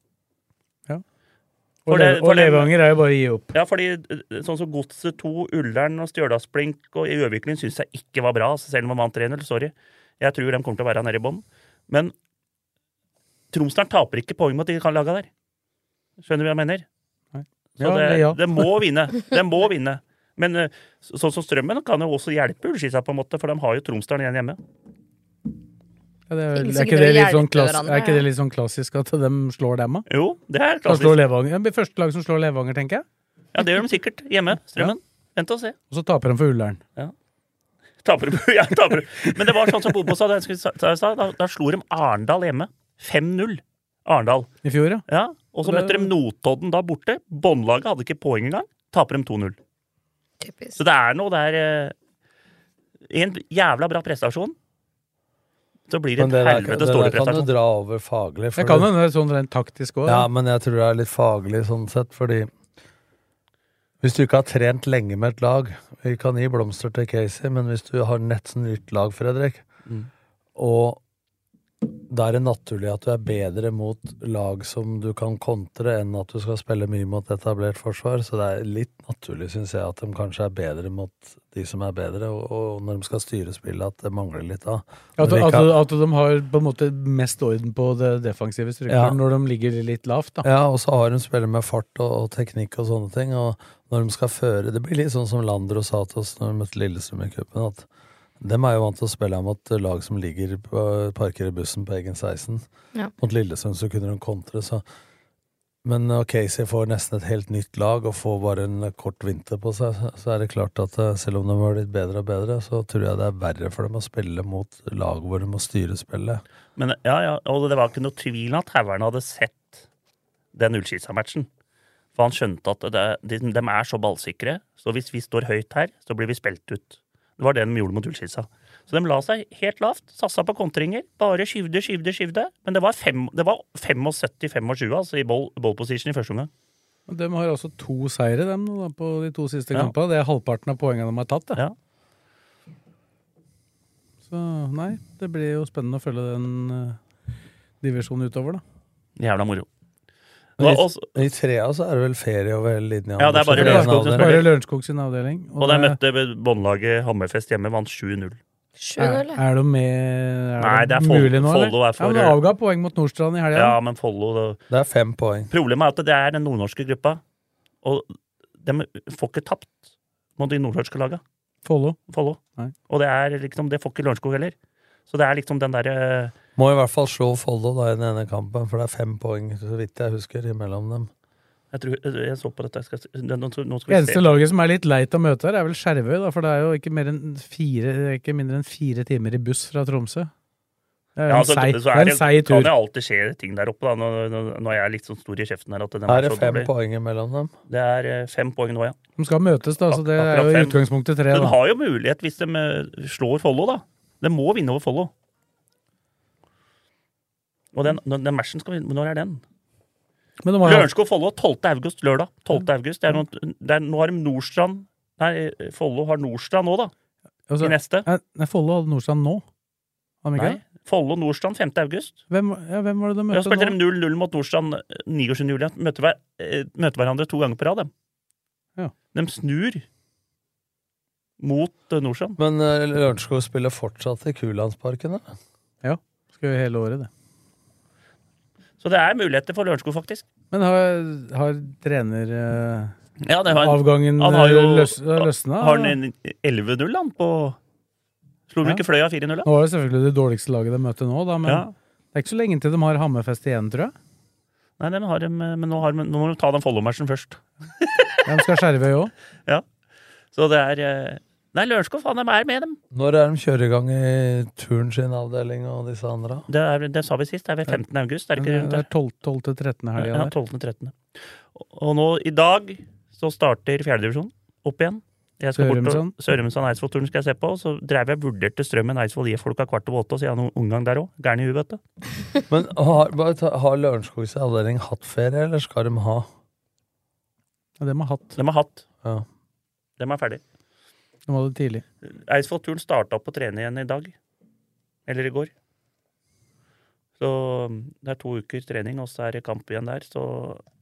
S4: Og,
S8: for det-
S4: Lev-
S8: for
S4: og
S8: det-
S4: Levanger er jo bare å gi opp.
S8: Ja, fordi eh, sånn som Godset 2, Ullern og Stjørdalsblink og Gjøviklyn syns jeg ikke var bra, altså, selv om de vant 3-0. Sorry. Jeg tror de kommer til å være nede i bånn. Men Tromsdalen taper ikke poeng mot de laga der. Skjønner du hva jeg mener? Så
S4: Ja,
S8: det,
S4: det- ja.
S8: det må vinne. Det må vinne. Men eh, så- sånn som Strømmen kan jo også hjelpe Ullskisa, på en måte, for de har jo Tromsdalen igjen hjemme.
S4: Ja, det er,
S8: Ingen
S4: vel-
S8: som
S4: er, ikke
S8: gidder å
S4: det litt sånn
S8: hjelpe
S4: klass,
S8: hverandre,
S4: er ikke det
S8: ja.
S4: litt sånn klassisk at de slår dem, da?
S8: Jo, det er
S4: Da
S8: klassisk.
S4: slår Levanger. Det blir første lag som slår Levanger, tenker jeg.
S8: Ja, det gjør de sikkert hjemme. Strømmen. Vent og se.
S4: Og så taper de for Ullern.
S8: Taper, du- [LAUGHS] ja, taper. du. Men det var sånn som Bobo sa, det jeg skulle sa- sa- sa, da, da slo de Arendal hjemme. 5-0. Arendal.
S4: I fjor, ja.
S8: Ja, og så møtte de Notodden da borte. Båndlaget hadde ikke poeng engang. Taper de 2-0. Så det er noe der eh, En jævla bra prestasjon. Så blir det
S6: Men det
S8: et
S6: der, det
S8: helvete altså. store
S6: der kan du
S8: prestasjon.
S6: dra over faglig. for
S4: Det kan hende det er sånn rent taktisk òg.
S6: Ja, men jeg tror det er litt faglig sånn sett, fordi hvis du ikke har trent lenge med et lag Vi kan gi blomster til Casey, men hvis du har nett som nytt lag, Fredrik, og da er det naturlig at du er bedre mot lag som du kan kontre, enn at du skal spille mye mot etablert forsvar. Så det er litt naturlig, syns jeg, at de kanskje er bedre mot de som er bedre, og, og når de skal styre spillet, at det mangler litt da.
S4: At,
S6: Når de ikke
S4: at,
S6: har-
S4: at de har på en måte mest orden på det defensive
S6: Ja.
S4: strukturen når de ligger litt lavt, da.
S6: Ja, og så har de spillere med fart og, og teknikk og sånne ting. Og når de skal føre Det blir litt sånn som Landro sa til oss når de møtte Lillestrøm i cupen, at dem er jo vant til å spille mot lag som ligger på, parker i bussen på egen 16.
S7: Ja.
S6: Mot Lillestrøm så kunne de kontre, så Men eh, når Casey får nesten et helt nytt lag og får bare en kort vinter på seg, så- så er det klart at eh, selv om de har blitt bedre og bedre, så tror jeg det er verre for dem å spille mot lag hvor de må styre spillet.
S8: Men ja, ja, og det var ikke noe tvil om at Haugern hadde sett den Ullskisa-matchen. For han skjønte at det, de, de er så ballsikre, så hvis vi står høyt her, så blir vi spilt ut. Det var det de gjorde mot Ullskisa. Så de la seg helt lavt, satsa på kontringer. Bare skyvde, skyvde, skyvde. Men det var, fem- det var 75-25 altså, i ball, ball position i første omgang.
S4: Men De har altså to seire, dem, nå, da, på de to siste
S8: Ja.
S4: kampene. Det er halvparten av poengene de har tatt, det. Så nei, det blir jo spennende å følge den eh, divisjonen utover, da.
S8: Jævla moro.
S6: Men
S8: Og-
S6: I, I trea så er det vel ferie over hele linja?
S8: Ja, det er bare
S6: Eller
S8: Lørenskog som
S6: en
S8: spiller.
S6: avdeling.
S4: Bare Lørenskog sin avdeling.
S8: Og da jeg møtte båndlaget Hammerfest hjemme, vant 7-0.
S4: er, er de med er
S8: Nei,
S4: de
S8: det er Fol-
S4: mulig nå, eller?
S8: Follo er for-
S4: ja, men de avga poeng mot Nordstrand i helga.
S8: Ja, men Follo det-
S6: Det er fem poeng.
S8: Problemet er at det er den nordnorske gruppa, og de får ikke tapt mot de nordnorske laga.
S4: Follo.
S8: Follo.
S4: Nei.
S8: Og det er liksom, det får ikke Lørenskog heller. Så det er liksom den derre
S6: Må i hvert fall slå Follo da i den ene kampen, for det er fem poeng, så vidt jeg husker, imellom dem.
S8: Jeg tror, jeg så på dette jeg skal, si- nå- nå skal vi se.
S4: Eneste laget som er litt leit å møte her, er vel Skjervøy, da, for det er jo ikke, mer enn fire, det er ikke mindre enn fire timer i buss fra Tromsø. Det er jo
S8: Ja,
S4: en
S8: altså,
S4: seig-
S8: så
S4: det
S8: er
S4: er en
S8: det-
S4: seig
S8: Kan
S4: tur.
S8: det alltid skje ting der oppe, da, når, når- når jeg er litt sånn stor i kjeften her. At den
S6: Er det
S8: så
S6: fem
S8: dårlig.
S6: poeng imellom dem?
S8: Det er eh, fem poeng nå, ja.
S4: De skal møtes, da, så det er
S8: Akkurat
S4: jo i
S8: fem.
S4: utgangspunktet tre.
S8: Men De
S4: Da.
S8: har jo mulighet hvis de eh, slår Follo, da. De må vinne over Follo. Og den, den, den matchen skal vi Når er den?
S4: Men de har jo-
S8: Lørenskog-Follo 12. august, lørdag. 12. august. Det er noen, det er, nå har de Nordstrand Nei, eh, Follo har Nordstrand nå, da.
S4: altså,
S8: I neste.
S4: Nei, Nei, Follo hadde Nordstrand nå. Har de ikke
S8: Nei.
S4: det?
S8: Follo-Nordstrand 5. august.
S4: Hvem, ja, hvem var det de
S8: Da
S4: møtte
S8: spilte de
S4: nå?
S8: 0-0 mot Nordstrand eh, 29. juli. De Møter, hver, eh, møter hverandre to ganger på rad, dem.
S4: Ja.
S8: De snur mot eh, Nordstrand.
S6: Men eh, Lørenskog spiller fortsatt i Kulandsparken, da?
S4: Ja. Skal jo hele året, det.
S8: Så det er muligheter for Lørenskog, faktisk.
S4: Men har, har trener... eh,
S8: Ja, det har han.
S4: Avgangen
S8: Han har jo
S4: løs, løsna.
S8: Har han en 11-0 han på Slo de
S4: Ja.
S8: ikke Fløya 4-0? da?
S4: Nå var det selvfølgelig det dårligste laget de møtte nå, da, men
S8: Ja.
S4: det er ikke så lenge til de har Hammerfest igjen, tror jeg.
S8: Nei, dem har de, men nå, har de, nå må de ta den Follo-matchen først.
S4: De skal skjerve òg.
S8: Ja. Så det er eh, Nei, Lørenskog, faen, de er med, dem.
S6: Når er de kjører i gang i turn sin avdeling og disse andre?
S8: Det, er, det sa vi sist. Det er ved 15. august, er det ikke rundt
S4: Det
S8: der?
S4: er 12. 12. 13. helga
S8: Ja,
S4: der.
S8: 12.13. Og nå, i dag, så starter fjerdedivisjonen opp igjen. Jeg skal bort og-
S4: Sørumsand.
S8: Sørumsand Eidsvoll-turen skal jeg se på. og Så drev jeg og vurderte strømmen Eidsvoll gir folka kvart over åtte, og så jeg har noen omgang der òg. Gæren i huet, vet du.
S6: Men har, bare ta- har Lørenskogs avdeling hatt ferie, eller skal de ha?
S4: Ja, De har hatt.
S8: De har hatt.
S6: Ja.
S8: Dem er ferdig.
S4: De hadde tidlig.
S8: Eidsvoll-turen starta opp å trene igjen i dag. Eller i går. Så um, det er to uker trening, og så er det kamp igjen der. Så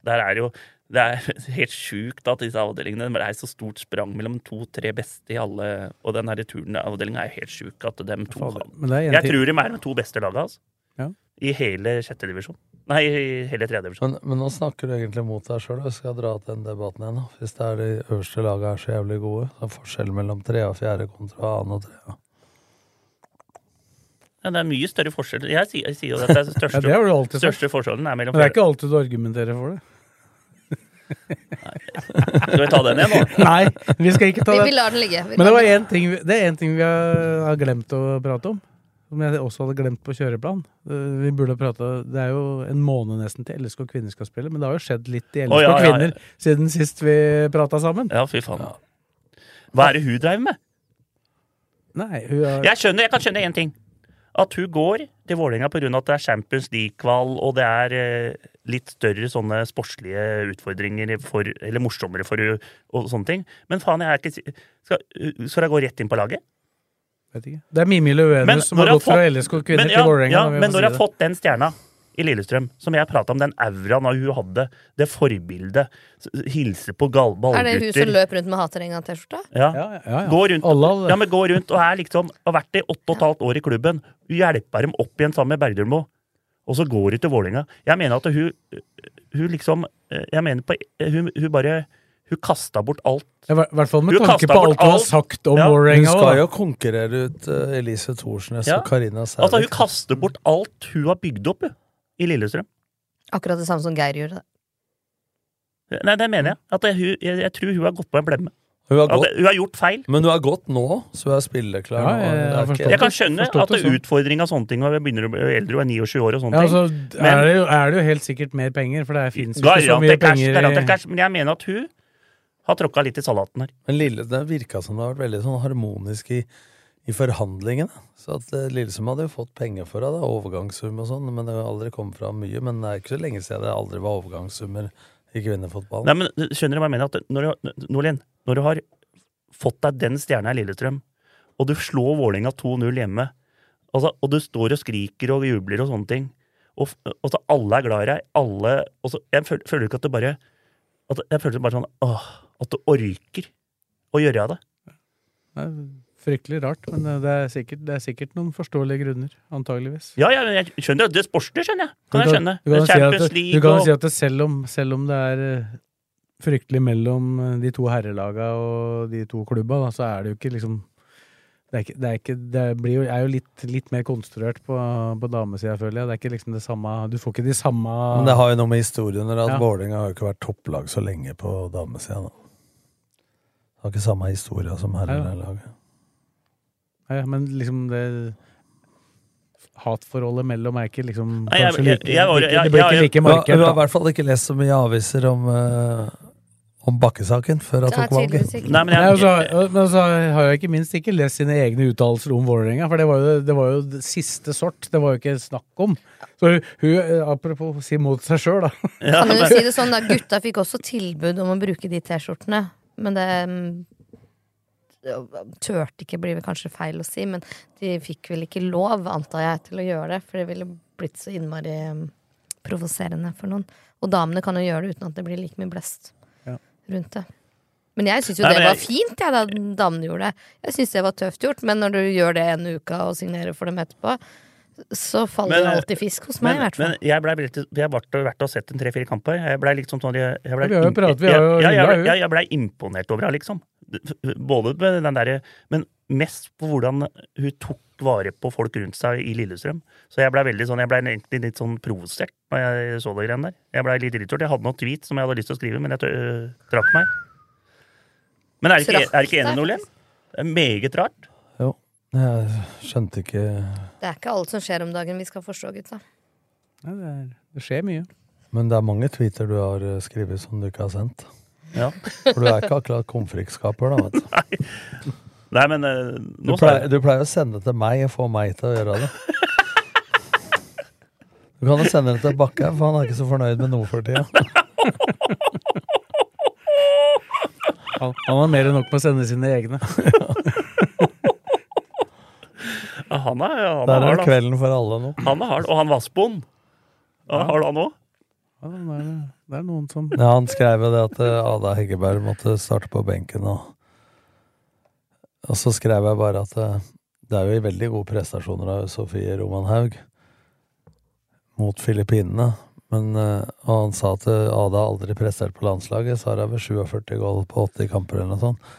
S8: der er jo Det er [LAUGHS] helt sjukt at disse avdelingene Det er så stort sprang mellom to-tre beste i alle Og den her turnavdelinga er jo helt sjuk at dem to
S4: Fader, men det er en
S8: Jeg
S4: til-
S8: tror de er de to beste laga, altså.
S4: Ja.
S8: I hele sjette divisjon. Nei, i hele tredje divisjon.
S6: Men, men nå snakker du egentlig mot deg sjøl. Jeg skal dra til den debatten igjen. da. Hvis det er de øverste lagene er så jævlig gode, så er forskjellen mellom trea og fjerde kontra annen og trea.
S8: Ja, det er mye større forskjell. Jeg sier, jeg sier jo at det er
S4: [LAUGHS] Ja,
S8: største,
S4: det har du alltid sagt.
S8: største forskjellen er mellom
S4: Men det er ikke alltid du
S8: [LAUGHS]
S4: argumenterer for det.
S8: Skal vi ta den igjen, nå?
S4: Nei, vi skal ikke ta
S5: Vi-
S4: den.
S5: vi lar den ligge. Vi
S4: Men det,
S5: lar
S4: var
S5: den
S4: en ting, vi- det er én ting vi har har glemt å prate om. Som jeg også hadde glemt på kjøreplan. Eh, Vi burde ha pratet, Det er jo en måned nesten til LSK kvinner skal spille, men det har jo skjedd litt i LSK
S8: Å, ja, ja, ja.
S4: kvinner siden sist vi prata sammen.
S8: Ja, fy faen. Hva er det hun driver med?
S4: Nei, hun har
S8: Jeg, skjønner, jeg kan skjønne én ting. At hun går til Vålerenga pga. at det er Champions League-kval, og det er eh, litt større sånne sportslige utfordringer for Eller morsommere for hun, og sånne ting. Men faen, jeg er ikke si- Skal, eh, skal hun gå rett inn på laget?
S4: vet ikke. Det er Mimi
S8: Men
S4: Løvenus som har
S8: når jeg
S4: gått
S8: har
S4: fra
S8: fått-
S4: LSK kvinner
S8: men,
S4: til Vålerenga.
S8: Ja,
S4: da, vi må
S8: men når
S4: si
S8: jeg
S4: det.
S8: har fått den stjerna i Lillestrøm, som jeg prata om, den auraen hun hadde, det forbildet, s- hilse på gal-
S5: ligge.
S8: ballgutter
S5: Er det hun som løp rundt med haterenga-T-skjorta?
S8: Ja. Gå rundt,
S4: Alle hadde det.
S8: ja, men gå rundt og er liksom, har vært i åtte og et halvt år i klubben. Hjelper dem opp igjen sammen med Bergdølmo. Og så går hun til Vålerenga. Jeg mener at hun, hun liksom Jeg mener på Hun, hun bare Hun kasta bort alt.
S4: Ja, I hver- hvert fall med
S8: Du
S4: tanke
S8: kastet
S4: på
S8: bort
S4: alt du har
S8: alt.
S4: sagt om
S8: Ja.
S6: Hun
S4: Vålerenga.
S6: skal
S4: også,
S6: jo konkurrere ut eh, Elise Thorsnes
S8: Ja.
S6: og Karina Sævik.
S8: Altså, hun kaster bort alt hun har bygd opp, hun. I Lillestrøm.
S5: Akkurat det samme som Geir gjorde.
S8: Nei, det mener jeg. At hun, jeg, jeg tror hun har gått på en blemme.
S6: Hun har
S8: At
S6: gått,
S8: hun har gjort feil.
S6: men hun er godt nå, så hun er spilleklar.
S4: Ja,
S6: nå.
S4: jeg- jeg
S6: Det er
S4: forstår
S6: ikke-
S4: det.
S8: Jeg kan skjønne
S4: Forstått
S8: at
S4: det
S8: det er
S4: sånn.
S8: utfordring av sånne ting, og jeg begynner å bli eldre og er 29 år og sånne
S4: Ja,
S8: ting.
S4: altså,
S8: Men-
S4: er, det jo, er det jo helt sikkert mer penger, for det fins jo ikke så mye
S8: Garantert cash,
S4: penger eh?
S8: garantert
S4: i
S8: cash. Men jeg mener at hun har tråkka litt i salaten her.
S6: Men Lille, det virka som det har vært veldig sånn harmonisk i, i forhandlingene. Så at eh, Lillesund hadde jo fått penger for det, da, overgangssum og sånn, men det har aldri kommet fram mye. Men det er ikke så lenge siden det aldri var overgangssummer i kvinnefotballen.
S8: Nei, men Skjønner du hva jeg mener? At når du, Nordlien, når du har fått deg den stjerna i Lillestrøm, og du slår Vålerenga 2-0 hjemme, altså, og du står og skriker og jubler og sånne ting, og, f- og så alle er glad i deg, alle og så, Jeg føler, føler ikke at det bare at, Jeg føler bare sånn åh, at du orker å gjøre det.
S4: Det er fryktelig rart, men det er sikkert, det er sikkert noen forståelige grunner. Antageligvis.
S8: Ja, ja, jeg skjønner det. Det er sportslig, skjønner jeg. Kan jeg skjønne.
S4: Du kan, jo si at,
S8: Champions
S4: du
S8: League
S4: kan jo
S8: og-
S4: si at det selv, om, selv om det er eh, fryktelig mellom eh, de to herrelaga og de to klubba, da, så er det jo ikke liksom Det er, ikke, det er, ikke, det blir jo, er jo litt, litt mer konstruert på, på damesida, føler jeg. Det er ikke liksom det samme Du får ikke de samme
S6: Men det har jo noe med historien å gjøre. at
S4: Ja.
S6: Vålerenga har jo ikke vært topplag så lenge på damesida. da. Har ikke samme historie som herrelaget.
S4: Ja, ja, men liksom det Hatforholdet mellom er ikke liksom
S8: Nei, jeg-
S4: kanskje
S8: jeg-
S4: like-
S8: jeg var-
S4: like-
S8: jeg-
S4: Det blir
S8: jeg-
S4: ikke like
S6: Du har,
S4: markert.
S6: du har i
S4: da.
S6: hvert fall ikke lest så mye aviser om, eh, om bakkesaken før han
S4: Ja,
S6: tok valget.
S4: tydeligvis ikke. Nei, altså, og så- og- men så har jeg ikke minst ikke lest sine egne uttalelser om Vålerenga, for det var, jo, det var jo det siste sort. Det var jo ikke snakk om. Så hun, hun apropos si mot seg sjøl, da. [LAUGHS]
S5: Kan du si det sånn da, Gutta fikk også tilbud om å bruke de T-skjortene, men det mm, Tørte ikke, blir vel kanskje feil å si, men de fikk vel ikke lov, antar jeg, til å gjøre det. For det ville blitt så innmari mm, provoserende for noen. Og damene kan jo gjøre det uten at det blir like mye blest
S4: Ja.
S5: rundt det. Men jeg syns jo
S4: Nei,
S5: det
S4: men
S5: var
S4: jeg-
S5: fint, jeg, da damene gjorde det. Jeg syns det var tøft gjort, men når du gjør det en uke og signerer for dem etterpå, så faller
S8: Men,
S5: jo
S8: eh,
S5: alltid fisk hos meg, i
S8: men,
S5: hvert fall.
S8: Men jeg blei litt Jeg ble vært og sett en tre-fire kamper. Jeg ble liksom sånn jeg, jeg ble
S4: Vi har jo
S8: imp-
S4: pratet, vi har jo
S8: jeg, jeg, jeg,
S4: rullet ut.
S8: jeg, jeg ble imponert over henne, liksom. Både med den derre Men mest på hvordan hun tok vare på folk rundt seg i Lillestrøm. Så jeg blei veldig sånn Jeg blei egentlig litt sånn provosert når jeg så de greiene der. Jeg blei litt irritert. Jeg hadde noen tweet som jeg hadde lyst til å skrive, men jeg tø- øh, trakk meg. Men er dere ikke, er dere ikke enig, Nordlien? Det er Meget rart.
S6: Jo. Jeg skjønte ikke
S5: Det er ikke alt som skjer om dagen vi skal forstå, gutta.
S4: Nei, det, er, det skjer mye.
S6: Men det er mange tweeter du har eh, skrevet som du ikke har sendt.
S8: Ja.
S6: For du er ikke akkurat komfrikskaper, da. vet du.
S8: Nei, men øh,
S6: Du
S8: nå
S6: pleier, du pleier å sende til meg og få meg til å gjøre det. Du kan jo sende det til Bakke, for han er ikke så fornøyd med noe for tida.
S4: Han han har mer enn nok med å sende sine egne.
S8: Ja, Han er, han
S6: Der er
S8: hard, altså.
S6: kvelden for alle nå.
S8: Han er hard, og han Vassboen. Ja. Har du han òg?
S4: Ja, det, er, det er noen som
S6: Ja, han skrev jo det at eh, Ada Heggeberg måtte starte på benken, og Og så skrev jeg bare at eh, det er jo veldig gode prestasjoner av Sofie Roman Haug mot Filippinene. Men, eh, og han sa at eh, Ada aldri prestert på landslaget, så har hun vel 47 goal på 80 kamper eller noe sånt.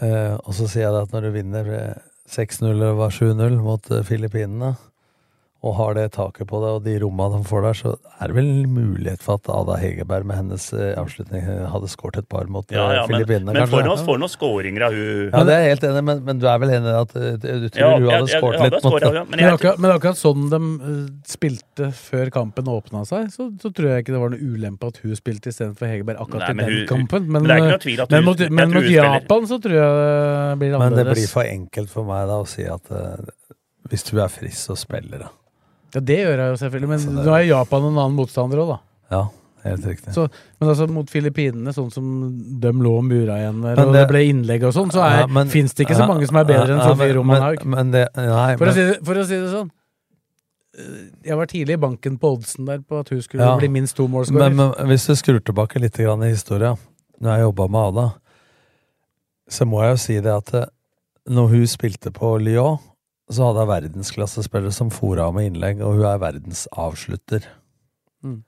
S6: Eh, og så sier jeg det at når du vinner eh, 6-0 eller var 7-0 mot eh, Filippinene, og har det taket på deg og de romma de får der, så er det vel mulighet for at Ada Hegerberg med hennes eh, avslutning eh, hadde skåret et par mot
S8: Ja,
S6: eh,
S8: ja, men,
S6: Filippinene.
S8: men
S6: kanskje,
S8: får
S6: da.
S8: noen, får noen scoringer av hun
S6: Ja, det er jeg helt enig, i, men, men du er vel enig i at eh, du tror
S8: Ja,
S6: hun
S8: jeg-
S6: hadde
S8: jeg-
S6: skåret
S8: jeg
S6: litt?
S8: hadde
S6: mot
S8: scoret,
S6: det?
S8: ja,
S4: Men, akkurat, men akkurat sånn de eh, spilte før kampen åpna seg, så, så tror jeg ikke det var noe ulempe at hun spilte istedenfor Hegerberg akkurat
S8: Nei, men
S4: i den
S8: hun-
S4: kampen.
S8: men det er ikke noe tvil at
S4: men
S8: hun-
S4: mot,
S8: jeg tror
S4: men
S8: hun
S4: mot
S8: spiller.
S4: Japan så tror jeg det blir
S6: Men
S4: annerledes.
S6: det blir for enkelt for meg da å si at eh, hvis du er frisk, så spiller du.
S4: Ja, det gjør jeg jo selvfølgelig, men
S6: det-
S4: nå er Japan en annen motstander òg, da.
S6: Ja, helt riktig.
S4: Så, men altså mot Filippinene, sånn som de lå og mura igjen der,
S6: Men
S4: og det
S6: det-
S4: ble innlegg og sånn, så
S6: Ja, men-
S4: fins det ikke så
S6: ja,
S4: mange som er bedre enn
S6: ja,
S4: Sofie
S6: men-
S4: Roman
S6: men-
S4: Haug.
S6: men det- nei,
S4: for,
S6: men-
S4: å si det, for å si det sånn. eh, Jeg var tidlig i banken på oddsen der på at hun skulle
S6: Ja.
S4: bli minst to mål.
S6: Men, men hvis du skrur tilbake litt grann i historien, når jeg jobba med Ada, så må jeg jo si det at eh, når hun spilte på Lyon, så hadde hun verdensklassespillere som fora med innlegg, og hun er verdensavslutter.
S4: Mm.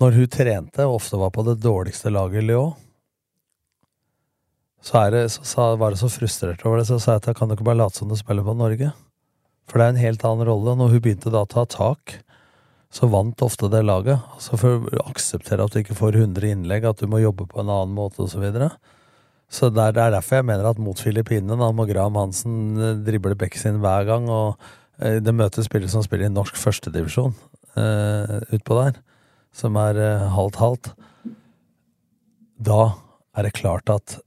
S6: Når hun trente, og ofte var på det dårligste laget i Lyon, så, er det, så sa, var jeg så frustrert over det, så sa jeg at jeg kan du ikke bare late som du spiller på Norge? For det er en helt annen rolle. Når hun begynte da å ta tak, så vant ofte det laget. Altså for å akseptere at du ikke får 100 innlegg, at du må jobbe på en annen måte osv. Så videre. så det er, det er derfor jeg mener at mot Filippinene da må Graham Hansen eh, drible bekken sin hver gang, og eh, det møter spillere som spiller i norsk førstedivisjon eh, utpå der, som er eh, halvt-halvt. Da er det klart at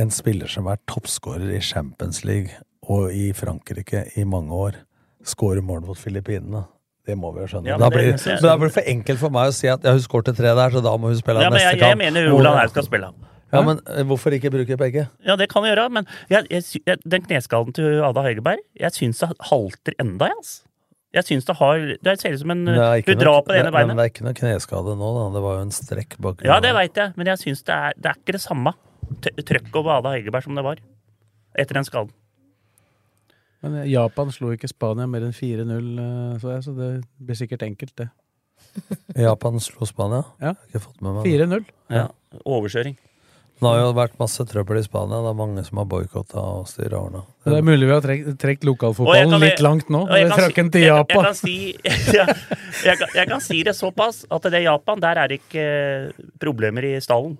S6: en spiller som er toppskårer i Champions League og i Frankrike i mange år, skårer mål mot Filippinene. Det må vi jo skjønne.
S8: Ja, men
S6: da,
S8: det-
S6: blir,
S8: det-
S6: men da blir det for enkelt for meg å si at ja, hun skårte tre der, så da må hun spille
S8: Ja, men
S6: neste
S8: jeg, jeg
S6: kamp.
S8: mener Roland Haug skal spille.
S6: Ja, men eh, hvorfor ikke bruke begge?
S8: Ja, det kan vi gjøre, men jeg, jeg, sy- jeg, den kneskallen til Ada Hegerberg, jeg syns det halter enda, jeg, altså. Jeg syns det har Det ser ut som en
S6: Det er ikke
S8: Du drar
S6: noe-
S8: på det ene
S6: Nei, Men
S8: beinet.
S6: det er ikke noe kneskade nå, da. Det var jo en strekk bak
S8: Ja, det veit jeg, men jeg syns det, er- det er ikke det samme t- trøkket over Ada Hegerberg som det var etter den skaden.
S4: Men Japan slo ikke Spania mer enn 4-0, eh, så jeg, så det blir sikkert enkelt, det.
S6: Japan slo Spania.
S4: Ja.
S6: Ikke fått med meg det.
S4: 4-0.
S8: Ja. Overkjøring.
S6: Det har jo vært masse trøbbel i Spania. Det er mange som har boikotta og styrer årene.
S4: Det er mulig vi har trekt, trekt
S8: Og jeg
S4: lokalfotballen
S8: kan-
S4: litt langt nå.
S8: og jeg kan si-
S4: Frakken til
S8: jeg- Jeg
S4: Japan.
S8: kan, si, [LAUGHS] ja, jeg, kan, jeg kan si det såpass at det i Japan, der er det ikke eh, problemer i stallen.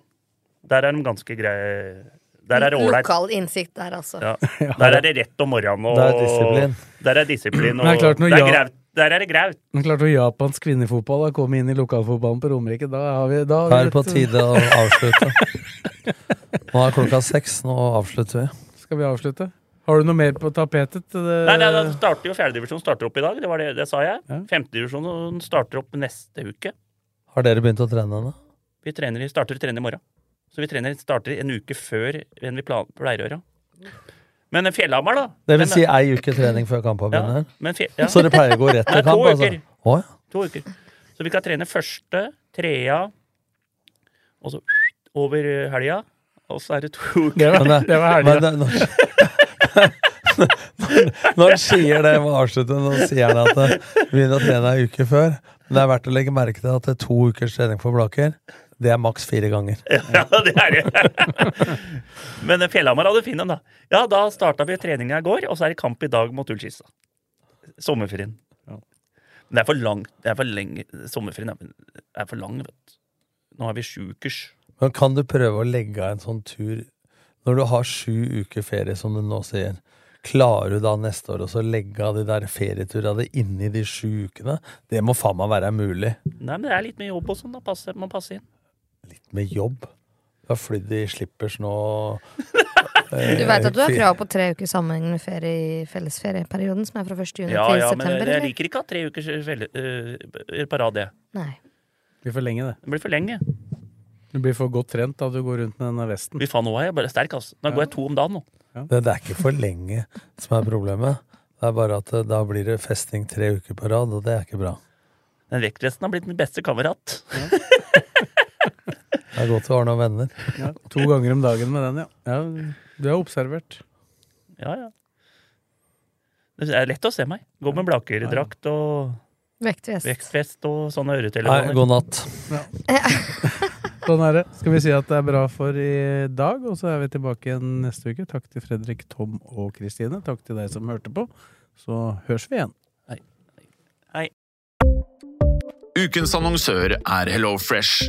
S8: Der er de ganske greie Der er det ålreit.
S5: Lokal innsikt der, altså.
S4: [LAUGHS]
S8: Ja. Der er det rett om morgenen. Og,
S4: Det er disiplin.
S8: Der er disiplin, og
S4: Men det er klart når
S8: det er
S4: ja-
S8: graut. Der er det graut.
S4: Men klart når japansk kvinnefotball har kommet inn i lokalfotballen på Romerike, da har vi da har
S6: Det
S4: vi
S6: er på
S4: et- eh,
S6: tide å avslutte. Nå er klokka seks. Nå avslutter vi.
S4: Skal vi avslutte? Har du noe mer på tapetet? Eh, Det-
S8: Nei, nei, det starter jo Fjerdedivisjon starter opp i dag, det var det, det sa jeg. Femtedivisjon starter opp neste uke.
S6: Har dere begynt å trene henne?
S8: Vi trener, i- starter å trene i morgen. Så vi trener, starter en uke før enn vi plan- pleier å gjøre. Men Fjellhamar, da
S6: Det vil
S8: Men-
S6: si ei uke trening før kampen begynner?
S8: men fje- ja.
S6: Så det pleier å gå rett
S8: Nei,
S6: til kamp?
S8: to
S6: Altså.
S8: uker.
S6: Å, ja.
S8: To uker. Så vi kan trene første, trea, og så over helga. Og så er det to uker.
S6: Men eh, men det- når- [LAUGHS] Når han sier det, jeg må avslutte, nå sier han at det begynner å trene ei uke før. Men det er verdt å legge merke til at det er to ukers trening for Blaker, det er maks fire ganger.
S8: [LAUGHS] Ja, det er det. [LAUGHS] Men Fjellhamar hadde fin en, da. Ja, da starta vi treninga i går, og så er det kamp i dag mot Ullkisa. Sommerferien. Men det er for lang det er for lenge, Sommerferien er, er for lang, vet du. Nå er vi sju ukers.
S6: Men kan du prøve å legge av en sånn tur når du har sju uker ferie, som du nå sier? Klarer du da neste år også å legge av de der ferieturene inni de sju ukene? Det må faen meg være mulig.
S8: Nei, men det er litt mye jobb og sånn, da. Passe, man passer inn.
S6: Med jobb. Du har flydd i slippers nå. eh,
S5: Du veit at du har krav på tre uker sammenhengende ferie i fellesferieperioden, som er fra 1. juni
S8: Ja,
S5: til
S8: ja, men
S5: september?
S8: jeg, jeg
S5: eller?
S8: liker ikke å ha tre ukers eh, felle, øh, parad, jeg.
S5: Nei.
S6: eh,
S4: Det blir for lenge, det.
S8: Det blir for lenge.
S4: Du blir for godt trent da du går rundt med denne vesten.
S8: Fy faen, nå er jeg bare sterk, altså. Nå går jeg to om dagen, nå.
S6: Det, det er ikke for lenge som er problemet. Det er bare at eh, da blir det festing tre uker på rad, og det er ikke bra.
S8: Den vektresten har blitt min beste kamerat.
S6: Det er godt å ha noen venner.
S4: Ja, to ganger om dagen med den, ja. ja du er observert.
S8: Ja, ja. Det er lett å se meg. Gå med blakerdrakt og
S5: Vektvest.
S8: vektvest og sånne øretelefoner.
S6: Nei, god natt.
S4: Sånn er det. Skal vi si at det er bra for i dag, og så er vi tilbake igjen neste uke. Takk til Fredrik, Tom og Kristine. Takk til deg som hørte på. Så høres vi igjen.
S7: Ukens annonsør er HelloFresh.